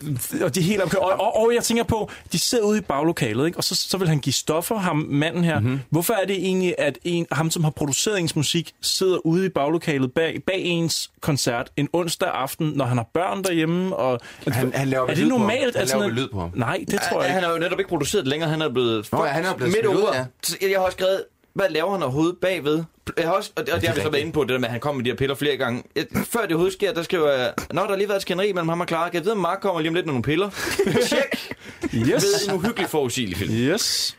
og de er helt opkørt. Og, og, og, jeg tænker på, de sidder ude i baglokalet, ikke? og så, så vil han give stoffer, ham manden her.
Mhm.
Mm-hmm. Hvorfor er det egentlig, at en, ham, som har produceret ens musik, sidder ude i baglokalet bag, bag ens koncert en onsdag aften, når han har børn derhjemme? Og,
Han- han laver
er
vel
det
lyd på ham.
normalt?
Han
at
laver
sådan
vel
en-
lyd på ham.
Nej, det tror jeg ikke.
Han har jo netop ikke produceret det længere, han er blevet,
Nå, ja, han er blevet
midt
smidt ud,
over.
ja.
Så Jeg har også skrevet, hvad laver han overhovedet bagved? Jeg har også, og det, og det har vi så været inde på, det der med, at han kommer med de her piller flere gange. Jeg, før det overhovedet sker, der skriver jeg, Nå, der har lige været et skænderi mellem ham og Clara. Kan jeg vide, om Mark kommer lige om lidt med nogle piller? Tjek!
Yes.
Ved en uhyggelig forudsigelig film.
Yes.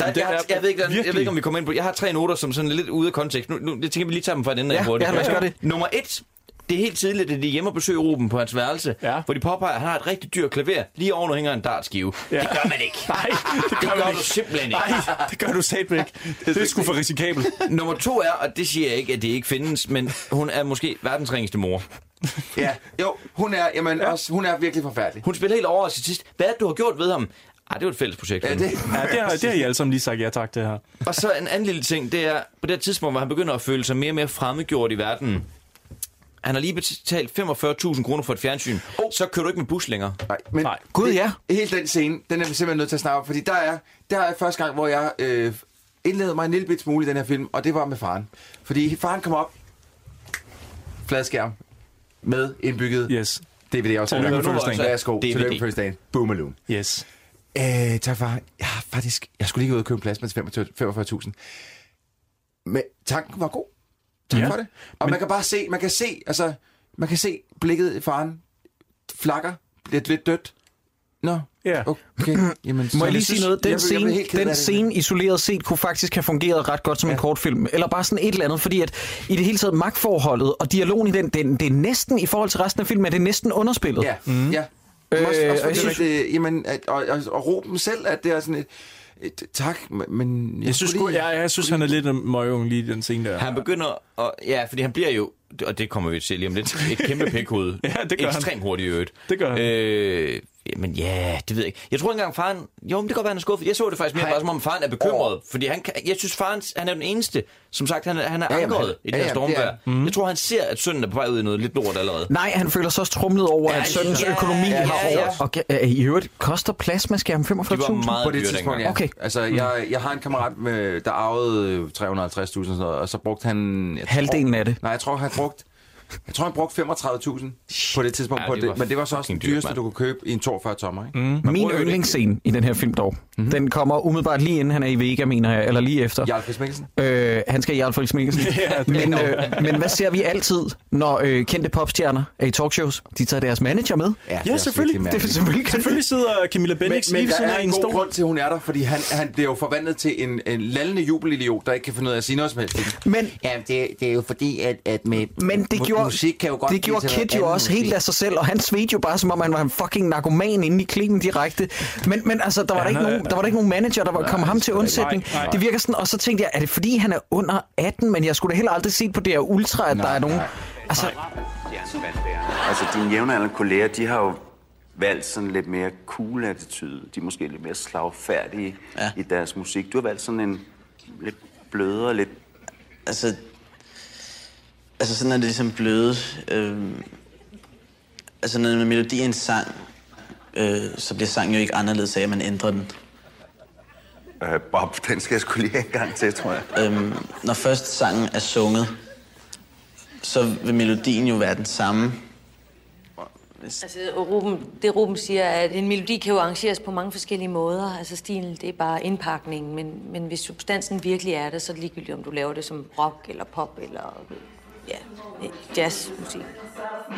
Der, jeg, har, jeg, ved ikke, hvordan, jeg ved
virkelig-
ikke, om vi kommer ind på... Jeg har tre noter, som sådan er lidt ude af kontekst. Nu, nu jeg tænker, vi lige tager dem fra den ende af
Ja,
hurtigt.
ja, lad os gøre det.
Nummer et, det er helt tidligt, at de er hjemme og besøger Ruben på hans værelse, ja. hvor de påpeger, at han har et rigtig dyrt klaver. Lige oven hænger en dartskive. Ja. Det gør man ikke.
Nej, det gør,
det gør
man
du
ikke.
simpelthen ikke.
Nej, det gør du satme ikke. Det er sgu for risikabelt.
Nummer to er, og det siger jeg ikke, at det ikke findes, men hun er måske verdens ringeste mor.
Ja, jo, hun er, jamen, ja. også, hun er virkelig forfærdelig.
Hun spiller helt over til sidst. Hvad er det, du har gjort ved ham? Ej, det var et fælles projekt.
Øh,
Ja, det, ja, det, har, det har I alle sammen lige sagt ja tak det her.
Og så en anden lille ting, det er, på det her tidspunkt, hvor han begynder at føle sig mere og mere fremmedgjort i verden, han har lige betalt 45.000 kroner for et fjernsyn. Oh. Så kører du ikke med bus længere.
Nej, men Nej.
Gud, ja.
Helt den scene, den er vi simpelthen nødt til at snakke om, fordi der er, der er første gang, hvor jeg øh, indledte mig en lille bit smule i den her film, og det var med faren. Fordi faren kom op, fladskærm, med indbygget
yes.
DVD-aftaler.
Tillykke med fødselsdagen.
Værsgo,
DVD.
tillykke med fødselsdagen. Boomaloom.
Yes.
Øh, tak far. Jeg har faktisk... Jeg skulle lige ud og købe en plasma til 45.000. Men tanken var god. Tak
Ja.
ja. for det. Og man kan bare se... Man kan se... Altså, man kan se blikket i faren flakker. Lidt lidt dødt. Nå.
Ja.
Okay. Jamen,
Må
så-
jeg lige sige noget? Den
Jeg blev- jeg blev
scene,
helt ked af
den
det.
scene isoleret set kunne faktisk have fungeret ret godt som en kortfilm. Eller bare sådan et eller andet, fordi at i det hele taget magtforholdet og dialogen i den, den det er næsten, i forhold til resten af filmen, er det næsten underspillet.
Ja, mm. ja.
Øh,
Øh, også,
og
også
jeg
fordi,
synes-
synes... at, øh, jamen, at, og, og, og råben selv, at det er sådan et, et tak, men...
Jeg synes, sgu- ja, jeg synes han er lidt en møgung lige i den scene der.
Han begynder at... Ja, fordi han bliver jo, og det kommer vi til lige om lidt, et kæmpe pikhoved.
Ja, det gør han.
Ekstremt hurtigt i øvrigt.
Det gør han.
Øh, men ja, det ved jeg ikke. Jeg tror ikke engang faren... Jo, men det kan godt være, han er skuffet. Jeg så det faktisk mere bare som om faren er bekymret. Fordi han, kan- jeg synes, faren han er den eneste. Som sagt, han, er- han er
Ja,
ja,
jamen,
ankret
han-
i det
ja,
her
ja,
stormvær.
det er
Jeg tror, han ser, at sønnen er på vej ud i noget lidt lort allerede.
Nej, han føler sig også trumlet over,
Ja,
at søndens
ja,
økonomi
ja,
har
ja.
over... Og øh, i øvrigt, koster plasmaskærmen 45.000?
på det tidspunkt, ja.
Okay. Mm.
Altså, jeg, jeg har en kammerat, med, der arvede øh, 350.000 og sådan noget, og så brugte han... Jeg
Halvdelen
tror,
af det.
Nej, jeg tror, han brugte... Jeg tror, han brugte 35.000 på det tidspunkt,
Ja,
ja, på
det
det,
var
men det var så også den
fucking dyrt,
dyreste,
mand.
du kunne købe i en 42-tommer, ikke?
Mm. Min yndlingsscene i den her film dog, mm-hmm. den kommer umiddelbart lige inden han er i Vega, mener jeg, eller lige efter.
Jarl Friis Mikkelsen?
Øh, han skal i Jarl Friis Mikkelsen.
Ja, det er
men,
nok.
øh, men hvad ser vi altid, når øh, kendte popstjerner er i talkshows? De tager deres manager med.
det er
Ja,
også
selvfølgelig.
virkelig
Det er
mærkeligt.
selvfølgelig. selvfølgelig sidder Camilla Bendix
men,
lige
men
ved
der
siden
er
af
en,
en
god
stol.
grund til, at hun er der, fordi han, han bliver jo forvandlet til en, en lallende jubelidiot, der ikke kan finde ud af at sige noget som helst.
Men,
ja, det, det er jo fordi, at, at med
Men det gjorde, det gjorde Kid jo også helt af sig selv, og han svedte jo bare, som om han var en fucking narkoman inde i klingen direkte. Men, men altså, der var,
Ja,
der, ikke
han er-
nogen, der var der ikke nogen manager, der var, kom ham til undsætning.
Nej, nej.
Det virker sådan, og så tænkte jeg, er det fordi, han er under 18, men jeg skulle da heller aldrig set på det her ultra, at der er nogen... Altså,
Altså, dine jævnaldrende kolleger, de har jo valgt sådan lidt mere cool attitude. De er måske lidt mere slagfærdige ja. i deres musik. Du har valgt sådan en lidt blødere, lidt...
Altså, altså sådan er det ligesom blødet. Øh, altså når en melodi er en sang, øh, så bliver sangen jo ikke anderledes af, at man ændrer den.
Øh, Bob, den skal jeg skulle lige have en gang til, tror jeg.
Øhm, når først sangen er sunget, så vil melodien jo være den samme.
Altså, og Ruben, det Ruben siger, er, at en melodi kan jo arrangeres på mange forskellige måder. Altså, stilen, det er bare indpakningen, men, men hvis substansen virkelig er det, så er det ligegyldigt, om du laver det som rock eller pop eller ja, jazzmusik.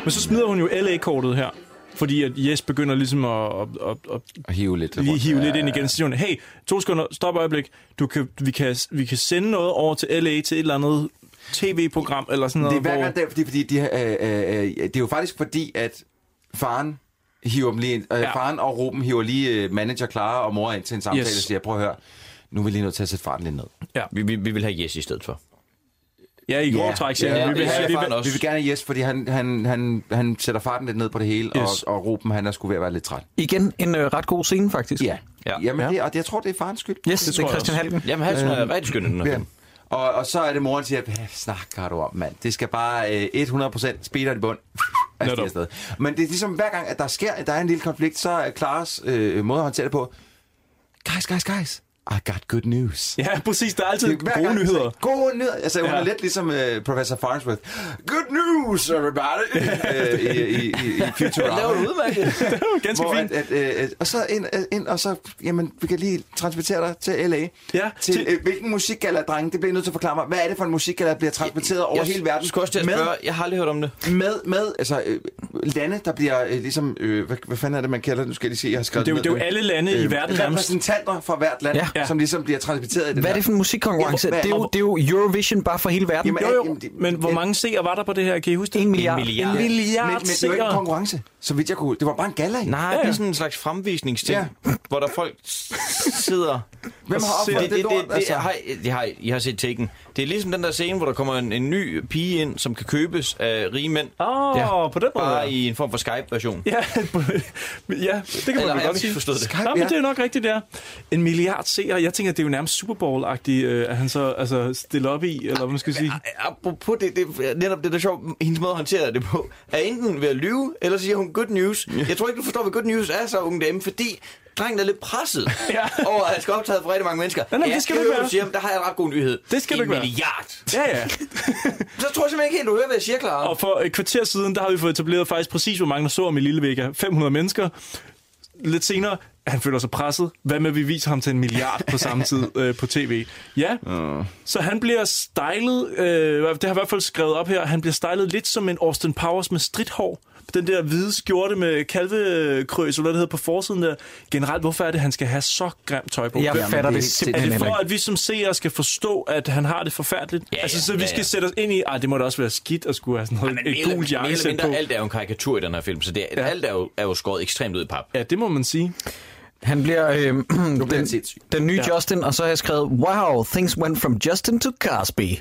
Men så smider hun jo LA-kortet her. Fordi at Jes begynder ligesom at, at, at, at
at hive lidt,
lige hive
Ja,
lidt ind
ja, ja.
igen. Så siger hun, hey, to sekunder, stop et øjeblik. Du kan, vi, kan, vi kan sende noget over til LA til et eller andet tv-program eller sådan
Det er
noget.
hver gang, det er, fordi, fordi de, øh, øh, øh, det er jo faktisk fordi, at faren hiver dem lige ind, øh,
Ja.
ja. faren og Ruben hiver lige øh, manager Clara og mor ind til en samtale
Yes.
yes. og siger, prøv at høre, nu er vi lige nødt til at sætte faren lidt ned.
Ja.
Vi, vi, vi vil have yes i stedet for.
Ja, i grov træk, siger han.
vi, vil,
have
vi,
faren
vil,
også.
vi vil gerne have yes, fordi han, han, han, han sætter farten lidt ned på det hele,
Yes.
yes. og, og Ruben han er sgu ved at være lidt træt.
igen en øh, ret god scene, faktisk.
Ja. ja. Jamen, det, og det, jeg tror, det er farens skyld.
Yes, det er Christian Halken.
Jamen, Halsen er rigtig skøn i den her
ja.
film.
Og, og så er det moren siger, hvad snakker du om, mand? Det skal bare øh, 100% speederen i bund. Altså, det er afsted. Men det er ligesom hver gang, at der sker, der er en lille konflikt, så er Klares øh, måde at håndtere det på, guys, guys, guys, I got good news.
Ja, præcis. Der er altid
Det er hver
gode
gang,
nyheder.
så- Gode nyheder. Altså, hun
Ja.
er lidt ligesom øh, Professor Farnsworth. Good news, everybody! øh, i, i, i, i Futurama.
Det laver du udmærket.
Det var ganske
Hvor
fint.
At, at, øh, øh, og så ind, øh, ind, og så, jamen, vi kan lige transportere dig til L.A.
Ja,
til, øh, hvilken musikgala, drenge, det bliver I nødt til at forklare mig. Hvad er det for en musikgala, der bliver transporteret over
jeg
hele verden?
skulle også til at spørge. Jeg har aldrig hørt om det.
Med, med altså, øh, lande, der bliver øh, ligesom, øh, hvad, hvad fanden er det, man kalder det? Nu skal jeg lige se, jeg har skrevet
Det er jo-
ned.
det er jo alle lande i verden nærmest.
Repræsentanter fra hvert land.
Ja.
ja. som ligesom bliver transmitteret i den
Hvad er
her.
det for en musikkonkurrence?
Hvad-
Det er jo, det er jo Eurovision bare for hele verden.
Jamen,
Jo, jo. Men hvor mange seere var der på det her? Kan I huske det? En
milliard.
En milliard,
Ja.
en
men,
milliard
men det var ikke en
seere.
konkurrence, så vidt jeg kunne. Det var bare en gala.
Nej, det er sådan en slags fremvisningsting, ja. hvor der folk s- sidder...
Hvem har
og
opfundet
det,
det
det,
lort,
det, det,
altså?
har, I- det har, I- I har set Taken. Det er ligesom den der scene, hvor der kommer en, en ny pige ind, som kan købes af rige mænd.
Åh, ja. på den måde.
Bare i en form for Skype-version.
Ja, ja, det kan man
Eller
vel
har jeg
godt sige.
misforstået det?
Nej, men
Ja.
det er nok rigtigt, det er. En milliard seere. Jeg tænker, det er jo nærmest Super Bowl-agtigt, øh, at han så altså, stiller op i, eller hvad man skal sige.
Apropos det, det er netop det, der er sjovt, hendes måde håndterer det på, er enten ved at lyve, eller siger hun good news. Jeg tror ikke, du forstår, hvad good news er så, unge dame, fordi drengen er lidt presset ja. over, at han skal optage for rigtig mange mennesker.
Nej, nej, det skal du ikke
høre,
være.
du siger, men der har jeg en ret god nyhed.
Det skal
en
du ikke være.
milliard.
Ja, ja.
Så tror jeg simpelthen ikke helt, du hører, hvad jeg siger, Clara.
Og for et kvarter siden, der har vi fået etableret faktisk præcis, hvor mange der så om i Lille Vega. 500 mennesker. Lidt senere, han føler sig presset. Hvad med, at vi viser ham til en milliard på samme tid øh, på tv? Ja, så han bliver stylet, øh, det har jeg i hvert fald skrevet op her, han bliver stylet lidt som en Austin Powers med stridthår. Den der hvide skjorte med kalvekrøs, eller hvad det hedder på forsiden der. Generelt, hvorfor er det, han skal have så grimt tøj på?
Jeg Jamen, fatter det det er simpelthen
Er det for,
heller ikke.
at vi som seere skal forstå, at han har det forfærdeligt? Ja, altså, så
ja,
vi
ja,
skal
ja.
sætte os ind i, at det må da også være skidt at skulle have sådan noget
Men
et gult
mere eller
jakkesæt
mindre,
på.
alt er jo en karikatur i den her film, så det, ja. alt er jo, er jo skåret ekstremt ud i pap.
Ja, det må man sige.
Han bliver, øh, den, den nye
Ja.
ja. Justin, og så har jeg skrevet, wow, things went from Justin to Cosby.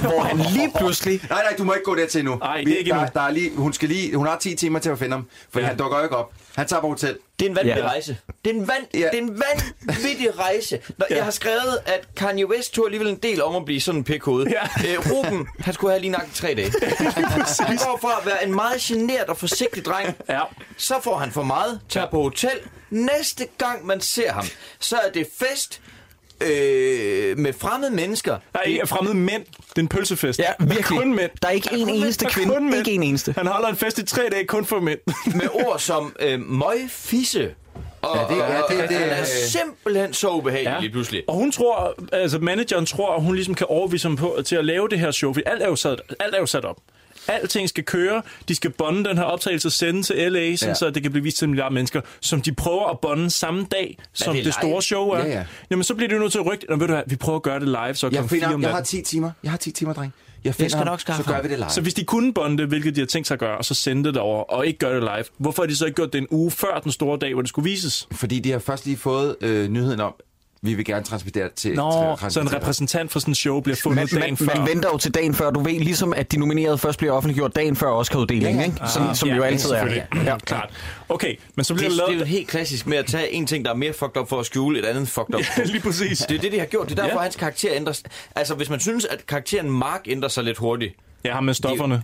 hvor han lige pludselig...
Nej, nej, du må ikke gå dertil nu.
Nej, det er ikke
der,
endnu.
der er lige, hun, skal lige, hun har 10 timer til at finde ham, for ja. han dukker jo ikke op. Han tager på hotel.
Det er en vanvittig
Ja.
rejse. Det er en, van, det er en vanvittig rejse. Når, Jeg har skrevet, at Kanye West tog alligevel en del om at blive sådan en pikhoved. Ja. Æ, Ruben, han skulle have lige nok tre dage. han går fra at være en meget generet og forsigtig dreng,
ja.
så får han for meget, tager på hotel. Næste gang man ser ham, så er det fest øh, med fremmede mennesker.
Nej, fremmede mænd. Det er en pølsefest.
Ja, virkelig.
Kun mænd.
Der er ikke en eneste
Der er
kvinde.
kun mænd.
Ikke en eneste.
Han holder en fest i tre dage kun for mænd.
med ord som øh, møgfisse. Og,
Ja, det- ja, det-
og-
det-
og han er
øh.
simpelthen så ubehagelig
Ja.
lige pludselig.
Og hun tror, altså manageren tror, at hun ligesom kan overvise ham på til at lave det her show, fordi alt er jo sat, alt er jo sat op. Alting skal køre, de skal bonde den her optagelse og sende til LA, sådan
Ja.
ja. så det kan blive vist til en milliard mennesker, som de prøver at bonde samme dag, som det,
det live?
det store show er.
Ja, ja.
Jamen, så bliver det jo nødt til at rykke, Nå, ved du hvad, vi prøver at gøre det live, så
Jeg
klokken
finder
fire om
ham. Jeg har
natten.
10 timer. Jeg har 10 timer, dreng. Jeg finder
skal
ham,
nok skaffe
så gør
ham.
vi det live.
Så hvis de kunne bonde det, hvilket de har tænkt sig at gøre, og så sende det derover og ikke gøre det live, hvorfor har de så ikke gjort det en uge før den store dag, hvor det skulle vises?
Fordi de har først lige fået øh, nyheden om, vi vil gerne transmittere til...
Nå,
til
så en repræsentant for sådan en show bliver fundet
Man,
dagen
man,
før.
man venter jo til dagen før. Du ved ligesom, at de nominerede først bliver offentliggjort dagen før Oscar-uddelingen, ikke? Som, som det jo altid er.
Ja, klart. Okay, men så
Det,
bliver
er-
det,
det er jo
lavet...
helt klassisk med at tage en ting, der er mere fucked up for at skjule et andet fucked up.
Ja, lige præcis.
Det er det, de har gjort. Det er derfor,
Ja.
hans karakter ændres. Altså, hvis man synes, at karakteren Mark ændrer sig lidt hurtigt.
Ja, ham med stofferne.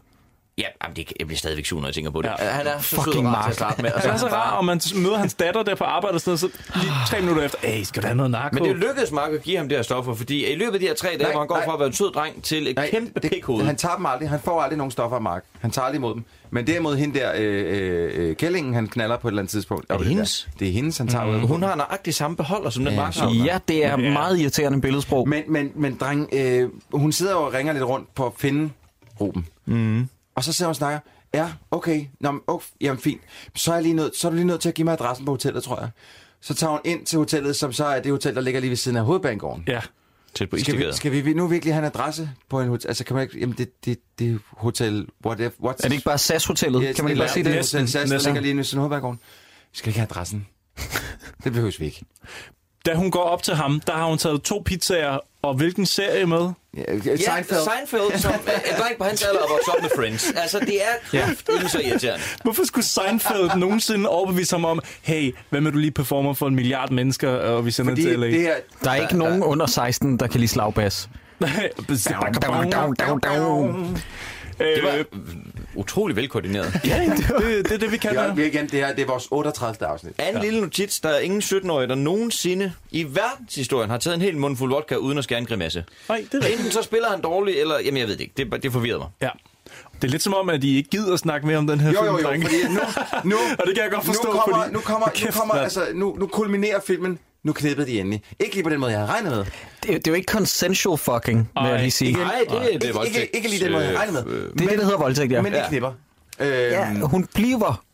Ja, jamen, det, jeg bliver stadigvæk sur, når jeg tænker på det.
Ja.
Ja. Han er så
Fucking
sød og rar
Mark.
til at starte med. og
Han er så
han bare-
rar, og man møder hans datter der på arbejde og sådan noget, så lige tre minutter efter, æh, skal du have noget narko?
Men det lykkedes Mark at give ham det her stoffer, fordi i løbet af de her tre dage,
Nej,
hvor han går
nej.
fra at være en sød dreng til et
Nej,
kæmpe
det-
pikhoved.
Han tager dem aldrig. Han får aldrig nogen stoffer af Mark. Han tager aldrig imod dem. Men derimod hende der, øh, øh, øh, Kællingen, han knaller på et eller andet tidspunkt. Er
det hendes?
Det er hendes, han tager mm. ud.
Hun har nøjagtig samme beholder, som den Mark har.
Ja, det er meget irriterende billedsprog.
Men, men, men dreng, øh, hun sidder jo og ringer lidt rundt på at finde Ruben.
Mm.
Og så sidder hun og snakker, ja, okay, Nå, men, okay jamen fint. Så er, jeg lige nødt, så er du lige nødt til at give mig adressen på hotellet, tror jeg. Så tager hun ind til hotellet, som så er det hotel, der ligger lige ved siden af hovedbanegården.
Ja.
Tæt på
Skal vi,
Istegade.
skal vi nu virkelig have en adresse på en hotel? Altså, kan man ikke... Jamen, det, det, det er hotel... What if, what
Er det ikke bare SAS-hotellet?
Ja,
kan man ikke bare sige det?
er Hotel SAS, der
Næsten.
ligger lige nu sådan hovedbanegården. Vi skal ikke have adressen. det behøves vi ikke.
Da hun går op til ham, der har hun taget to pizzaer, og hvilken serie med?
Ja, Seinfeld.
Seinfeld, som øh, en dreng på hans alder og vokset op med Friends. Altså, det er kraftedeme så irriterende.
Hvorfor skulle Seinfeld nogensinde overbevise ham om, hey, hvad med du lige performer for en milliard mennesker, og vi sender
Fordi
til LA?
det her...
Der er ikke nogen under 16, der kan lide slagbas. Down, down, down, down.
Det var utrolig velkoordineret.
Øh, Ja, det, det er det, vi kan.
Ja, igen, det her det er vores 38. afsnit.
Anden lille notits, der er ingen 17-årige, der nogensinde i verdenshistorien har taget en hel mundfuld vodka uden at skære en grimasse.
Nej, det er rigtigt.
Enten så spiller han dårligt, eller... Jamen, jeg ved det ikke. Det, det forvirrede mig.
Ja. Det er lidt som om, at I ikke gider at snakke mere om den her
Jo,
film,
jo, jo,
drenge.
fordi nu, nu,
Og det kan jeg godt forstå,
nu kommer,
fordi-
nu kommer, nu,
Kæft,
kommer
mand.
altså, nu, nu kulminerer filmen, nu knippede de endelig. Ikke lige på den måde, jeg havde regnet med.
Det, det er jo ikke consensual fucking, vil jeg lige sige. Det
Nej, det, det, det er
Ikke, ikke,
voldtægt. Øh.
ikke lige den måde, jeg havde regnet med.
øh,
Øhm,
er det, der hedder voldtægt, ja.
Men det knipper. Øh,
Ja, hun bliver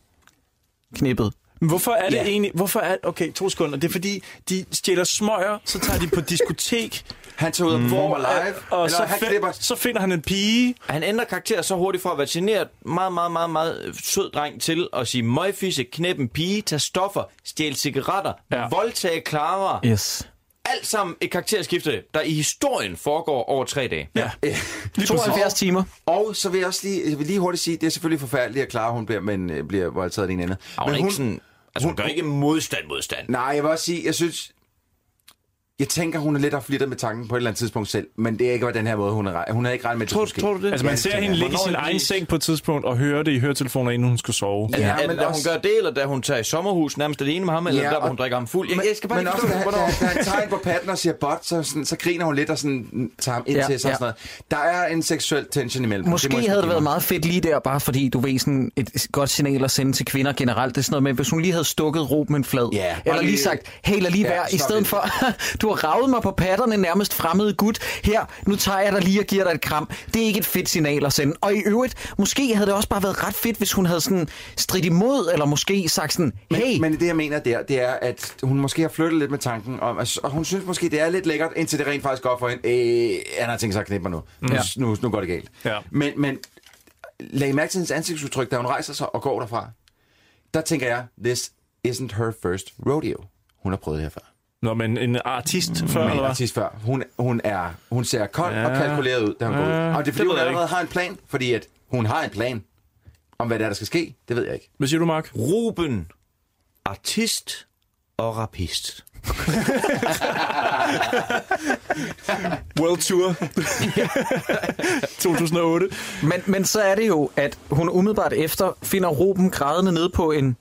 knippet.
Men hvorfor er det ja. egentlig... Hvorfor er... Okay, to sekunder. Det er fordi, de stjæler smøger, så tager de på diskotek.
Han tager ud og performer live.
Mm. Og
Eller
så,
han
fin-
klipper-
så finder han en pige.
Han ændrer karakter så hurtigt fra at være generet, meget, meget, meget, meget øh, sød dreng til at sige møgfisse, knæppe en pige, tage stoffer, stjæle cigaretter, ja. voldtage Clara.
Yes.
Alt sammen et karakterskifte, der i historien foregår over tre dage.
Ja.
Lige 72 timer.
Og så vil jeg også lige, jeg vil lige hurtigt sige, det er selvfølgelig forfærdeligt at klare, hun bliver, men, øh, bliver voldtaget af en anden.
Og hun, er ikke sådan, altså, hun, hun gør ikke modstand modstand.
Nej, jeg vil også sige, jeg synes... Jeg tænker, hun er lidt har flittet med tanken på et eller andet tidspunkt selv, men det er ikke på den her måde, hun er Hun er ikke regnet med, at tror, det tror du
Altså, man ser hende ligge i sin egen seng på et tidspunkt og høre det i høretelefoner, inden hun skal sove.
Ja, ja, men da også... hun gør det, eller da hun tager i sommerhus nærmest alene med ham, eller
Ja,
ja, der, hvor
og-
hun drikker ham fuld. Jeg, jeg skal bare
men
lige
også,
forstå,
da,
hvornår...
da, da han tager hende på patten og siger bot, så, sådan, så griner hun lidt og sådan, "Mm, tager ham ind
Ja,
til sig.
ja.
og Sådan noget. Der er en seksuel tension imellem. dem. må jeg
Måske
sgu
havde det
give
været
mig.
meget fedt lige der, bare fordi du ved sådan et godt signal at sende til kvinder generelt. Det er sådan noget med, hvis hun lige havde stukket Ruben flad. Yeah, eller
lige-
lige sagt, hey, lad lige
Ja,
være, i
stop
stedet
lidt.
for, du har ravet mig på patterne, nærmest fremmede gut. Her, nu tager jeg dig lige og giver dig et kram. Det er ikke et fedt signal at sende. Og i øvrigt, måske havde det også bare været ret fedt, hvis hun havde sådan stridt imod, eller måske sagt sådan, hey,
Men det, jeg mener der, det er, at hun måske har flyttet lidt med tanken om, altså, og hun synes måske, det er lidt lækkert, indtil det rent faktisk går op for hende. Øh, han har tænkt sig at knippe mig nu. Nu,
Ja.
nu, nu går det galt.
Ja.
Men, men lag mærke til hendes ansigtsudtryk, da hun rejser sig og går derfra. Der tænker jeg, this isn't her first rodeo. Hun har prøvet det her før.
Nå, men en artist før,
Men
eller hvad?
artist før. Hun, hun, er, hun ser kold ja. og
Ja.
kalkuleret ud, da hun ja. går ud.
Ja,
Og det er
det
fordi,
ved
hun
jeg
allerede
ikke.
har en plan, fordi at hun har en plan om, hvad det er, der skal ske. Det ved jeg ikke.
Hvad siger du, Mark?
Ruben, artist og rapist.
World Tour 2008.
Men, men så er det jo, at hun umiddelbart efter finder Ruben grædende nede på en,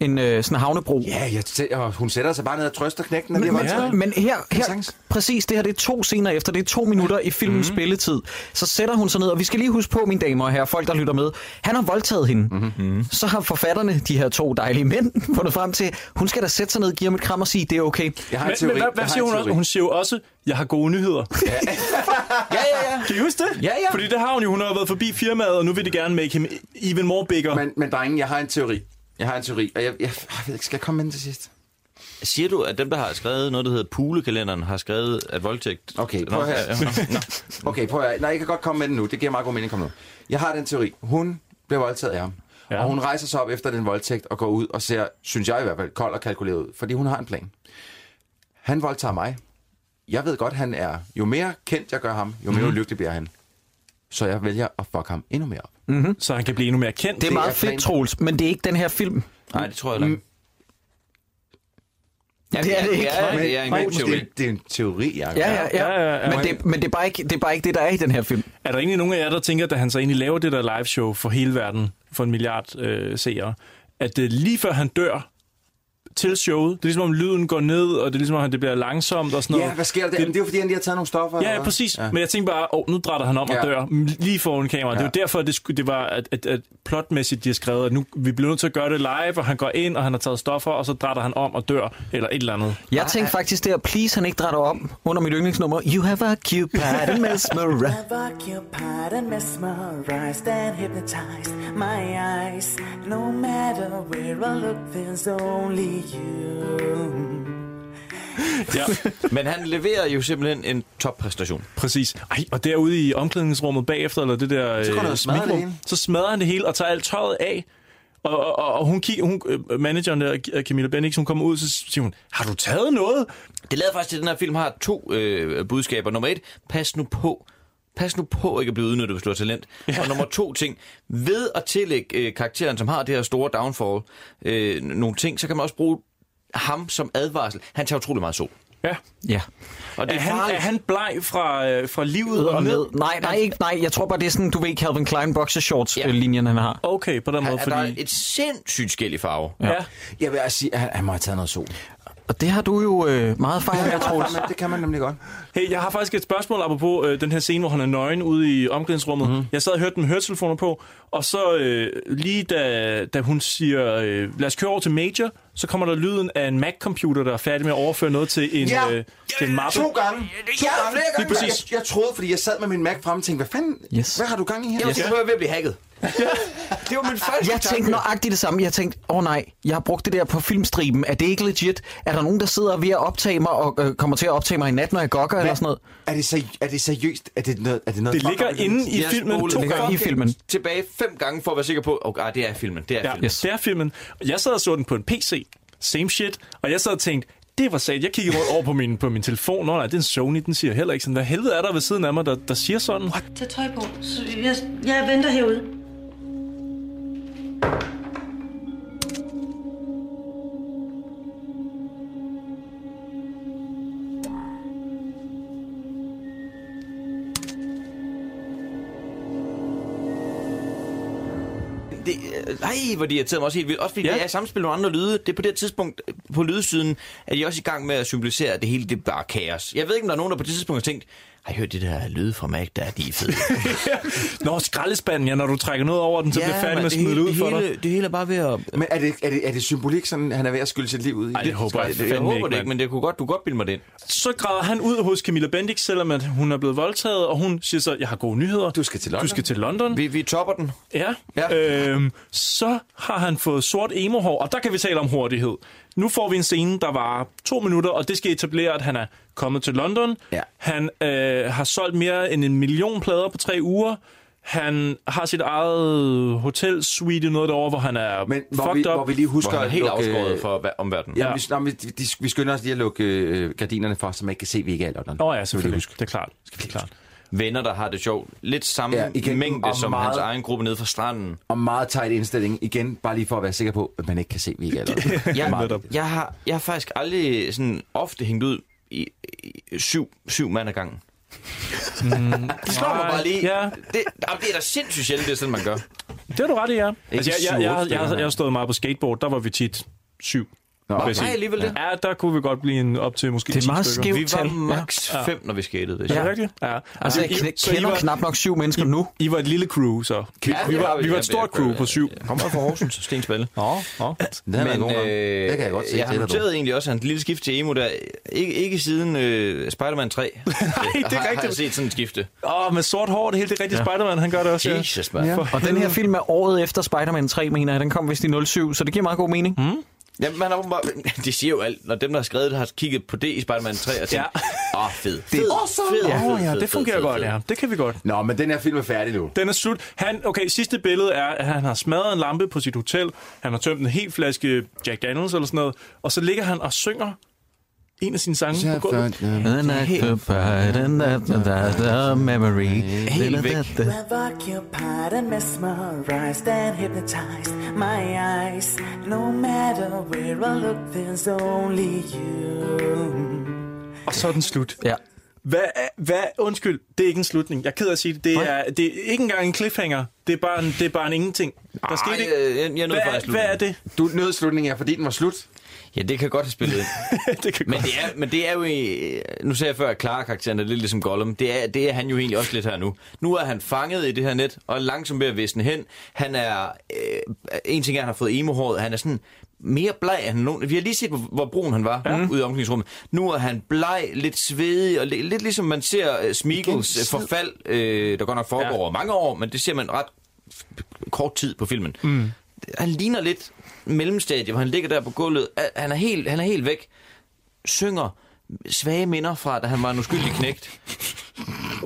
en øh, sådan havnebro.
Ja, jeg tæ- og hun sætter sig bare ned og trøster knægten, og
Men,
det
men,
var
men her, her, præcis, det her det er to scener efter, det er to minutter i filmens mm-hmm. spilletid. Så sætter hun sig ned, og vi skal lige huske på, mine damer og herrer, folk der lytter med, han har voldtaget hende.
Mhm.
Mm-hmm. Så har forfatterne, de her to dejlige mænd, fundet frem til, hun skal da sætte sig ned, give ham et kram og sige, det er okay.
Jeg
Men, men hvad, hvad siger hun også? Hun siger jo også, jeg har gode nyheder. Ja,
ja, ja,
Kan I huske det?
Ja, ja.
Fordi det har hun jo. Hun har været forbi firmaet, og nu vil de gerne make him even more bigger.
Men, men drenge, jeg har en teori. Jeg har en teori, og jeg, jeg, jeg ved ikke, skal jeg komme med den til sidst?
Siger du, at dem, der har skrevet noget, der hedder Pulekalenderen, har skrevet, at voldtægt...
Okay, prøv at høre. Okay, prøv at høre. Nej, jeg kan godt komme med den nu. Det giver meget god mening at komme nu. Jeg har den teori. Hun blev voldtaget af ham. Ja. Og hun rejser sig op efter den voldtægt og går ud og ser, synes jeg i hvert fald, kold og kalkuleret ud. Fordi hun har en plan. Han voldtager mig. Jeg ved godt, han er... Jo mere kendt jeg gør ham, jo mere
Mhm.
mm. lykkelig bliver han. Så jeg vælger at fuck ham endnu mere op.
Mm-hmm. Så han kan blive endnu mere kendt.
Det er meget fedt, Troels, men det er ikke den her film.
Nej, det tror jeg ikke.
Ja, det er det ikke.
Ja, det er en god
Men-
teori.
Det, det er en teori, jeg
Ja, ja, ja.
Ja, ja, ja.
Men, det, men det, er bare ikke, det er bare ikke det, der er i den her film.
Er der egentlig nogen af jer, der tænker, da han så egentlig laver det der live show for hele verden, for en milliard øh, seere, at øh, lige før han dør til showet, det er ligesom om lyden går ned, og det er ligesom om, at det bliver langsomt og sådan noget.
Ja, hvad sker der? Det, det er jo fordi, han lige har taget nogle stoffer.
Ja,
eller
ja,
hvad?
præcis. Ja. Men jeg tænkte bare, åh, nu drætter han om ja.
Ja.
og dør mm, lige foran kameraet. Ja. Det er jo derfor, det, skulle, det var, at, at, at plotmæssigt, de har skrevet, at nu, vi bliver nødt til at gøre det live, og han går ind, og han har taget stoffer, og så drætter han om og dør, eller et eller andet.
Jeg tænkte faktisk der, please han ikke drætter om under mit yndlingsnummer. You have occupied mesmera.
I've occupied and mesmerized and hypnotized my eyes. No matter where I look, there's only you.
Ja. Men han leverer jo simpelthen en toppræstation.
Præcis. Ej, og derude i omklædningsrummet bagefter, eller det der
Så går han
øh,
og smadrer det
smikrum,
hele.
så smadrer han det hele og tager alt tøjet af. Og, og, og, og hun kigger, hun, øh, manageren der, øh, Camilla Bennix, hun kommer ud, så siger hun, har du taget noget?
Det lader faktisk til, at den her film har to øh, budskaber. Nummer et, pas nu på. Pas nu på ikke at blive udnyttet, hvis du har talent. Ja. Og nummer to ting, ved at tillægge øh, karakteren, som har det her store downfall, øh, nogle ting, så kan man også bruge ham som advarsel. Han tager utrolig meget sol.
Ja.
Ja.
Og det
Er
er,
han,
farligt.
er han bleg fra, øh, fra livet og,
og
ned?
ned. Nej, nej, ikke, nej, jeg tror bare, det er sådan, du ved, Calvin Klein boxershorts-linjen, han har.
Okay, på den
Han-
måde,
er der
fordi...
er et sindssygt skæld i farve.
Ja.
Jeg vil også sige, at han, han må have taget noget sol.
Og det har du jo øh, meget erfaring med, Troels.
Men det kan man nemlig godt.
Hey, jeg har faktisk et spørgsmål apropos øh, den her scene, hvor han er nøgen ude i omklædningsrummet. Mm. Jeg sad og hørte dem høretelefoner på, og så øh, lige da, da hun siger, øh, lad os køre over til Major, så kommer der lyden af en Mac-computer, der er færdig med at overføre noget til en,
Ja.
øh, til en mappe.
To
Ja,
gange. To gange.
flere gange.
Lige præcis. Jeg, jeg troede, fordi jeg sad med min Mac frem og tænkte, hvad fanden,
Yes.
hvad har du gang i her?
Jeg yes.
Ja.
tror, jeg er ved at blive hacket. Det var min første
Jeg tænkte
tanke.
nøjagtigt det samme. Jeg tænkte, åh oh, nej, jeg har brugt det der på filmstriben. Er det ikke legit? Er der nogen, der sidder ved at optage mig og øh, kommer til at optage mig i nat, når jeg gokker eller sådan noget?
Er det, seri- er det seriøst? Er det noget, er det noget
Det ligger inde i
Jeg
filmen
spolede
to
det
gange.
fucking
I filmen.
Tilbage fem gange for at være sikker på, at okay, ah, det er filmen. Det er
Ja,
filmen.
yes. det er filmen. Jeg sad og så den på en PC. Same shit. Og jeg sad og tænkte, det var sat. Jeg kiggede rundt over på min, på min telefon. Nå nej, det er en Sony, den siger heller ikke sådan. Hvad helvede er der ved siden af mig, der, der siger sådan? What?
Tag tøj på. Så jeg, jeg venter herude.
Det, øh, ej, hvor de irriterede mig også helt vildt. Også fordi ja. det er i samspil med andre lyde. Det er på det her tidspunkt, øh, på lydsiden, er de også i gang med at symbolisere, at det hele det er bare kaos. Jeg ved ikke, om der er nogen, der på det tidspunkt har tænkt, har I hørt det der lyde fra Mac, der er de er fede.
Nå, skraldespanden, ja, når du trækker noget over den, så
Ja,
ja, bliver
men
færdig med at
det
smide det
hele-
ud
det
for dig.
hele- Det hele er bare ved at...
Men er det, er det, er det symbolik, sådan, han er ved at skylle sit liv ud i?
Ej, det håber jeg
jeg, jeg
fandme
håber
ikke,
det ikke,
mand.
men det kunne godt, du kunne godt bilde mig det ind.
Så græder han ud hos Camilla Bendix, selvom at hun er blevet voldtaget, og hun siger så, jeg har gode nyheder. Du
skal til
London. Du skal til London.
Vi, vi topper den.
Ja. ja. Øhm, så har han fået sort emo-hår, og der kan vi tale om hurtighed. Nu får vi en scene, der var to minutter, og det skal etablere, at han er kommet til London. Ja. Han øh, har solgt mere end en million plader på tre uger. Han har sit eget hotel suite noget derovre, hvor han er Men,
hvor
fucked
vi-
up.
hvor vi lige husker
Hvor han er helt
lukke-
afskåret for hva- omverdenen.
Ja, ja. Vi, nå, men de, de, vi skynder os lige at lukke øh, gardinerne for, så man ikke kan se, at vi ikke er i London.
Nå ja, selvfølgelig. Det er klart. Skal vi klart.
Venner, der har det sjovt. Lidt samme
Ja,
ja,
igen,
mængde
og
som
meget-
hans egen gruppe nede fra stranden.
Og meget tight indstilling. Igen, bare lige for at være sikker på, at man ikke kan se, at vi ikke er i London.
Jeg, jeg, har, jeg har faktisk aldrig sådan ofte hængt ud i, i syv, syv mand ad gangen.
Mm,
Det slår mig
nej,
bare lige.
Ja.
Det, jamen, det er da sindssygt sjældent, det er sådan, man gør.
Det har du ret i, ja. Altså,
syv,
jeg, jeg, jeg,
otte
jeg, jeg,
stykker.
jeg har stået meget på skateboard, der var vi tit syv.
Nå,
vil jeg sige.
nej, alligevel det.
Ja, der kunne vi godt blive en op til måske
Det er
10
meget
stykker.
skævt tal.
Vi var maks
Ja.
fem,
når vi skatede det.
Ja,
Ja.
er det rigtigt? Ja.
Altså, jeg kn-
så
kender knap nok syv mennesker
I,
nu.
I var et lille crew, så. Vi,
Ja,
vi,
det
var,
har vi.
vi var
Ja,
et stort
vi-
crew på syv.
Kom her fra Horsens, Stensballe.
Nå, nå.
Den er god nok. Det kan jeg godt se,
jeg har
det er der
noteret egentlig også hans lille skift til emo der. Ikke, ikke siden øh, Spider-Man 3. Nej, det
rigtigt.
Har jeg set sådan et skifte.
Åh, med sort hår, det hele det rigtige
Ja.
ja. Spider-Man, han gør det også.
Jesus,
ja.
mand.
Ja. Og den her film er året efter Spider-Man 3, mener jeg. Den kom vist i 07, så det giver meget god mening.
Mm.
Jamen, man har åbenbart... Det siger jo alt. Når dem, der har skrevet det, har kigget på det i Spider-Man 3 og tænkt, åh, ja. oh, fed.
Det er
Åh, ja, det fungerer godt, ja. Det kan vi godt.
Nå, men den her film er færdig nu.
Den er slut. Han, okay, sidste billede er, at han har smadret en lampe på sit hotel. Han har tømt en hel flaske Jack Daniels eller sådan noget. Og så ligger han og synger en af sine sange på gulvet.
The night goodbye, the night- the- the memory.
Helt væk.
Da- da- da-
I've occupied and mesmerized and hypnotized my eyes. No matter where I look, there's only you.
Og så er den slut.
Ja.
Hvad, er- hvad, undskyld, det er ikke en slutning. Jeg er ked af at sige det. Det er, det er ikke engang en cliffhanger. Det er bare en, det er bare en ingenting. Der skete ikke.
øh, jeg, jeg nåede
hvad,
faktisk
hvad er det?
Du nød slutningen er, fordi den var slut.
Ja, det kan godt have spillet ind.
det kan
men, det er, men det er jo... i- Nu sagde jeg før, at Clara-karakteren er lidt ligesom Gollum. Det er, det er han jo egentlig også lidt her nu. Nu er han fanget i det her net, og er langsomt ved at visne hen. Han er... Øh, en ting er, at han har fået emo Han er sådan mere bleg end nogen. Vi har lige set, hvor, hvor brun han var ja. ude i omklædningsrummet. Nu er han bleg, lidt svedig, og li- lidt ligesom man ser øh, Smeagol's øh, forfald, øh, der godt nok foregår ja. over mange år, men det ser man ret f- kort tid på filmen
Mm.
han ligner lidt mellemstadie, hvor han ligger der på gulvet. Al- Han er helt, han er helt væk. Synger svage minder fra, da han var en uskyldig knægt.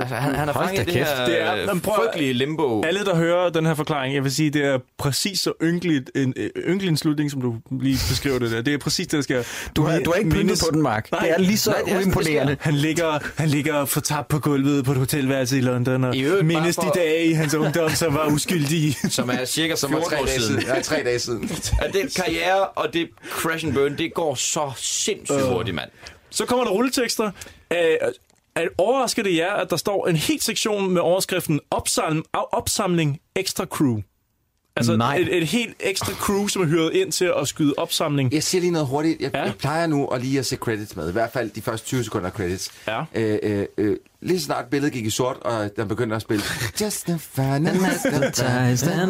Altså, han, han er
Hold
fanget i
da
det
kæft.
her
Det er-
øh,
Jamen, prøv at-
frygtelige limbo.
Alle, der hører den her forklaring, jeg vil sige, det er præcis så ynkeligt en, øh, ynkelig en slutning, som du lige beskrev det der. Det er præcis det, der sker.
Du har- du har ikke pyntet på den, Mark. Det er lige så
det er sådan, det
uimponerende.
sker. Han ligger, han ligger fortabt på gulvet på et hotelværelse i London, og
øvrigt bare
mindes
for-
de dage i hans ungdom, som var uskyldige.
Som er cirka
Som var
14
tre
år
dage
siden.
siden. Nej, tre dage siden.
At det karriere og det crash and burn, det går så sindssygt
Øh.
hurtigt, mand.
Så kommer der rulletekster. Øh, øh, overrasker det jer, at der står en helt sektion med overskriften opsamling, opsamling ekstra crew? Altså
Nej.
Et, et helt ekstra crew, som er hyret ind til at skyde opsamling.
Jeg siger lige noget hurtigt. Jeg, ja. jeg plejer nu at lige at se credits med. I hvert fald de første 20 sekunder af credits.
Ja.
Øh, øh, øh, lige så snart billedet gik i sort, og den begyndte at spille. Just a fan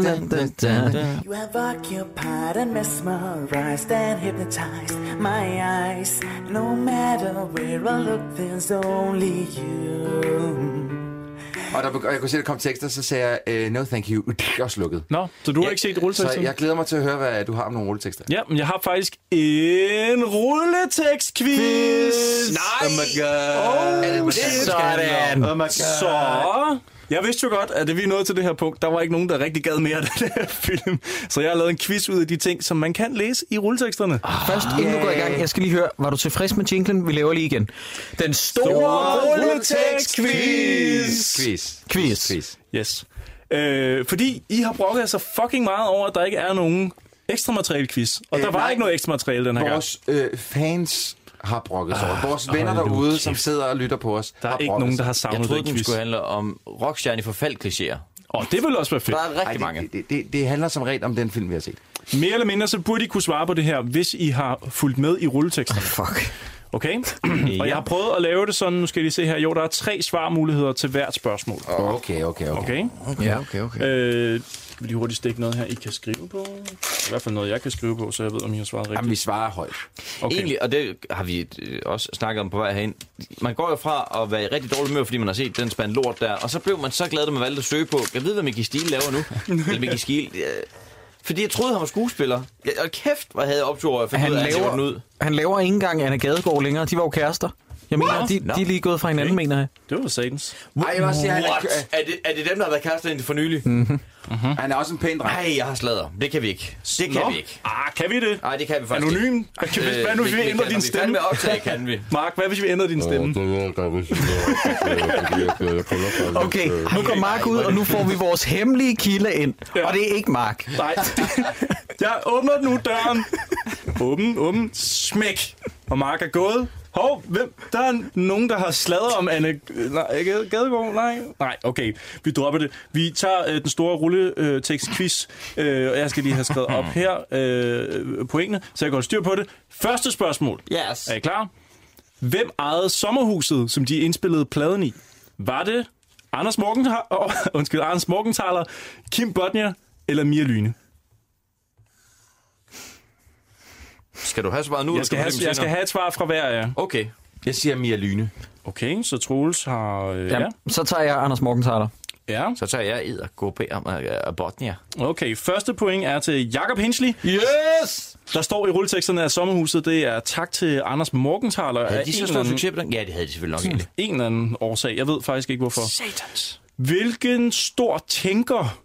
You have occupied and mesmerized and hypnotized my eyes. No matter where I look, there's only you.
Og der, be- og jeg kunne se, der kom tekster, så sagde jeg, øh, no thank you, og slukket.
Nå, så du har ikke set rulleteksten?
Så jeg glæder mig til at høre, hvad du har om nogle rulletekster.
Ja, men jeg har faktisk en rulletekstquiz.
Nej!
Oh my god.
Er det
Oh,
den,
shit.
det handler om?
Sådan.
Oh my god.
Så... Jeg vidste jo godt, at vi er nået til det her punkt. Der var ikke nogen, der rigtig gad mere af den her film. Så jeg har lavet en quiz ud af de ting, som man kan læse i rulleteksterne.
Ah,
Først, inden du går i gang, jeg skal lige høre, var du tilfreds med jinglen? Vi laver lige igen. Den store
rulletekstquiz.
Quiz.
Quiz.
Quiz.
Yes. Øh, fordi I har brokket jer så fucking meget over, at der ikke er nogen ekstra materiale quiz. Og
Øh,
øh, der var
nej.
ikke noget ekstra materiale den her gang.
Vores øh, fans har brokket sig over. Vores
Ah,
venner
hold nu
derude,
kæft.
som sidder og lytter på os,
Der er ikke nogen, der har savnet
Jeg troede,
den
den
quiz.
skulle handle om rockstjerne i forfald klichéer.
Og det ville også være fedt.
Der er rigtig
mange. Det, det, det, det handler som regel om den film, vi har set.
Mere eller mindre, så burde I kunne svare på det her, hvis I har fulgt med i rulleteksterne.
Oh, fuck.
Okay? Og jeg har prøvet at lave det sådan, nu skal I lige se her. Jo, der er tre svarmuligheder til hvert spørgsmål.
Okay, okay, okay.
Okay?
Ja, okay, okay.
Øh, vil lige hurtigt stikke noget her, I kan skrive på? I hvert fald noget, jeg kan skrive på, så jeg ved, om I har svaret rigtigt.
Jamen, vi svarer højt.
Okay.
Okay. Egentlig, og det har vi øh, også snakket om på vej herind. Man går jo fra at være i rigtig dårlig humør, fordi man har set den spand lort der, og så blev man så glad, da man valgte at søge på, jeg ved, hvad Mickey Stil laver nu. Eller Mickey Stil. Øh, fordi jeg troede, han var skuespiller. Jeg, og kæft, hvor havde jeg optur over, at finde
Han
ud af, at han laver den
laver,
ud.
han laver ikke engang Anna Gadegaard længere. De var jo kærester. Jeg mener,
What?
de,
Nå.
de er lige gået fra hinanden, mener jeg.
Det var satans.
Ej, jeg vil også sige, han
What?
er,
Er det, er det dem, der har været kærester indtil for nylig?
Mm.
Mm-hmm.
han er også en pæn dreng.
Nej, jeg har sladder. Det kan vi ikke. Det kan
Nå.
vi ikke.
Ah, kan vi det?
Nej, det kan vi faktisk
Anonym?
ikke. Øh,
Hvad kan- hvad nu, hvis vi
kan-
ændrer
når
din
vi
stemme?
fandme optager, kan vi.
Mark, hvad hvis vi ændrer din stemme?
Okay, nu går Mark ud, og nu får vi vores hemmelige kilde ind. Og det er ikke Mark.
Nej. Jeg åbner nu døren. Åben, åben. Smæk. Og Mark er gået. Hov, hvem? Der er nogen, der har sladret om Anne øh, nej, Gade- Gadegaard. Nej, nej, okay. Vi dropper det. Vi tager øh, den store rulletekst-quiz. Øh, og jeg skal lige have skrevet op her øh, pointene, så jeg går styr på det. Første spørgsmål.
Yes.
Er I klar? Hvem ejede sommerhuset, som de indspillede pladen i? Var det Anders, Morgenthaler, oh, undskyld, Anders Morgenthaler, Kim Bodnia eller Mia Lyne?
Skal du have svaret nu?
jeg, skal have, jeg skal have et svar fra hver af jer.
Okay.
Jeg siger Mia Lyne.
Okay, så Troels har... Øh, ja.
Jamen, så tager jeg Anders Morgenthaler.
ja.
Så tager jeg ed og går bag om af Botnia.
Okay, første point er til Jakob Hensley.
Yes!
Der står i rulleteksterne af sommerhuset, det er tak til Anders Morgenthaler.
Havde
af
de
en
så
eller
stor
anden-
succes på den? Ja, det havde de selvfølgelig nok egentlig.
En eller anden årsag. Jeg ved faktisk ikke, hvorfor.
Satans.
Hvilken stor tænker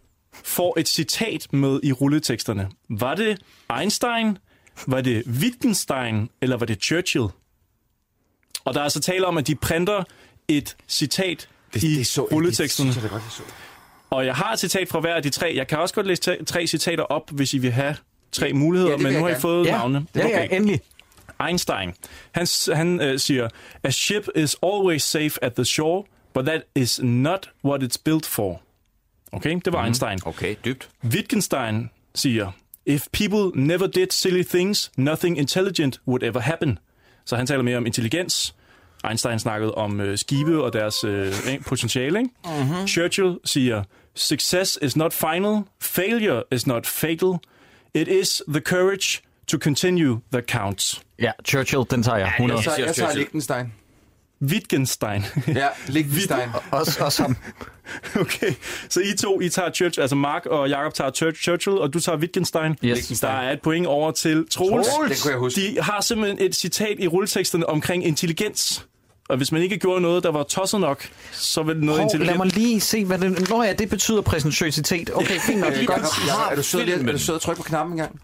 får et citat med i rulleteksterne? Var det Einstein? Var det Wittgenstein? Eller var det Churchill? Og der er altså tale om, at de printer et citat det, i det så, rulleteksterne. Det, det,
det, det,
Og jeg har et citat fra hver af de tre. Jeg kan også godt læse t- tre citater op, hvis I vil have tre muligheder,
Ja,
ja,
det vil
men nu
jeg
har I
gerne.
fået
Ja,
navne.
det vil jeg endelig.
Einstein. Han, s- han øh, siger, A ship is always safe at the shore, but that is not what it's built for. Okay, det var
Mhm.
mm. Einstein.
Okay, dybt.
Wittgenstein siger, If people never did silly things, nothing intelligent would ever happen. Så han taler mere om intelligens. Einstein snakkede om øh, skibe og deres øh, potentiale. Ikke? Mm-hmm. Churchill siger, Success is not final, failure is not fatal. It is the courage to continue that counts.
Ja, Churchill, den tager jeg. 100.
Jeg tager, jeg tager Lichtenstein.
Wittgenstein.
Ja, Lichtenstein.
Også, også ham.
Okay, så I to, I tager Church, altså Mark og Jakob tager Church, Churchill, og du tager Wittgenstein.
Yes.
Der er et point over til Troels.
Troels! Det kunne jeg huske.
De har simpelthen et citat i rulleteksterne omkring intelligens. Og hvis man ikke gjorde noget, der var tosset nok, så ville noget
Hov, lad
intelligent...
mig lige se, hvad det... Nå ja, det betyder præsentøsitet. Okay, fint nok.
Øh,
Godt.
Jakob, Jakob, er du sød, lige- er du sød at trykke på knappen engang?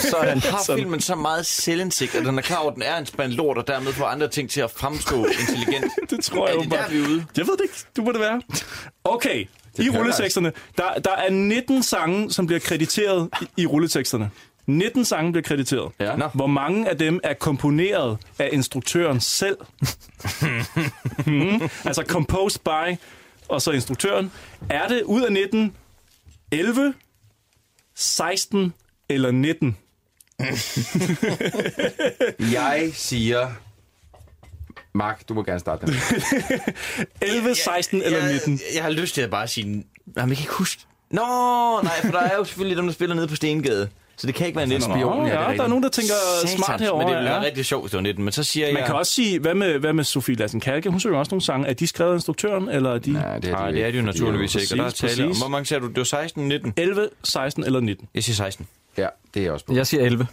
Sådan. Har filmen så meget selvindsigt, at den er klar over, at den er en spand lort, og dermed får andre ting til at fremstå intelligent?
Det tror jeg
er det der,
åbenbart.
vi er ude?
Jeg ved det ikke. Du må det være. Okay, i
kan
rulleteksterne. Der, der er 19 sange, som bliver krediteret i, i rulleteksterne. 19 sange bliver krediteret. Ja. Hvor mange af dem er komponeret af instruktøren selv? mm. Altså composed by, og så instruktøren. Er det ud af 19, 11, 16 eller 19?
Jeg siger... Mark, du må gerne starte den.
11, 16 eller 19?
Jeg, jeg har lyst til at bare sige... Nej, men jeg kan ikke huske... Nå, nej, for der er jo selvfølgelig dem, der spiller nede på Stengade. Så det kan ikke være 19.
Nå, ja, der er nogen, der tænker
Satans,
smart herovre.
Men det ville
ja.
være rigtig sjovt, hvis det var 19. Men så siger
Man
jeg...
kan også sige, hvad med, hvad med Sofie Lassen Kalke? Hun synger også nogle sange. Er de skrevet af instruktøren, eller er de... Nej,
Nej, det er det jo naturligvis ikke. Og der er tale om, hvor mange sagde du? Det var 16, 19?
11, 16 eller 19.
Jeg siger 16.
Ja, det er også
Jeg siger 11.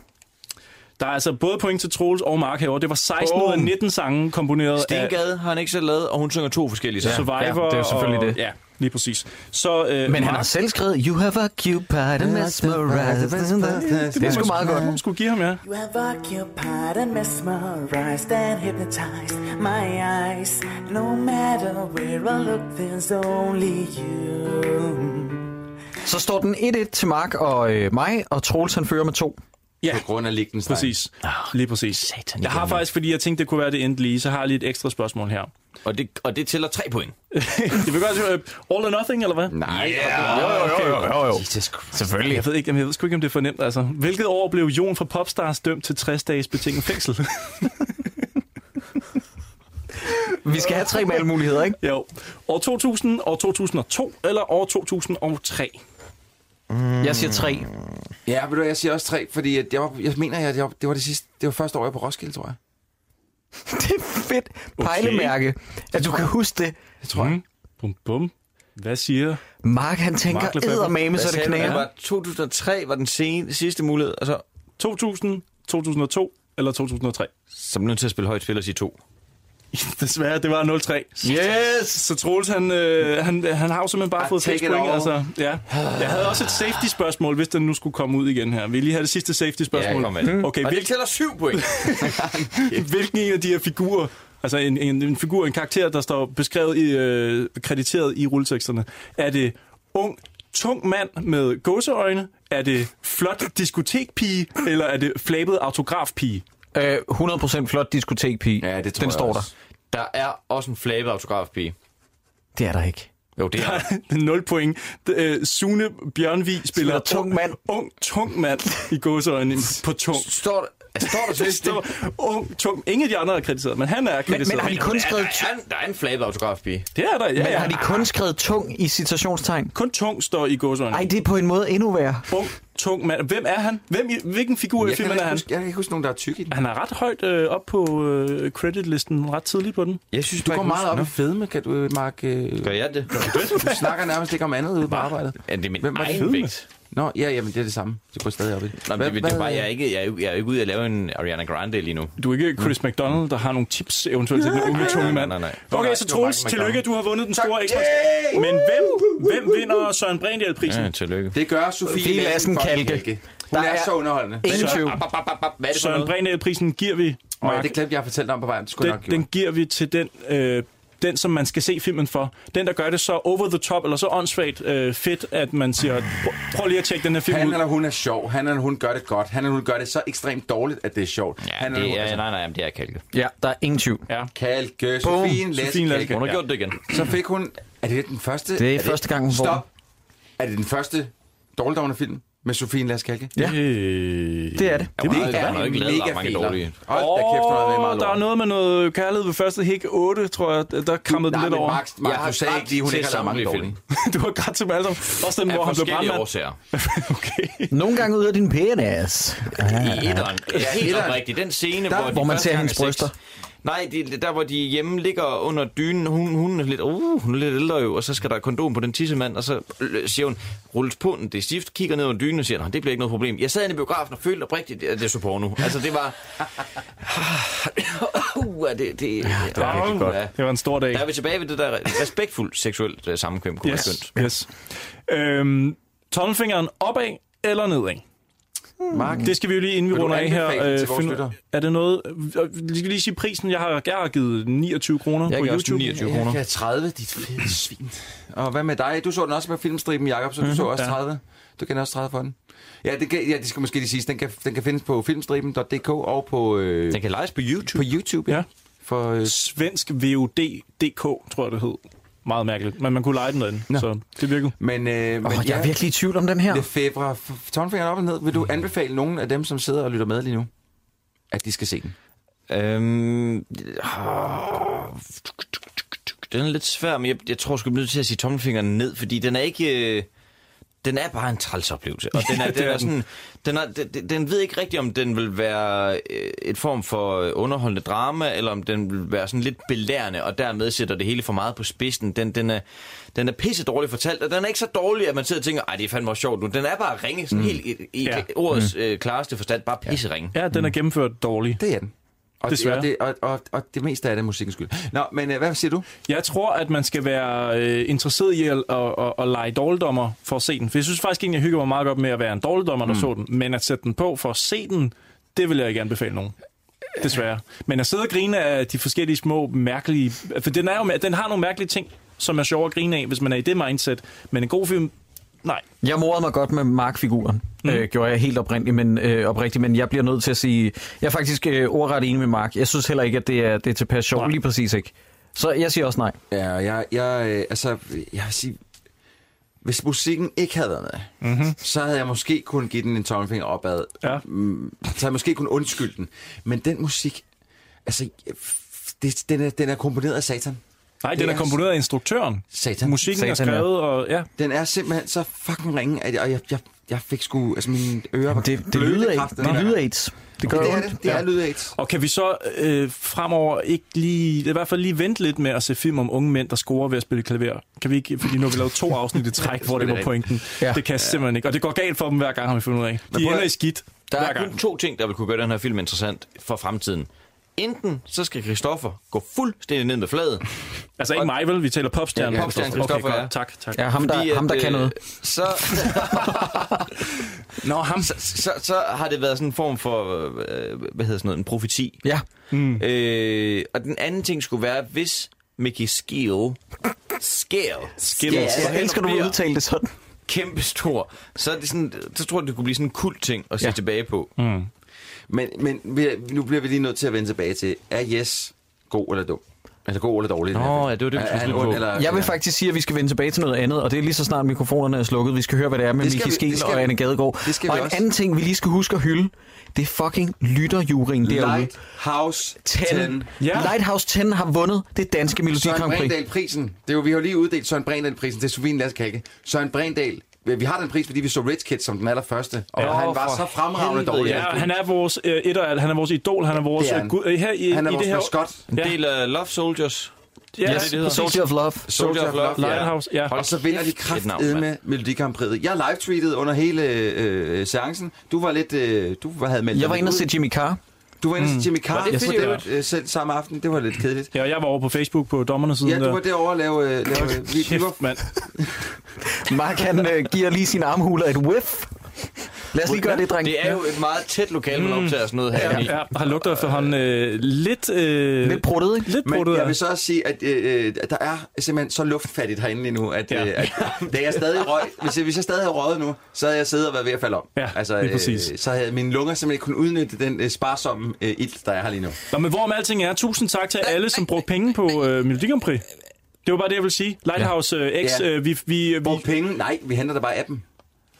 Der er altså både point til Troels og Mark herovre. Det var 16 ud af
Boom.
19 sange komponeret af
Stengade har han ikke selv lavet, og hun synger to forskellige sange.
Survivor. og, Ja, lige præcis. Så, øh,
Men han
Mark-
har selv skrevet, You have occupied and mesmerized. Det er sgu meget godt.
Man skulle give ham, ja.
You have occupied and mesmerized and hypnotized my eyes. No matter where I look, there's only you.
Så står den 1-1 til Mark og øh, mig, og Troels han fører med to.
Ja.
På grund af Lichtenstein.
Præcis. Lige præcis. Satan, jeg har faktisk, fordi jeg tænkte, det kunne være det endelige, så har jeg lige et ekstra spørgsmål her.
Og det, og det tæller tre point.
det vil godt øh, all or nothing, eller hvad?
Nej.
Yeah. Jo, jo, jo, jo, jo. Selvfølgelig. Jeg ved, ikke, jamen, jeg ved sgu ikke, om det er for nemt. Altså. Hvilket år blev Jon fra Popstars dømt til 60 dages betinget fængsel?
Vi skal have tre valgmuligheder, ikke?
Jo. År 2000, år 2002 eller år 2003?
Jeg siger 3.
Ja, ved du, hvad, jeg siger også tre, fordi at jeg, var, jeg mener, at jeg, det var det sidste, det var første år, jeg var på Roskilde, tror jeg.
det er fedt pejlemærke, at du kan huske det.
Det tror jeg.
Mm. Bum, bum. Hvad siger
Mark, han tænker
Mark Lefebvre.
eddermame, så det
Det
knager.
var 2003 var den sen, sidste mulighed, og så,
2000, 2002 eller 2003?
så er man nødt til at spille højt spil og sige to.
Desværre, det var 03. Yes! Så Troels, han, øh, han, han har jo simpelthen bare
Ah,
fået
take
seks
it
point.
all.
Altså, ja. Jeg havde også et safety-spørgsmål, hvis den nu skulle komme ud igen her. Vil I lige have det sidste
Ja,
safety-spørgsmål?
kom med det.
Okay,
Hmm. Og det
hvil,
tæller syv point.
hvilken en af de her figurer, altså en, en, en figur, en karakter, der står beskrevet i, øh, krediteret i rulleteksterne, er det ung, tung mand med gåseøjne? Er det flot diskotekpige? Eller er det flabet autografpige?
Øh, 100% flot diskotekpige.
Ja, det tror
Den
jeg
står der.
også.
Der er også en flabet autografpige.
Det er der ikke.
Jo, det er der.
0 point. D- øh, Sune Bjørnvi spiller
Spiller tung
ung-
mand.
Ung, tung mand i gåseøjne på tung.
Står der, altså, står der
Det
til det?
står ung, tung. Ingen af de andre er kritiseret, men han er kritiseret.
men har de kun-
Der
skrevet
er, en- der er en flabet autografpige.
Det er der, ja,
Men
ja.
har de kun skrevet tung i citationstegn?
Kun tung står i gåseøjne.
Ej, det er på en måde endnu værre.
Ung, tung mand. Hvem er han? Hvem, i- hvilken figur i
Jeg kan,
filmen er
ikke
han?
huske, jeg kan ikke huske nogen, der er tyk i den.
Han er ret højt øh, op på øh, creditlisten, ret tidligt på den.
Jeg synes,
Du går meget op i fedme, kan du, øh, Mark? øh,
Gør jeg det?
Du snakker nærmest ikke om andet ude på arbejdet.
Ja, det er min
Hvem var
egen
fedme?
vægt.
Nå, ja, jamen, det er det samme. Det går stadig op i det.
Nå, men det, det, er bare, jeg er ikke, jeg er, jo- jeg er jo ikke ude at lave en Ariana Grande lige nu.
Du er ikke Chris McDonald, der har nogle tips eventuelt til den unge tunge mand.
nej, nej, nej.
Okay, så
Det var
Troels,
Michael McDonald.
tillykke, du har vundet den store Xbox. Men hvem, hvem vinder Søren Brindel-prisen?
Ja, tillykke.
Det gør Sofie
Sofie Lassen
fucking
Kalke.
Hun
Der
er,
er
så underholdende.
Ingen tvivl.
Bap, bap, bap, bap. Hvad er det for
Søren
noget?
Brindel-prisen giver vi,
Åh, ja,
Mark.
det klip, jeg fortalte om på vejen, det skulle
den,
jeg nok
den
gjort.
giver vi til den, øh, den, som man skal se filmen for. Den, der gør det så over the top, eller så åndssvagt øh, fedt, at man siger, "Prøv- prøv lige at tjekke den her film
Han
ud.
eller hun er sjov. Han eller hun gør det godt. Han eller hun gør det så ekstremt dårligt, at det er sjovt.
Ja,
han eller hun
det
så-
er, altså- nej, nej, men det er kalket.
Ja, der er ingen tvivl.
Ja.
Kalke. Sofie
Sofie Lassen
Lassen Kalke.
Hun har
Ja.
gjort det igen.
Så fik hun... Er det den første...
Det er
det-
første gang, hun får
Stop. Er det den første dårligdommende film med Sofie Lassen Kalke?
Ja. Det er det.
Det
Det
er, hun har jo ikke lavet ret mange
fæler.
dårlige.
Hold da kæft, hun har lavet meget
Åh, der er
lort.
noget med noget kærlighed ved første hik 8, tror jeg. Der krammede den
Nej,
lidt
men
over.
Max, Max,
Jeg
du
har
sagde
ret
ikke lige, hun
til
ikke har lavet mange
samtlige
dårlige.
du har grædt til dem alle sammen. Også den, hvor
Af
han blev
forskellige
brandmand.
årsager.
okay.
Nogle gange ud af din pæne ass.
I etteren. Ja, helt
etteren.
oprigtigt. Den scene,
Der-
hvor, de
hvor man
første
ser
gang
hendes
er sex.
bryster.
Nej, de, der hvor de hjemme ligger under dynen, hun, hun, er lidt, uh, hun er lidt ældre jo, og så skal der kondom på den tissemand, og så øh, siger hun, rulles på den, det er stift, kigger ned under dynen og siger, nej, det bliver ikke noget problem. Jeg sad inde i biografen og følte oprigtigt, at det så porno. Altså, det var... uh, det, det, det,
Det var, rigtig godt. det var en stor dag.
Der er vi tilbage ved det der respektfuldt seksuelt uh, sammenkøm, kunne yes. være skønt.
Yes. yes. Øhm, tommelfingeren opad eller nedad?
Mark,
Det skal vi jo lige, inden vi
Vil du
runder af her.
anbefale den til vores
finde-
lyttere?
er det noget... øh, Vi skal lige sige prisen. Jeg har, jeg har givet 29 kroner
Jeg
på
gav også
YouTube.
29
jeg
kroner.
kan 30, dit fede svin. Og hvad med dig? Du så den også med filmstriben, Jacob,
Mhm,
så du så også 30. Du kender også 30 for den. Ja, det, kan, ja, det skal måske lige siges. Den kan, den kan findes på filmstriben.dk og på, øh,
Den kan lejes på YouTube.
på YouTube.
Ja.
For, øh,
Svensk VOD.dk, tror jeg, det hed. Meget mærkeligt. Men man kunne lege den derinde,
Nå.
så det virkede.
men, øh, men
Åh, jeg er virkelig Mm. i tvivl om den her.
Lefebvre, tommelfingeren op og ned. Vil du anbefale nogen af dem, som sidder og lytter med lige nu, at de skal se den?
Øhm, ah, den er lidt svær, men jeg, jeg tror, jeg skulle blive nødt til at sige tommelfingeren ned, fordi den er ikke... øh, den er bare en træls oplevelse. Og den,
Ja,
er,
det
den,
er
er sådan, den, er, den, den ved ikke rigtigt, om den vil være øh, et form for øh, underholdende drama, eller om den vil være sådan lidt belærende, og dermed sætter det hele for meget på spidsen. Den, den, er, den er pisse dårligt fortalt, og den er ikke så dårlig, at man sidder og tænker, ej, det er fandme også sjovt nu. Den er bare ringe, sådan
Mm.
mm. helt i, i
Ja.
ja. ordets øh, klareste forstand, bare pisse ringe.
Ja, den er gennemført dårligt.
Det er den. Og
Desværre.
Det, og, det, og, og, og det meste af det er musikkens skyld. Nå, men øh, hvad siger du?
Jeg tror, at man skal være øh, interesseret i at, at, at, at lege dårligdommer for at se den. For jeg synes faktisk egentlig, jeg hygger mig meget godt med at være en dårligdommer, der mm.
Mm.
så den. Men at sætte den på for at se den, det vil jeg ikke anbefale nogen. Desværre. Men at sidde og grine af de forskellige små mærkelige... For den, er jo, den har nogle mærkelige ting, som er sjove at grine af, hvis man er i det mindset. Men en god film, nej.
Jeg morede mig godt med Mark-figuren, mm. øh, gjorde jeg helt oprindeligt, men, øh, oprigtigt, men jeg bliver nødt til at sige, jeg er faktisk øh, ordret enig med Mark. Jeg synes heller ikke, at det er, det er tilpas sjovt, lige præcis ikke. Så jeg siger også nej.
Ja, jeg, jeg, øh, altså, jeg vil sige, hvis musikken ikke havde været med, mm-hmm. så havde jeg måske kun give den en tommelfinger opad.
Ja. Så
havde jeg måske kun undskyldt den. Men den musik, altså, f- det, den, er, den er komponeret af satan.
Nej, den er komponeret af instruktøren.
Satan.
Musikken er Satan, ja. skrevet, og ja.
Den er simpelthen så fucking ringe, at jeg, og jeg, jeg, jeg fik sgu, altså mine ører var
Det, det
bløde
lyder
af
ikke.
kraften.
Det lyder AIDS. Det gør
det
jo
er
ondt.
det. Det er
Ja.
lyd AIDS.
Og kan vi så øh, fremover ikke lige, i hvert fald lige vente lidt med at se film om unge mænd, der scorer ved at spille klaver? Kan vi ikke, fordi nu har vi lavet to afsnit i træk, hvor det var pointen. Ja. Det kan jeg simpelthen ikke. Og det går galt for dem hver gang, har vi fundet ud af. De
prøv at-
ender i skidt.
Der
hver
er
gang.
kun to ting, der vil kunne gøre den her film interessant for fremtiden. Enten så skal Christoffer gå fuldstændig ned med fladet.
Altså ikke mig, vel? Vi taler popstjernen.
Ja, popstjernen
Okay,
Christoffer,
godt.
ja.
Tak, tak.
Ja, ham der- ham, der kan noget.
Så... øh, Nå, ham. Så, så, så har det været sådan en form for, øh, hvad hedder sådan noget, en profeti.
Ja.
Mm. Øh, og den anden ting skulle være, hvis Mickey Skill... Skill.
Skill. Jeg elsker, du udtale det sådan.
Kæmpe stor. Så, er det sådan, så tror jeg, det kunne blive sådan en kult ting at se ja. tilbage på.
Mm.
Men, men vi- nu bliver vi lige nødt til at vende tilbage til, er Yes god eller dum? Altså god eller dårlig? i den her film?
det var det, vi
Er-
skulle
er han
slutte
ond
på.
eller-
Jeg vil faktisk sige, at vi skal vende tilbage til noget andet, og det er lige så snart mikrofonerne er slukket. Vi skal høre, hvad det er med
Det skal
Miki
vi-
Skel
det skal
og
vi.
Anne Gadegaard.
Det skal
og
vi
en
også.
anden ting, vi lige skal huske at hylde, det er fucking lytterjuryen derude.
Lighthouse 10.
10. Ja. Lighthouse 10 har vundet det danske Melodi
Søren
Grand Prix.
Brindahl-prisen. Det er jo, vi har jo lige uddelt Søren Brindahl-prisen til Sofie Laskalke. Søren Brindahl, vi har den pris, fordi vi så Rich Kids som den allerførste, og
Ja.
ja, han
Åh,
var
for
så fremragende
helvede,
dårlig.
Ja, han er vores øh, etter, han er vores idol, han er vores
Det er han.
gud. øh, Her i,
Han er
i
vores
det her,
maskot.
En del af Love Soldiers.
Ja,
Er det, det hedder?
Soldier of Love.
Soldier of Love.
Lighthouse, ja.
Og så vinder de
kæft, et navn,
kraftedet med Melodikampriet. Jeg live-tweetede under hele øh, seancen. Du var lidt... Øh, du var- havde meldt
Jeg var inde og se Jimmy Carr.
Du var inde og se Jimmy Carr.
Var det
Jeg så
fedt,
det øh, selv samme aften. Det var lidt kedeligt.
Ja, og jeg var over på Facebook på dommernes side.
Ja, du var derovre og lave... øh, lave øh, vi, vi var
mand.
Mark, han øh, giver lige sin armhuler et whiff. Lad os lige gøre det, dreng.
Det er jo et meget tæt lokale, man optager sådan noget her.
Ja, ja, har lugter efterhånden øh, lidt... Øh,
Lidt pruttet, ikke?
Lidt
Men
pruttet,
jeg
ja.
vil så også sige, at øh, øh, der er simpelthen så luftfattigt herinde lige nu, at, ja. øh, at da jeg stadig røg, hvis, jeg, hvis jeg stadig havde røget nu, så havde jeg siddet og været ved at falde om. Altså, øh,
Ja, lige præcis.
så havde mine lunger simpelthen ikke kunnet udnytte den øh, sparsomme øh, ilt, der er her lige nu.
Nå, men hvorom alting er, tusind tak til alle, som brugte penge på øh, Melodi Grand Prix. Det var bare det, jeg ville sige. Lighthouse øh, X,
Ja.
øh, vi, vi, vi...
Hvor penge? Nej, vi henter der bare appen.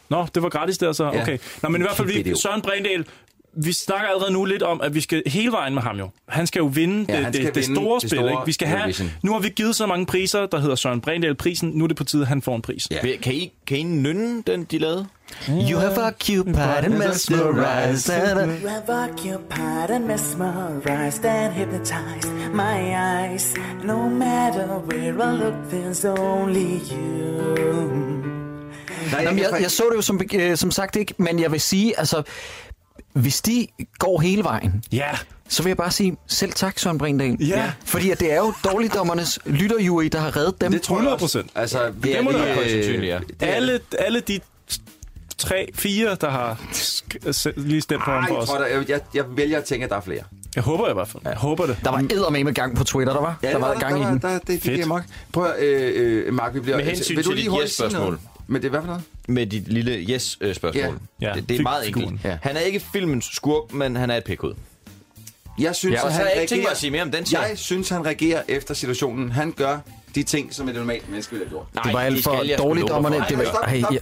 Nå, det var gratis der så.
Ja.
Okay. Nå, men i hvert fald, vi,
Video.
Søren Brindahl, vi snakker allerede nu lidt om, at vi skal hele vejen med ham jo. Han skal jo vinde,
Ja,
ja, det,
han
det, det,
skal vinde
store
det
spil,
store
ikke? Vi skal have,
Eurovision.
nu har vi givet så mange priser, der hedder Søren Brindahl-prisen. Nu er det på tide, at han får en pris.
Ja. Kan I, kan I nynne den, de lavede?
You have occupied and mesmerized.
You have occupied and mesmerized and hypnotized my eyes. No matter where I look, there's only you.
Nej,
Nå, men jeg, jeg så det jo som, øh, som sagt ikke, men jeg vil sige, altså, hvis de går hele vejen,
ja.
så vil jeg bare sige, selv tak, Søren Brindahl.
Ja.
Fordi at det er jo dårligdommernes lytterjury, der har reddet dem.
Det tror jeg
100
også.
procent.
Altså, vi
Det må det
lige,
være højst
sandsynligt, ja.
det er-
Alle, alle de tre, fire, der har sk- se- lige stemt på ham
Ej,
for
jeg,
os.
tror, der, jeg, jeg, jeg vælger at tænke, at der er flere.
Jeg håber i hvert fald. Jeg håber det.
Der var eddermame gang på Twitter, der var.
Ja,
der var, gang
der,
i den.
Der, der, det, det
Fedt.
giver mig. Prøv at, øh, øh, Mark, vi bliver...
Med hensyn
vil du
til
lige
dit
hurtigt sige
yes-spørgsmål.
noget? Men det er hvad for noget?
Med dit lille yes-spørgsmål.
Ja. Ja,
Det, det er meget
figuren.
enkelt. Han er ikke filmens skurk, men han er et pikud.
Jeg synes,
Ja,
ja,
og så
at han
har jeg
reagerer,
ikke tænkt mig at sige mere om den serie.
Jeg synes, han reagerer efter situationen. Han gør de ting, som et normalt menneske ville have gjort.
Det var alt for dårligdommerne. Det var, ej,
stop.
ja.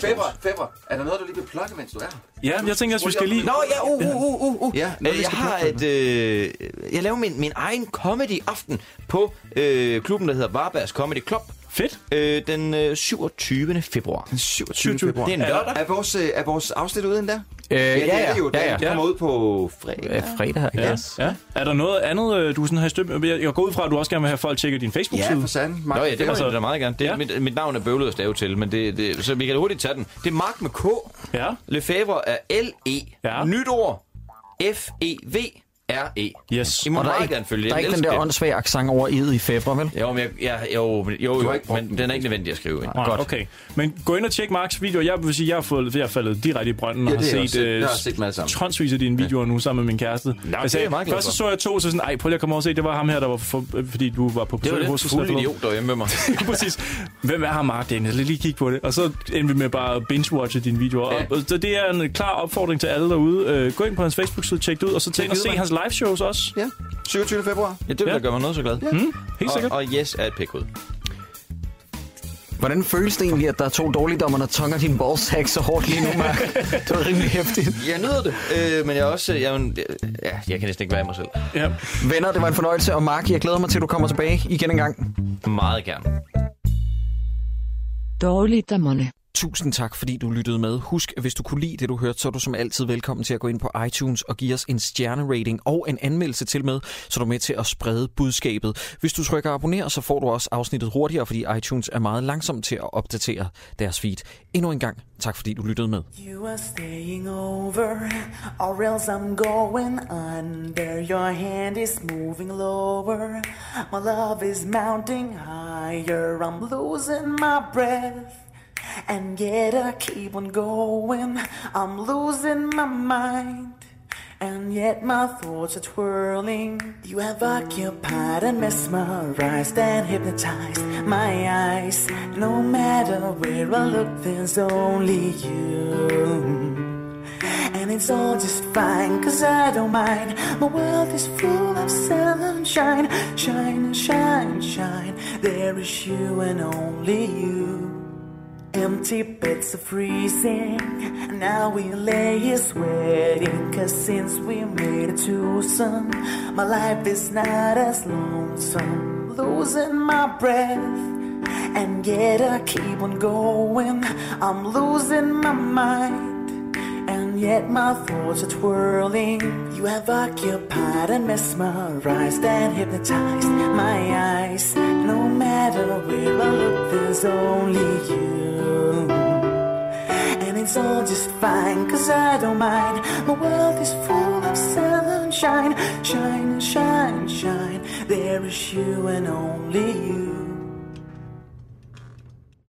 Feber, Feber, er der noget, du lige vil plukke, mens du er her?
Ja, jeg tænker også, vi skal lige...
Nå, ja, uh, uh, uh, uh, uh.
Ja, noget,
Øh,
vi
jeg
skal
har
plukke.
et, øh, jeg laver min, min egen comedy-aften på øh, klubben, der hedder Varbergs Comedy Club.
Fedt.
Øh, den øh, 27. februar. Den
27. februar.
Det er en lørdag.
Er vores, øh, er vores afsnit ude den der?
Øh,
det
ja,
er det jo.
ja,
Den
ja.
kommer ud på fredag.
Ja, fredag,
Ja. ja. Er der noget andet, øh, du sådan har i støb? Jeg jeg går ud fra, at du også gerne vil have folk tjekket din Facebook-side.
Nå ja, det var jeg da meget gerne. Det, ja. mit, mit, navn er bøvlet at stave til, men det, det, så vi kan hurtigt tage den. Det er Mark med K.
Ja.
Lefebvre er L-E. Ja. Nyt ord. E F-E-V. R-E.
Yes.
E. I må
Og der er
meget
ikke,
gerne følge
der er
Jeg
ikke den
elsker
der
det.
åndssvage accent over i'et i fæbre, vel?
Jo, men jeg, ja, jo, men- jo, jo men den er ikke nødvendig at skrive. Ind.
Nej, Godt. Okay. Men gå ind og tjek Marks videoer. Jeg vil sige, jeg har, fået, jeg har faldet direkte i brønden og
Ja,
har
det har jeg
set,
også set.
øh,
Jeg har set dem alle sammen.
tonsvis af dine videoer nu sammen med min kæreste.
er
jeg sagde,
jeg meget glad
først så
for.
så jeg to, så sådan, ej, prøv lige at komme over og se, det var ham her, der var for, øh, fordi du var på
Det var
besøg
lidt
os.
fuld idiot derhjemme med mig.
Præcis. Hvem er ham, Mark Daniel? Lad lige kigge på det. Og så endte vi med bare at binge-watche dine videoer. Ja. Og, så det er en klar opfordring til alle derude. Øh, gå ind på hans Facebook-side, tjek det ud, og så tag ind og se
gider mig.
hans live-shows også.
Ja, 27. februar.
Ja, det vil ja. da gøre mig noget så glad. Ja.
Mm, helt sikkert.
Og, og yes er et pækkud.
Hvordan føles det egentlig, at der er to dårligdommer, der tonger din ballsack så hårdt lige nu, Mark? Det var rimelig hæftigt.
Jeg nyder det, øh, men jeg er også... Jeg, jeg, ja, jeg kan næsten ikke være i mig selv.
Ja.
Venner, det var en fornøjelse, og Mark, jeg glæder mig til, at du kommer tilbage igen en gang.
Meget gerne.
Dårligdommerne. Tusind tak, fordi du lyttede med. Husk, at hvis du kunne lide det, du hørte, så er du som altid velkommen til at gå ind på iTunes og give os en stjernerating og en anmeldelse til med, så du er med til at sprede budskabet. Hvis du trykker abonner, så får du også afsnittet hurtigere, fordi iTunes er meget langsom til at opdatere deres feed. Endnu en gang, tak fordi du lyttede med.
You are staying over, or else I'm going under. Your hand is moving lower, my love is mounting higher. I'm losing my breath, and yet I keep on going. I'm losing my mind. And yet my thoughts are twirling. You have occupied and mesmerized and hypnotized my eyes. No matter where I look, there's only you. And it's all just fine, cause I don't mind. My world is full of sunshine. Shine, shine, shine. There is you and only you. Empty beds are freezing. Now we lay here sweating. Cause since we made a twosome, my life is not as lonesome. Losing my breath. And yet I keep on going. I'm losing my mind. And yet my thoughts are twirling. You have occupied and mesmerized and hypnotized my eyes. No matter where I look, there's only you. And it's all just fine, cause I don't mind. My world is full of sunshine. Shine, shine, shine. There is you and only you.